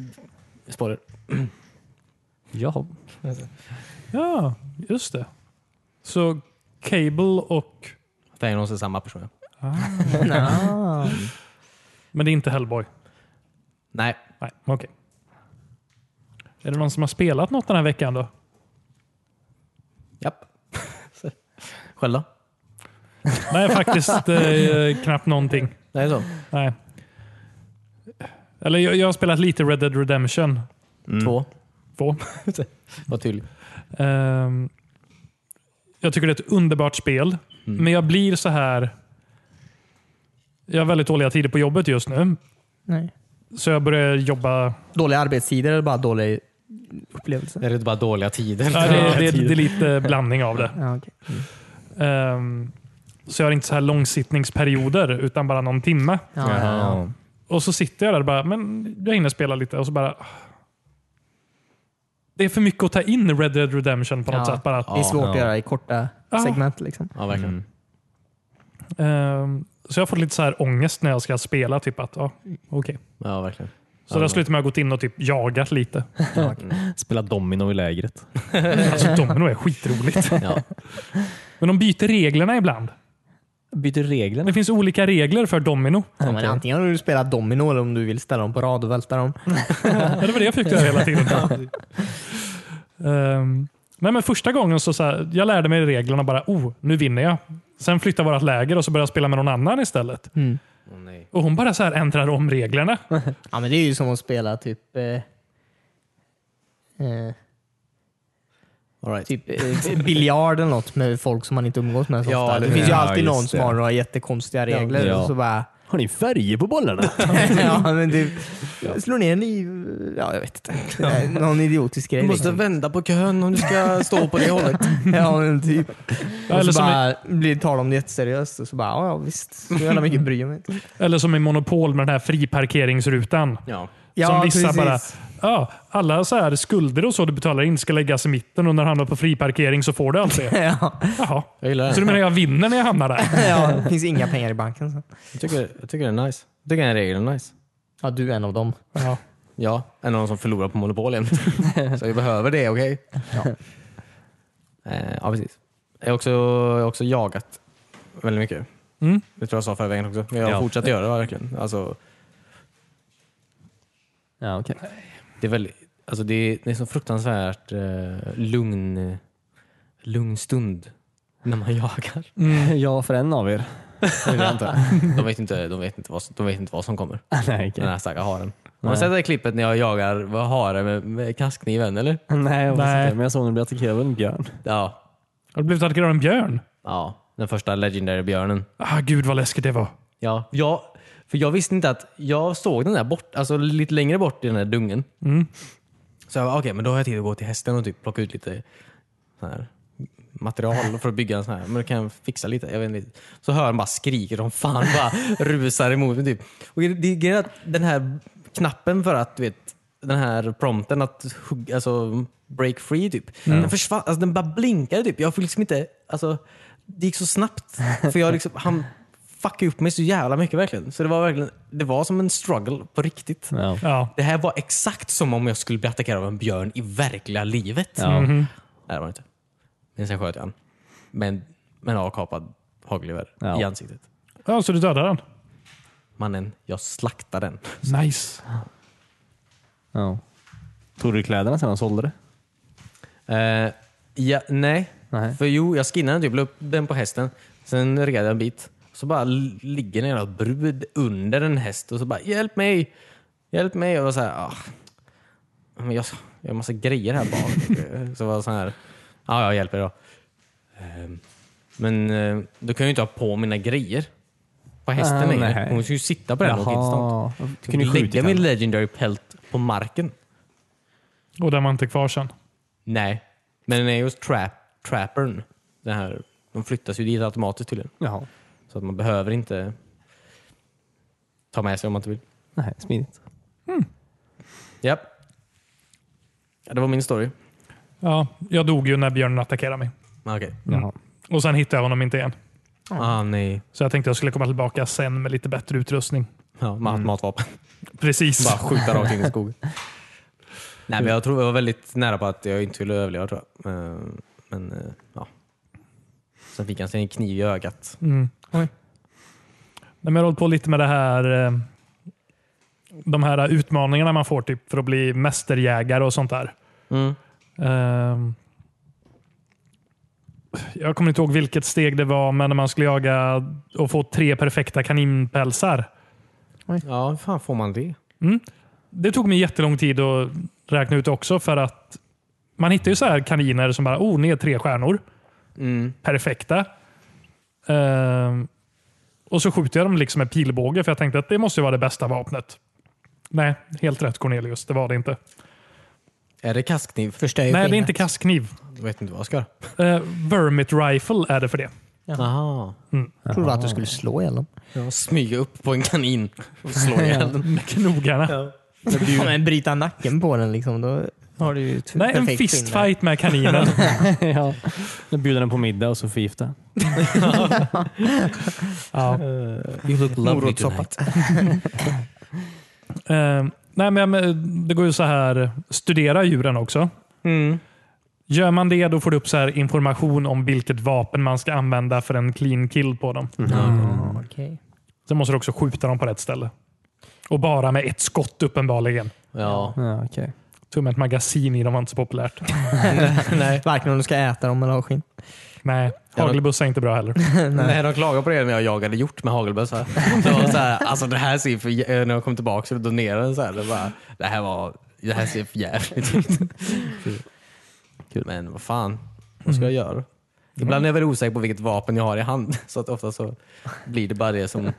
Speaker 1: spoiler.
Speaker 4: Jaha.
Speaker 3: Ja, just det. Så Cable och...
Speaker 1: Thanos är samma person. ja.
Speaker 2: Nå.
Speaker 3: Men det är inte Hellboy.
Speaker 1: Nej.
Speaker 3: Nej, okej. Är det någon som har spelat något den här veckan då?
Speaker 1: Japp. Själv då?
Speaker 3: Nej, faktiskt eh, knappt någonting.
Speaker 1: Det är så.
Speaker 3: Nej. Eller jag, jag har spelat lite Red Dead Redemption
Speaker 1: Två.
Speaker 3: 2.
Speaker 1: Var tydlig.
Speaker 3: Ehm, jag tycker det är ett underbart spel, men jag blir så här... Jag har väldigt dåliga tider på jobbet just nu,
Speaker 2: Nej.
Speaker 3: så jag börjar jobba...
Speaker 2: Dåliga arbetstider eller bara dålig upplevelse?
Speaker 1: Det är inte bara dåliga tider.
Speaker 3: Ja, det, det, det är lite blandning av det.
Speaker 2: Ja, okej.
Speaker 3: Ehm, så jag har inte så här långsittningsperioder, utan bara någon timme.
Speaker 2: ja, ja, ja.
Speaker 3: Och så sitter jag där och bara, men jag hinner spela lite och så bara... "Ah." Det är för mycket att ta in i Red Dead Redemption på något
Speaker 2: Ja.
Speaker 3: sätt. Bara att,
Speaker 2: Det är svårt
Speaker 4: Ja.
Speaker 2: att göra i korta
Speaker 3: Ja.
Speaker 2: segment. Liksom.
Speaker 1: Ja, verkligen.
Speaker 4: Mm.
Speaker 3: ehm, så jag har fått lite så här ångest när jag ska spela. Typ att, ja, okej.
Speaker 1: Ja, verkligen.
Speaker 3: Så det har slutat med att jag gått in och typ jagat lite.
Speaker 4: Spela domino i lägret.
Speaker 3: Alltså domino är skitroligt.
Speaker 1: Ja.
Speaker 3: Men de byter reglerna ibland.
Speaker 4: Byter reglerna.
Speaker 3: Det finns olika regler för domino.
Speaker 2: Ja, men antingen har du spelat domino eller om du vill ställa dem på rad och välta dem.
Speaker 3: Ja, det var det jag fick göra hela tiden. Ehm, nej, men första gången så, så här, jag lärde mig reglerna bara, oh, nu vinner jag. Sen flyttar vårt läger och så börjar jag spela med någon annan istället.
Speaker 1: Åh, nej.
Speaker 3: Och hon bara så här ändrar om reglerna.
Speaker 2: Ja, men det är ju som att spela typ eh, eh,
Speaker 1: All right.
Speaker 2: typ eh, biljard eller något med folk som man inte umgås med så
Speaker 1: Ja,
Speaker 2: ofta.
Speaker 1: eller
Speaker 2: Det
Speaker 1: hur?
Speaker 2: finns ju
Speaker 4: Ja,
Speaker 2: alltid
Speaker 4: just
Speaker 2: någon som
Speaker 4: det.
Speaker 2: har några jättekonstiga regler.
Speaker 4: Ja.
Speaker 2: Och så bara,
Speaker 4: Har ni färger på bollarna?
Speaker 2: ja, men det slår ner en i... Ja, jag vet inte. Nej, Någon idiotisk grej.
Speaker 1: Du måste
Speaker 2: liksom.
Speaker 1: vända på kön om du ska stå på det hållet.
Speaker 2: Ja, men typ. Och
Speaker 3: Eller
Speaker 2: så
Speaker 3: som, i,
Speaker 2: bara blir det tal om det jätteseriöst och så bara, ja, ja visst. Så jävla mycket bryr jag mig inte.
Speaker 3: eller som i Monopol med den här friparkeringsrutan.
Speaker 1: Ja.
Speaker 2: Ja,
Speaker 3: som vissa
Speaker 2: precis.
Speaker 3: bara, ja, alla så här skulder och så du betalar in ska läggas i mitten och när du hamnar på friparkering så får du allt det.
Speaker 2: ja.
Speaker 3: Jaha.
Speaker 1: Jag gillar
Speaker 3: Så du
Speaker 1: den.
Speaker 3: menar jag vinner när jag hamnar där?
Speaker 2: ja, det finns inga pengar i banken. Så.
Speaker 1: Jag tycker, jag tycker den är nice. Jag tycker den regeln är nice.
Speaker 2: Ja, du är en av dem.
Speaker 3: Ja.
Speaker 1: Ja, en av de som förlorar på Monopol jämt. Så vi behöver det, okej? Ja. Eh, ja, precis. Jag har också, jag har också jagat väldigt mycket.
Speaker 3: Mm.
Speaker 1: Det tror jag sa förra veckan också. Men jag har
Speaker 4: Ja.
Speaker 1: fortsatt göra det verkligen. Alltså,
Speaker 2: Ja, okay.
Speaker 1: det, är väldigt, alltså det, är, det är så fruktansvärt eh, lugn, lugn stund när man jagar.
Speaker 4: Mm, Ja, för en av er. Det vill jag inte.
Speaker 1: De vet inte, de vet inte, vad, som- de vet inte vad som kommer.
Speaker 4: Nej,
Speaker 1: Den
Speaker 4: okej.
Speaker 1: här stackars haren. Har du
Speaker 4: Nej.
Speaker 1: sett det här klippet när jag jagar vad hare med, med kastkniven? Eller?
Speaker 4: Nej, jag
Speaker 3: Nej.
Speaker 4: Nej. Inte, men jag såg när du blev attackerad av en björn.
Speaker 1: Ja.
Speaker 3: Har du blivit attackerad av en björn?
Speaker 1: ja, den första legendary-björnen.
Speaker 3: Ah, gud vad läskigt det var.
Speaker 1: Ja, jag, för jag visste inte att jag såg den där bort, alltså lite längre bort i den där dungen. Så jag bara, okej, men då har jag tid att gå till hästen och typ plocka ut lite så här, material för att bygga en sån här. Men då kan jag fixa lite. Jag vet inte. Så hör man bara skriker som fan bara rusar emot mig. Typ. Och det- det är att den här knappen för att, du vet, den här prompten att hugga, alltså break free typ. Den försvann, alltså den bara blinkade typ. Jag fick liksom inte, alltså det gick så snabbt. För jag liksom, han fuckade upp mig så jävla mycket verkligen. Så det var verkligen, det var som en struggle på riktigt.
Speaker 4: Ja.
Speaker 3: Ja.
Speaker 1: Det här var exakt som om jag skulle bli attackerad av en björn i verkliga livet.
Speaker 3: Mhm.
Speaker 1: Nej, det var det inte. Men sen sköt jag han. Men, men avkapad hagelgevär
Speaker 4: Ja.
Speaker 1: i ansiktet.
Speaker 3: ja, så du dödade den?
Speaker 1: Mannen, jag slaktade den.
Speaker 3: Nice.
Speaker 4: Ja. Tog du kläderna sen och sålde det?
Speaker 1: Eh, ja, nej.
Speaker 4: Nej.
Speaker 1: För jo, jag skinnade den typ, la upp den på hästen. Sen red jag en bit. Så bara l- ligger en jävla brud under en häst och så bara “Hjälp mig! Hjälp mig!” Jag var såhär, ah, men jag, jag har massa grejer här bak. så var jag så här, ja, jag hjälper då. Ehm, Men eh, då kan jag ju inte ha på mina grejer på hästen
Speaker 4: Ah,
Speaker 1: längre.
Speaker 4: nej.
Speaker 1: Hon ska ju sitta på den och åka instant.
Speaker 4: Du
Speaker 1: Jag kunde
Speaker 4: kunde
Speaker 1: ju
Speaker 4: skjuta
Speaker 1: lägga
Speaker 4: mig
Speaker 1: min legendary pelt på marken.
Speaker 3: Och den var inte kvar sen.
Speaker 1: Nej, men den är just trap, trappern. Den här, de flyttas ju dit automatiskt tydligen.
Speaker 4: Jaha.
Speaker 1: Så att man behöver inte ta med sig om man inte vill.
Speaker 4: Nej, smidigt.
Speaker 1: Japp. Ja, det var min story.
Speaker 3: Ja, jag dog ju när björnen attackerade mig.
Speaker 1: Ah, Okej.
Speaker 4: Jaha.
Speaker 3: Och sen hittade jag honom inte igen.
Speaker 1: Ah, nej.
Speaker 3: Så jag tänkte jag skulle komma tillbaka sen med lite bättre utrustning.
Speaker 1: Ja, mat, Matvapen.
Speaker 3: Precis.
Speaker 1: Bara skjuta rakt in i skogen. nej, men jag tror jag var väldigt nära på att jag inte skulle överleva tror jag. Eh, Men eh, ja. Sen fick han sig en kniv i ögat.
Speaker 3: Mm.
Speaker 2: Oj.
Speaker 3: Nej, men jag har hållit på lite med det här, eh, de här utmaningarna man får typ för att bli mästerjägare och sånt där.
Speaker 1: Mm.
Speaker 3: Ehm, Jag kommer inte ihåg vilket steg det var, men när man skulle jaga och få tre perfekta kaninpälsar.
Speaker 1: Ja, hur fan får man det?
Speaker 3: Det tog mig jättelång tid att räkna ut också för att man hittar ju så här kaniner som bara, oh, ni är tre stjärnor.
Speaker 1: Mm.
Speaker 3: perfekta. Ehm, och så skjuter jag dem liksom med pilbåge för jag tänkte att det måste ju vara det bästa vapnet. Nej, helt rätt Cornelius. Det var det inte.
Speaker 1: Är det kastkniv?
Speaker 2: Förstör ju
Speaker 3: Nej, det är
Speaker 2: skinnet.
Speaker 3: inte kastkniv.
Speaker 1: Jag vet inte vad jag ska göra.
Speaker 3: Uh, vermit rifle är det för det.
Speaker 1: Aha.
Speaker 2: Jag trodde att du skulle slå ihjäl dem.
Speaker 1: Ja, smyga upp på en kanin och slå ihjäl den.
Speaker 3: Med knogarna.
Speaker 2: Ja, men bryta nacken på den liksom. Då har du ju ett
Speaker 3: Nej, en
Speaker 2: perfekt skinne.
Speaker 3: fistfight med kaninen.
Speaker 4: ja. Nu bjuder den på middag och så förgiftar
Speaker 3: ja.
Speaker 1: You look lovely
Speaker 2: Morotssoppa.
Speaker 3: Ehm, nej, men eh, det går ju så här, studera djuren också.
Speaker 1: Mm.
Speaker 3: Gör man det, då får du upp så här information om vilket vapen man ska använda för en clean kill på dem.
Speaker 2: Mm. Ja, okej.
Speaker 3: Sen måste du också skjuta dem på rätt ställe. Och bara med ett skott uppenbarligen.
Speaker 1: Ja.
Speaker 4: Ja, okej.
Speaker 3: Tog med ett magasin i dem var inte så populärt.
Speaker 1: Nej.
Speaker 2: Varken om du ska äta dem eller ha skinn.
Speaker 3: Nej,
Speaker 1: Ja,
Speaker 3: hagelbuss är inte bra heller.
Speaker 1: Nej, de klagade på det när jag jagade hjort med hagelbössa. Så var det så här, alltså det här ser för jä- När jag kom tillbaka så donerade den så här. Det, bara, det, här var, det här ser för jävligt ut. Kul. Men vad fan, vad ska jag göra? Ibland är jag väl osäker på vilket vapen jag har i hand. Så att ofta så blir det bara det som...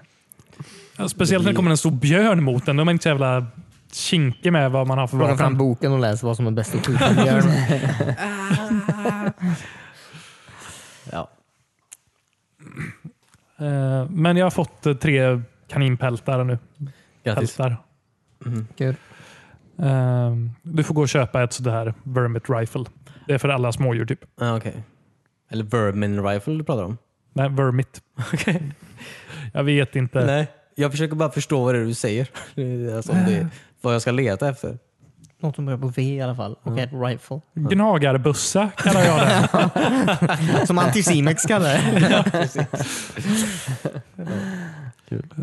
Speaker 3: Ja, Speciellt när det kommer en stor björn mot en. Då är man inte så jävla kinkig med vad man har för
Speaker 2: Plocka fram
Speaker 3: vapen.
Speaker 2: boken och läs vad som är bäst att skjuta med björn.
Speaker 1: Ja.
Speaker 3: Eh, Men jag har fått eh, tre kaninpältar nu.
Speaker 1: Grattis.
Speaker 3: Pältar.
Speaker 2: Kul.
Speaker 3: Ehm, du får gå och köpa ett sådär Vermit Rifle. Det är för alla smådjur typ.
Speaker 1: Ah, okej. Eller Vermin Rifle du pratar om?
Speaker 3: Nej, Vermit.
Speaker 1: Okej.
Speaker 3: Jag vet inte.
Speaker 1: Nej. Jag försöker bara förstå vad det är du säger. Alltså, om det är vad jag ska leta efter.
Speaker 2: Något som börjar på V i alla fall. Och ett rifle.
Speaker 3: Gnagarbössa kallar jag det.
Speaker 2: Som Anticimex kallar det.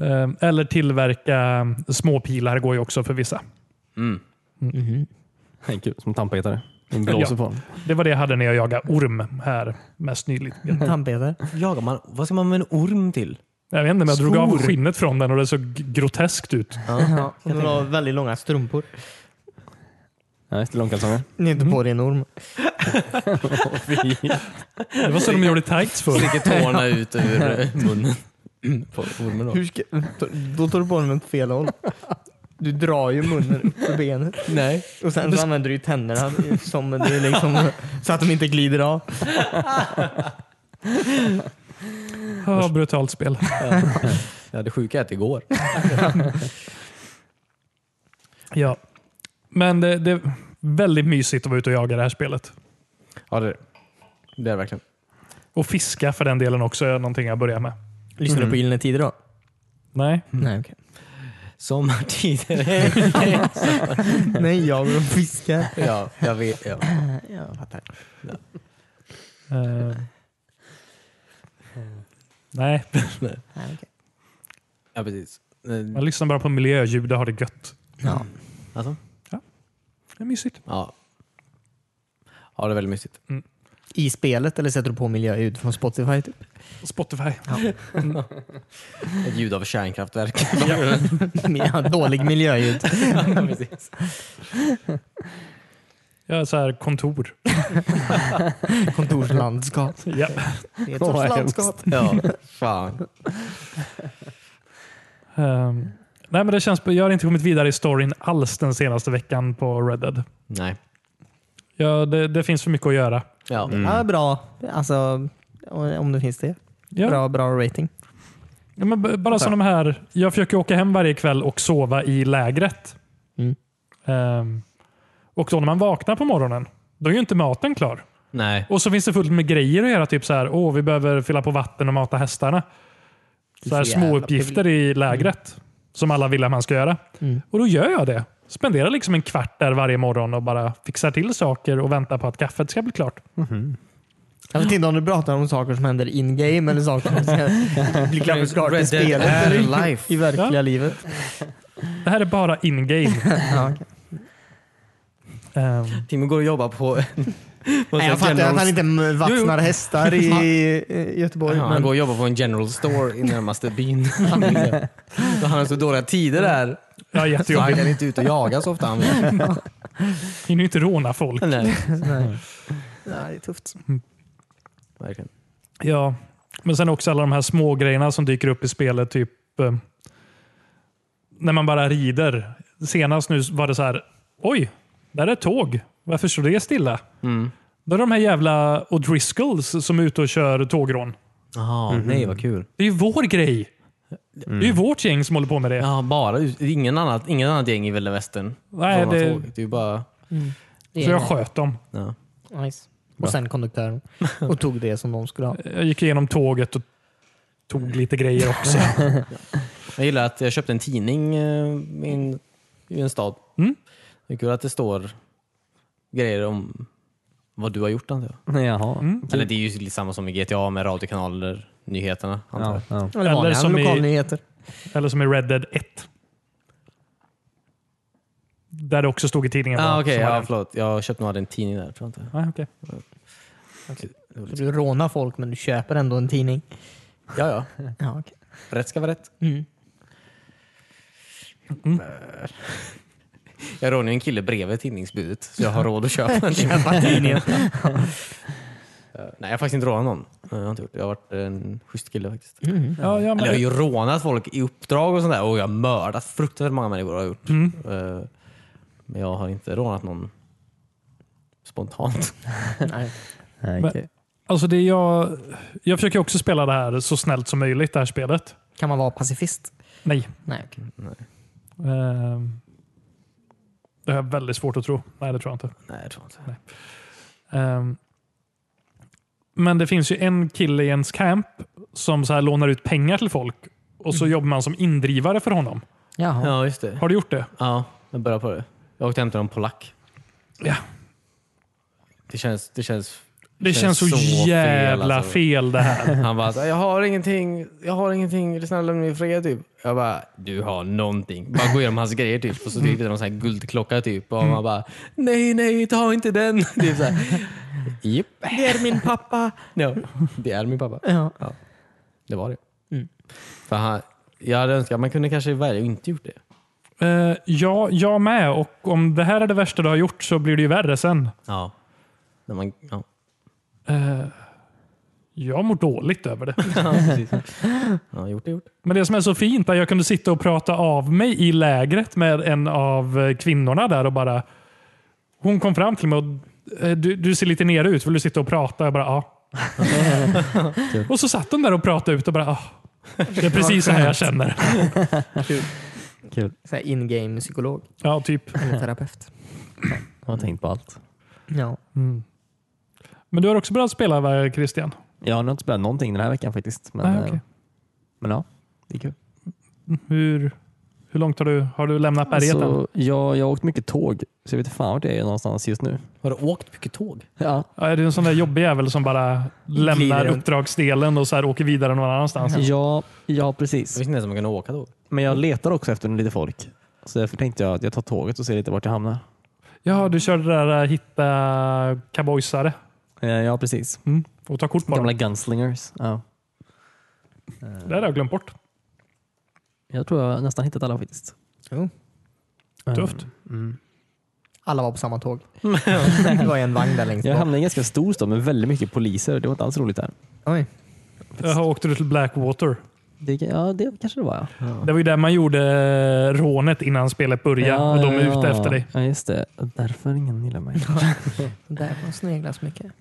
Speaker 3: Ehm, Eller tillverka småpilar går ju också för vissa.
Speaker 1: Mm.
Speaker 2: Mhm.
Speaker 4: Kul, som tandpetare. Den blåser
Speaker 3: Ja.
Speaker 4: på honom.
Speaker 3: Det var det jag hade när jag jagade orm här mest nyligen.
Speaker 2: Tandpetare.
Speaker 1: Jagar man, vad ska man med en orm till?
Speaker 3: Jag vet inte, men jag drog av
Speaker 1: Stor.
Speaker 3: skinnet från den och det såg g- groteskt ut.
Speaker 2: Ja, och du har väldigt långa strumpor.
Speaker 4: Nej, just det, långkalsonger.
Speaker 2: Ni är inte på dig en orm.
Speaker 3: Det var så de gjorde tights för.
Speaker 1: Sticker tårna ut ur eh, munnen på ormen. Då.
Speaker 2: Hur ska, då tar du på den åt fel håll. Du drar ju munnen upp för benet
Speaker 1: Nej.
Speaker 2: och sen så använder du ju tänderna som det är liksom, så att de inte glider av.
Speaker 3: Ja, brutalt spel.
Speaker 1: Jag hade sjuka ät igår.
Speaker 3: Ja. Men det, det är väldigt mysigt att vara ute och jaga det här spelet.
Speaker 1: Ja, det är det. Det är det verkligen.
Speaker 3: Och fiska för den delen också är någonting jag börjar med.
Speaker 2: Lyssnar du på Gyllene Tider då?
Speaker 3: Nej,
Speaker 2: Nej, okej.
Speaker 1: Sommartider.
Speaker 2: Nej, jag vill fiska.
Speaker 1: ja, jag vet. Ja.
Speaker 2: Jag fattar.
Speaker 3: Eh. Nej,
Speaker 2: Nej, okej.
Speaker 1: ja, precis. Eh,
Speaker 3: man lyssnar bara på miljöljud och har det gött.
Speaker 2: Ja.
Speaker 3: Mm.
Speaker 1: Alltså?
Speaker 3: Det är mysigt.
Speaker 1: Ja. Ja, det är väldigt mysigt.
Speaker 2: I spelet eller sätter du på miljöljud från Spotify? Typ?
Speaker 3: Spotify.
Speaker 1: Ett ljud av kärnkraftverk.
Speaker 2: Ja, Dålig miljöljud.
Speaker 1: ja, precis.
Speaker 3: Jag är så här kontor.
Speaker 2: Kontorslandskap.
Speaker 3: Ja.
Speaker 2: Det är ett
Speaker 4: Åh, vad
Speaker 2: sorts
Speaker 4: hemskt.
Speaker 2: landskap.
Speaker 1: Ja, fan.
Speaker 3: Ehm, nej, men det känns, jag har inte kommit vidare i storyn alls den senaste veckan på Red Dead.
Speaker 1: Nej.
Speaker 3: Ja, det, det finns för mycket att göra.
Speaker 1: Ja. Mm.
Speaker 2: Ja, bra. Alltså, om det finns det.
Speaker 3: Ja.
Speaker 2: Bra, bra rating.
Speaker 3: Ja, men b- bara som de här. Jag försöker åka hem varje kväll och sova i lägret.
Speaker 2: Mm.
Speaker 3: Ehm, och då när man vaknar på morgonen, då är ju inte maten klar.
Speaker 1: Nej.
Speaker 3: Och så finns det fullt med grejer att göra. Typ så här, åh, vi behöver fylla på vatten och mata hästarna. Så här,
Speaker 2: Så jävla
Speaker 3: små uppgifter i lägret som alla vill att man ska göra.
Speaker 2: Mm.
Speaker 3: Och då gör jag det. Spenderar liksom en kvart där varje morgon och bara fixar till saker och väntar på att kaffet ska bli klart.
Speaker 2: Jag vet inte om du pratar om saker som händer in-game eller saker som ska bli klart- klart i
Speaker 1: Red Dead
Speaker 2: spelet
Speaker 1: är
Speaker 2: eller i-
Speaker 1: life.
Speaker 2: i verkliga
Speaker 3: Ja.
Speaker 2: livet.
Speaker 3: Det här är bara in-game.
Speaker 2: Ja, okej.
Speaker 3: Ehm,
Speaker 1: Timmy går och jobbar på... på
Speaker 2: Nej, jag fattar att han inte m- vattnar hästar i i Göteborg.
Speaker 1: Ja, han
Speaker 2: men-
Speaker 1: går och jobbar på en general store i närmaste byn. Så han har så dåliga tider där.
Speaker 3: ja,
Speaker 1: Så han
Speaker 3: jättejobbigt.
Speaker 1: kan inte ut och jaga så ofta han vill.
Speaker 3: Hinner ju inte råna folk.
Speaker 1: Nej.
Speaker 2: Nej. Nej, det är tufft.
Speaker 1: Verkligen.
Speaker 3: Ja, men sen också alla de här små grejerna som dyker upp i spelet. Typ eh, när man bara rider. Senast nu var det så här, oj, där är ett tåg. Varför står det stilla?
Speaker 1: Mm.
Speaker 3: Då är de här jävla O'Driscolls som är ute och kör tågrån.
Speaker 1: Jaha, nej vad kul.
Speaker 3: Det är ju vår grej. Det är ju vårt gäng som håller på med det.
Speaker 1: Mm. Ja, bara ut- ingen annat, ingen annat gäng i vilda västern.
Speaker 3: Nej,
Speaker 1: Sådana
Speaker 3: det-
Speaker 1: tåg. det är ju bara...
Speaker 3: Så jag sköt dem.
Speaker 1: Ja.
Speaker 2: Nice. Och sen konduktören. Och tog det som de skulle ha.
Speaker 3: Jag gick igenom tåget och tog lite grejer också.
Speaker 1: Jag gillar att jag köpte en tidning eh, i en, i en stad.
Speaker 3: Mm.
Speaker 1: Det är kul att det står grejer om vad du har gjort antar jag.
Speaker 4: Jaha.
Speaker 1: Eller det är ju lite samma som i GTA med radiokanaler, nyheterna antar
Speaker 4: Ja,
Speaker 1: jag.
Speaker 4: ja.
Speaker 2: Eller
Speaker 3: Eller
Speaker 2: vanliga
Speaker 3: som i-
Speaker 2: lokalnyheter.
Speaker 3: Eller som i Red Dead 1. Där det också stod i tidningen.
Speaker 1: Ah,
Speaker 3: vad
Speaker 1: Okej,
Speaker 3: som var
Speaker 1: ja,
Speaker 3: det.
Speaker 1: förlåt. Jag köpte nog aldrig en tidning där. Tror jag inte.
Speaker 3: Nej, okej.
Speaker 2: Du rånar folk men du köper ändå en tidning.
Speaker 1: Ja, ja.
Speaker 2: Ja, okej.
Speaker 1: Rätt ska vara rätt.
Speaker 2: Mm.
Speaker 1: Eh, Jag rånade ju en kille bredvid tidningsbudet så jag har råd att köpa en tidning.
Speaker 2: Köpa tidningen.
Speaker 1: Eh, Nej, jag har faktiskt inte rånat någon. Eh, Jag har, inte gjort. det. jag har varit en schysst kille faktiskt.
Speaker 3: Ja, ja, men-
Speaker 1: Eller jag har ju rånat folk i uppdrag och sånt där och jag har mördat fruktansvärt många människor. Har jag gjort.
Speaker 3: mm.
Speaker 1: Eh, Men jag har inte rånat någon spontant.
Speaker 2: Nej.
Speaker 4: Nej,
Speaker 3: Men-
Speaker 4: okej.
Speaker 3: Alltså det jag, jag försöker också spela det här så snällt som möjligt, det här spelet.
Speaker 2: Kan man vara pacifist?
Speaker 3: Nej.
Speaker 2: Nej. okej.
Speaker 3: Ehm, Det har jag väldigt svårt att tro. Nej, det tror jag inte.
Speaker 1: Nej, jag tror inte.
Speaker 3: Ehm, men det finns ju en kille i ens camp som så här lånar ut pengar till folk och så jobbar man som indrivare för honom.
Speaker 2: Jaha.
Speaker 1: Ja, just det.
Speaker 3: Har du gjort det?
Speaker 1: Ja, jag börjar på det. Jag åkte och hämtade en polack.
Speaker 3: Ja.
Speaker 1: Det känns... Det känns
Speaker 3: Det känns, så,
Speaker 1: fel,
Speaker 3: jävla fel,
Speaker 1: alltså.
Speaker 3: det här.
Speaker 1: Han bara så här, jag har ingenting, jag har ingenting, är du snäll lämna mig i fred typ. Jag bara, du har någonting. Bara gå igenom hans grejer typ. Och så fick vi någon sån här guldklocka typ. Och man bara, nej, nej, ta inte den. Typ så här. Japp.
Speaker 2: Det är min pappa.
Speaker 1: Ja, det är min pappa.
Speaker 2: Ja. Mm.
Speaker 1: Det var det. För han, jag hade önskat att man kunde kanske välja att inte gjort det.
Speaker 3: Eh, ja, jag med. Och om det här är det värsta du har gjort så blir det ju värre sen.
Speaker 1: Ja. När man, ja.
Speaker 3: Eh, jag mår dåligt över det.
Speaker 1: ja, precis. Ja, gjort är gjort.
Speaker 3: Men det som är så fint är att jag kunde sitta och prata av mig i lägret med en av eh, kvinnorna där och bara... Hon kom fram till mig och eh, du, du ser lite nere ut, vill du sitta och prata? Jag bara ja. och så satt hon där och pratade ut och bara ja. Det är precis så här jag känner.
Speaker 4: Kul.
Speaker 2: Så här in-game psykolog
Speaker 3: Ja, typ.
Speaker 2: eller terapeut.
Speaker 4: Jag har tänkt på allt.
Speaker 2: Ja.
Speaker 3: Mm. Men du har också börjat spela va, Christian?
Speaker 4: Jag har nog inte spelat någonting den här veckan faktiskt. Men,
Speaker 3: Nej, okej.
Speaker 4: eh, men ja, det är kul.
Speaker 3: Hur, hur långt har du, har du lämnat berget än?
Speaker 4: Så Alltså, jag, jag har åkt mycket tåg, så jag vet inte fan vart jag är någonstans just nu.
Speaker 1: Har du åkt mycket tåg?
Speaker 4: Ja,
Speaker 3: Ja, Är du en sån där jobbig jävel som bara lämnar
Speaker 2: runt.
Speaker 3: uppdragsdelen och så här åker vidare någon annanstans?
Speaker 4: ja, ja
Speaker 1: Jag
Speaker 4: precis.
Speaker 1: visste inte ens att man kunde åka tåg.
Speaker 4: Men jag letar också efter lite folk. Så därför tänkte jag att jag tar tåget och ser lite vart jag hamnar.
Speaker 3: Ja, du körde det där eh, hitta cowboysare Mm.
Speaker 4: Eh, Ja, precis.
Speaker 3: och ta kort på
Speaker 4: Gamla
Speaker 3: dem.
Speaker 4: gunslingers. Ja.
Speaker 3: Det har jag glömt bort.
Speaker 4: Jag tror jag nästan hittat alla faktiskt. Oh. Eh, mm.
Speaker 2: Jo.
Speaker 3: Tufft.
Speaker 2: Alla var på samma tåg. det var en vagn där längst
Speaker 4: Jag
Speaker 2: bak.
Speaker 4: hamnade i en ganska stor stad med väldigt mycket poliser. Det var inte alls roligt där.
Speaker 2: Oj.
Speaker 3: Jaha, åkte du till Blackwater?
Speaker 4: Det, ja, det kanske det var ja.
Speaker 3: Det var ju där man gjorde eh, rånet innan spelet började och de är
Speaker 4: ja,
Speaker 3: ute
Speaker 4: ja.
Speaker 3: efter dig.
Speaker 4: Ja, just det. Därför ingen gillar mig.
Speaker 2: Där får man snegla så mycket.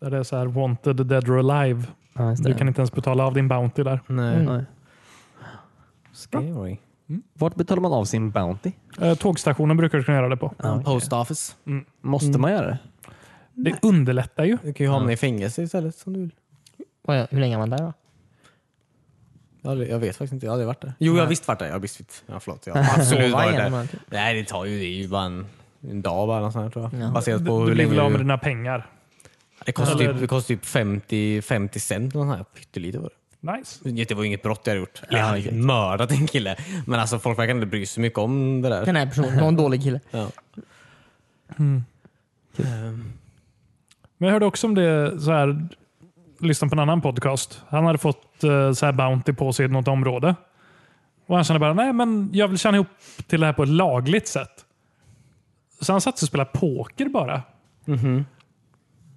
Speaker 3: Där det är så här wanted, dead or alive.
Speaker 4: Ja, just
Speaker 3: Du
Speaker 4: det.
Speaker 3: kan inte ens betala av din bounty där.
Speaker 1: Nej.
Speaker 4: Mm. Nej.
Speaker 1: Scary.
Speaker 4: Vart betalar man av sin Bounty?
Speaker 3: Eh, Tågstationen brukar du kunna göra det på.
Speaker 1: Post office.
Speaker 4: Måste man göra det?
Speaker 3: Det underlättar ju.
Speaker 1: Du kan ju hamna i fängelse istället som du vill.
Speaker 2: Vad är- Hur länge var man där då?
Speaker 1: Jag, har aldrig- jag vet faktiskt inte, jag har aldrig varit där. Jo, jag har visst varit där. Jag har visst, ja, förlåt, jag har absolut
Speaker 2: Sova
Speaker 1: varit
Speaker 2: igenom
Speaker 1: där.
Speaker 2: allting.
Speaker 1: Nej, det tar ju, det är ju bara en, en dag bara, eller sånt här, tror jag.
Speaker 2: Ja.
Speaker 1: Baserat på
Speaker 3: Du
Speaker 1: hur
Speaker 3: blir väl
Speaker 1: länge
Speaker 3: av med
Speaker 1: du...
Speaker 3: dina pengar.
Speaker 1: Det kostar
Speaker 3: Eller-
Speaker 1: typ, det kostar typ 50, 50 cent, eller sånt här. pyttelite var det.
Speaker 3: Nice.
Speaker 1: Det var ju inget brott jag hade gjort. Jag hade ju mördat en kille. Men alltså, folk verkar inte bry sig mycket om det där.
Speaker 2: Den här personen var en dålig kille.
Speaker 1: Ja.
Speaker 3: Men jag hörde också om det, så här, lyssna på en annan podcast. Han hade fått eh, så här bounty på sig i något område. Och han kände bara, nej men jag vill tjäna ihop till det här på ett lagligt sätt. Så han satt sig och spelade poker bara.
Speaker 1: Mm-hmm.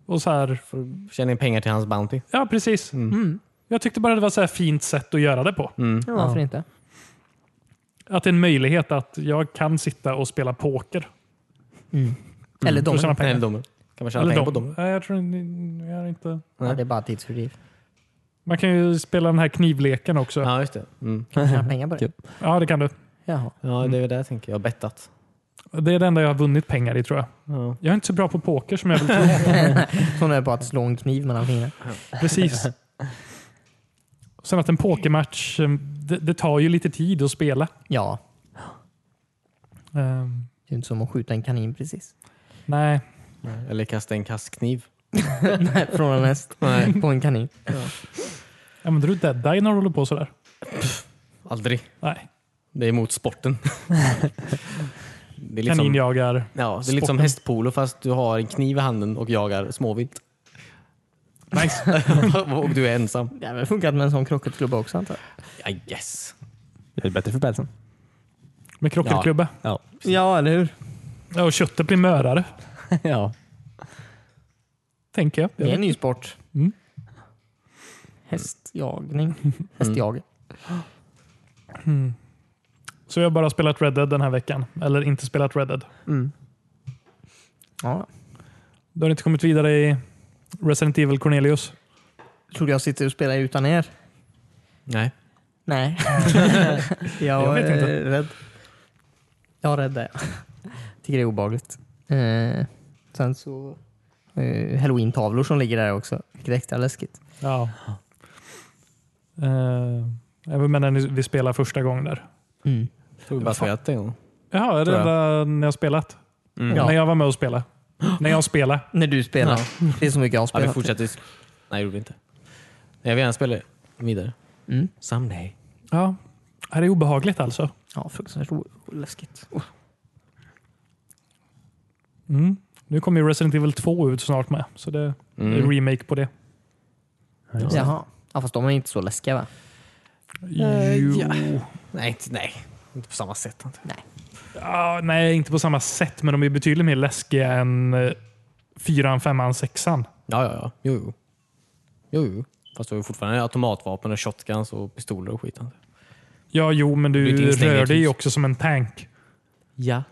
Speaker 3: Och så här,
Speaker 1: Får tjäna in pengar till hans Bounty.
Speaker 3: ja precis.
Speaker 1: Mm.
Speaker 3: Jag tyckte bara det var så här fint sätt att göra det på.
Speaker 2: Ja, varför inte?
Speaker 3: Att det är en möjlighet att jag kan sitta och spela poker.
Speaker 2: Eller
Speaker 3: För att tjäna
Speaker 2: de.
Speaker 1: Eller
Speaker 3: pengar.
Speaker 1: domen. Kan man tjäna
Speaker 3: Eller
Speaker 1: pengar
Speaker 3: dom.
Speaker 1: på domen?
Speaker 3: Nej, jag tror inte- jag har inte.
Speaker 2: Ja, det är bara tidsfördriv.
Speaker 3: Man kan ju spela den här knivleken också. Ja,
Speaker 1: Ja, just det. Mm.
Speaker 2: Kan man tjäna pengar på det?
Speaker 3: det kan du.
Speaker 2: Jaha.
Speaker 1: Ja, det är väl det jag tänker. Jag har bettat.
Speaker 3: Det är det enda jag har vunnit pengar i tror jag.
Speaker 1: Ja.
Speaker 3: Jag är inte så bra på poker som jag vill tro.
Speaker 2: Sån är på att slå en kniv mellan fingrarna.
Speaker 3: Precis. Sen att en pokermatch, eh, det, det tar ju lite tid att spela.
Speaker 2: Ja,
Speaker 3: Eh,
Speaker 2: det är inte som att skjuta en kanin precis.
Speaker 3: nej,
Speaker 1: Eller kasta en kastkniv.
Speaker 2: Nej, Från en häst
Speaker 1: Nej.
Speaker 2: på en kanin.
Speaker 3: använder du deadeye när du håller på sådär?
Speaker 1: Aldrig.
Speaker 3: Nej,
Speaker 1: Det är emot sporten. det är
Speaker 3: Liksom-
Speaker 1: lite som,
Speaker 3: kaninjagar.
Speaker 1: ja, det är lite som
Speaker 3: sporten.
Speaker 1: hästpolo fast du har en kniv i handen och jagar småvilt.
Speaker 3: Nice.
Speaker 1: och du är ensam.
Speaker 2: Det hade väl funkat med en sån krocketklubba också antar
Speaker 1: I guess.
Speaker 4: Det är bättre för pälsen.
Speaker 3: Med krockelklubba.
Speaker 4: Ja.
Speaker 2: jag. Ja, eller hur?
Speaker 3: Ja. Och köttet blir mörare,
Speaker 4: ja.
Speaker 3: tänker jag.
Speaker 2: Det är en ny sport.
Speaker 3: Mm.
Speaker 2: Hästjagning. Hästjag.
Speaker 3: Så jag har bara spelat Red Dead den här veckan. Eller inte spelat Red Dead.
Speaker 2: Ja.
Speaker 3: Du har inte kommit vidare i Resident Evil Cornelius?
Speaker 2: Tror du jag sitter och spelar utan er?
Speaker 1: Nej.
Speaker 2: Nej. jag,
Speaker 3: Jag vet inte.
Speaker 2: är rädd. Jag räddar jag. Tycker det är obehagligt. Eh, sen så eh, halloween-tavlor som ligger där också, vilket är extra läskigt.
Speaker 3: Ja. Uh, jag menar när vi spelade första gången där.
Speaker 2: Mm.
Speaker 1: Tog bara spelat en gång.
Speaker 3: Jaha, är det
Speaker 1: Tror jag.
Speaker 3: enda ni har spelat?
Speaker 2: Ja.
Speaker 3: När jag var med och spelade. när jag spelade.
Speaker 2: När du spelar. Det är så mycket jag har
Speaker 1: Ja, vi
Speaker 2: spelat.
Speaker 1: fortsatte. Nej, det gjorde vi inte. Jag vill gärna spela vidare.
Speaker 2: Mm.
Speaker 1: Someday.
Speaker 3: Ja. Det är obehagligt alltså.
Speaker 2: ja, fruktansvärt o- läskigt.
Speaker 3: Mm. Nu kommer ju Resident Evil 2 ut snart med. Så det det är en remake på det.
Speaker 2: Jaha. Ja, fast de är inte så läskiga va?
Speaker 3: Jo.
Speaker 1: ja. Nej, inte, nej, inte på samma sätt. Inte.
Speaker 3: Ja, nej, inte på samma sätt, men de är betydligt mer läskiga än eh, fyran, femman, sexan.
Speaker 1: Ja, ja, ja. Jo, jo. jo, jo. Fast du har ju fortfarande automatvapen och shotguns och pistoler och skit. inte?
Speaker 3: Ja, jo, men
Speaker 1: Det är
Speaker 3: du
Speaker 1: ett instängt
Speaker 3: rör dig ju
Speaker 1: hus.
Speaker 3: också som en tank.
Speaker 1: Ja.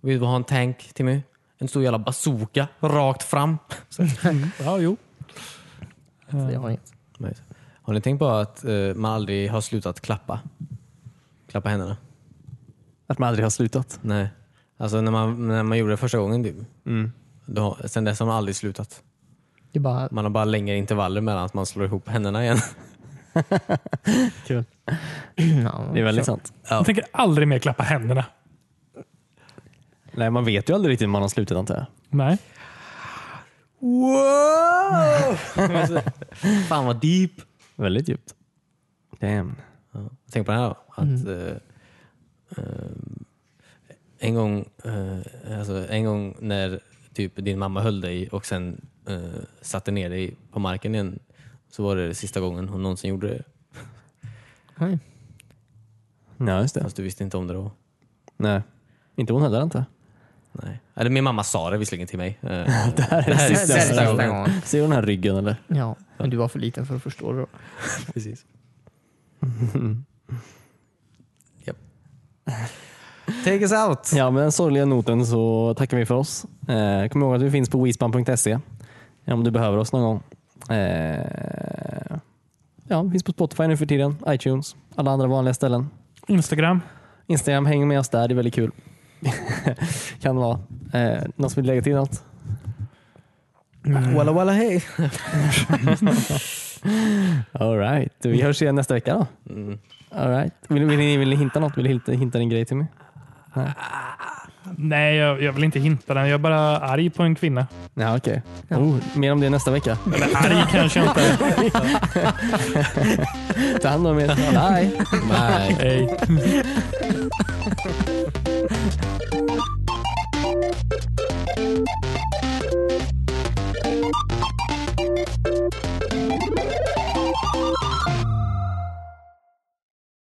Speaker 1: Vill du ha en tank, Timmy? En stor jävla bazooka rakt fram.
Speaker 3: Ja, jo.
Speaker 2: Så jag har inget.
Speaker 1: Nej. Har ni tänkt på att eh, man aldrig har slutat klappa? Klappa händerna?
Speaker 4: Att man aldrig har slutat.
Speaker 1: Nej. Alltså när man, när man gjorde det första gången, typ. Då har- sen dess har man aldrig slutat.
Speaker 2: Det är bara...
Speaker 1: Man har bara längre intervaller mellan att man slår ihop händerna igen.
Speaker 2: Ja,
Speaker 4: Det är väldigt sant.
Speaker 3: Jag tänker aldrig mer klappa händerna.
Speaker 4: Nej, man vet ju aldrig riktigt när man har slutat antar jag.
Speaker 3: Nej.
Speaker 1: Wow! Fan vad deep.
Speaker 4: Väldigt djupt. Damn.
Speaker 1: Ja. Tänk på det här då, att eh, eh, en, gång, eh, alltså, en gång när typ din mamma höll dig och sen eh, satte ner dig på marken igen så var det sista gången hon någonsin gjorde det.
Speaker 2: Oj.
Speaker 4: Ja, just det.
Speaker 1: Fast du visste inte om det då.
Speaker 4: Nej. Inte hon heller antar jag.
Speaker 1: Nej. Eller min mamma sa det visserligen till mig. Eh, det
Speaker 4: Det
Speaker 1: här är
Speaker 2: sista
Speaker 1: sista
Speaker 2: gången.
Speaker 1: gången.
Speaker 4: Ser du den här ryggen eller?
Speaker 2: Ja, men du var för liten för att förstå det då.
Speaker 1: Precis. Japp. Take us out!
Speaker 4: Ja, med den sorgliga noten så tackar vi för oss. Eh, kom ihåg att vi finns på wispan.se om du behöver oss någon gång. Eh, ja, vi finns på Spotify nu för tiden, iTunes, alla andra vanliga ställen.
Speaker 3: Instagram.
Speaker 4: Instagram, häng med oss där, det är väldigt kul. kan vara. Eh, någon som vill lägga till något?
Speaker 1: Walla walla hej!
Speaker 4: All right. Vi hörs igen nästa vecka då.
Speaker 1: Mm.
Speaker 4: All right. Vill, vill, ni, vill ni hinta något? Vill ni hinta, hinta en grej till mig?
Speaker 3: Nej, jag, jag vill inte hinta den. Jag är bara arg på en kvinna.
Speaker 4: Ja, okej. Oh, mer om det nästa vecka.
Speaker 3: Eller arg kanske jag inte.
Speaker 4: Ta hand om er. Bye!
Speaker 1: Bye.
Speaker 3: Hej.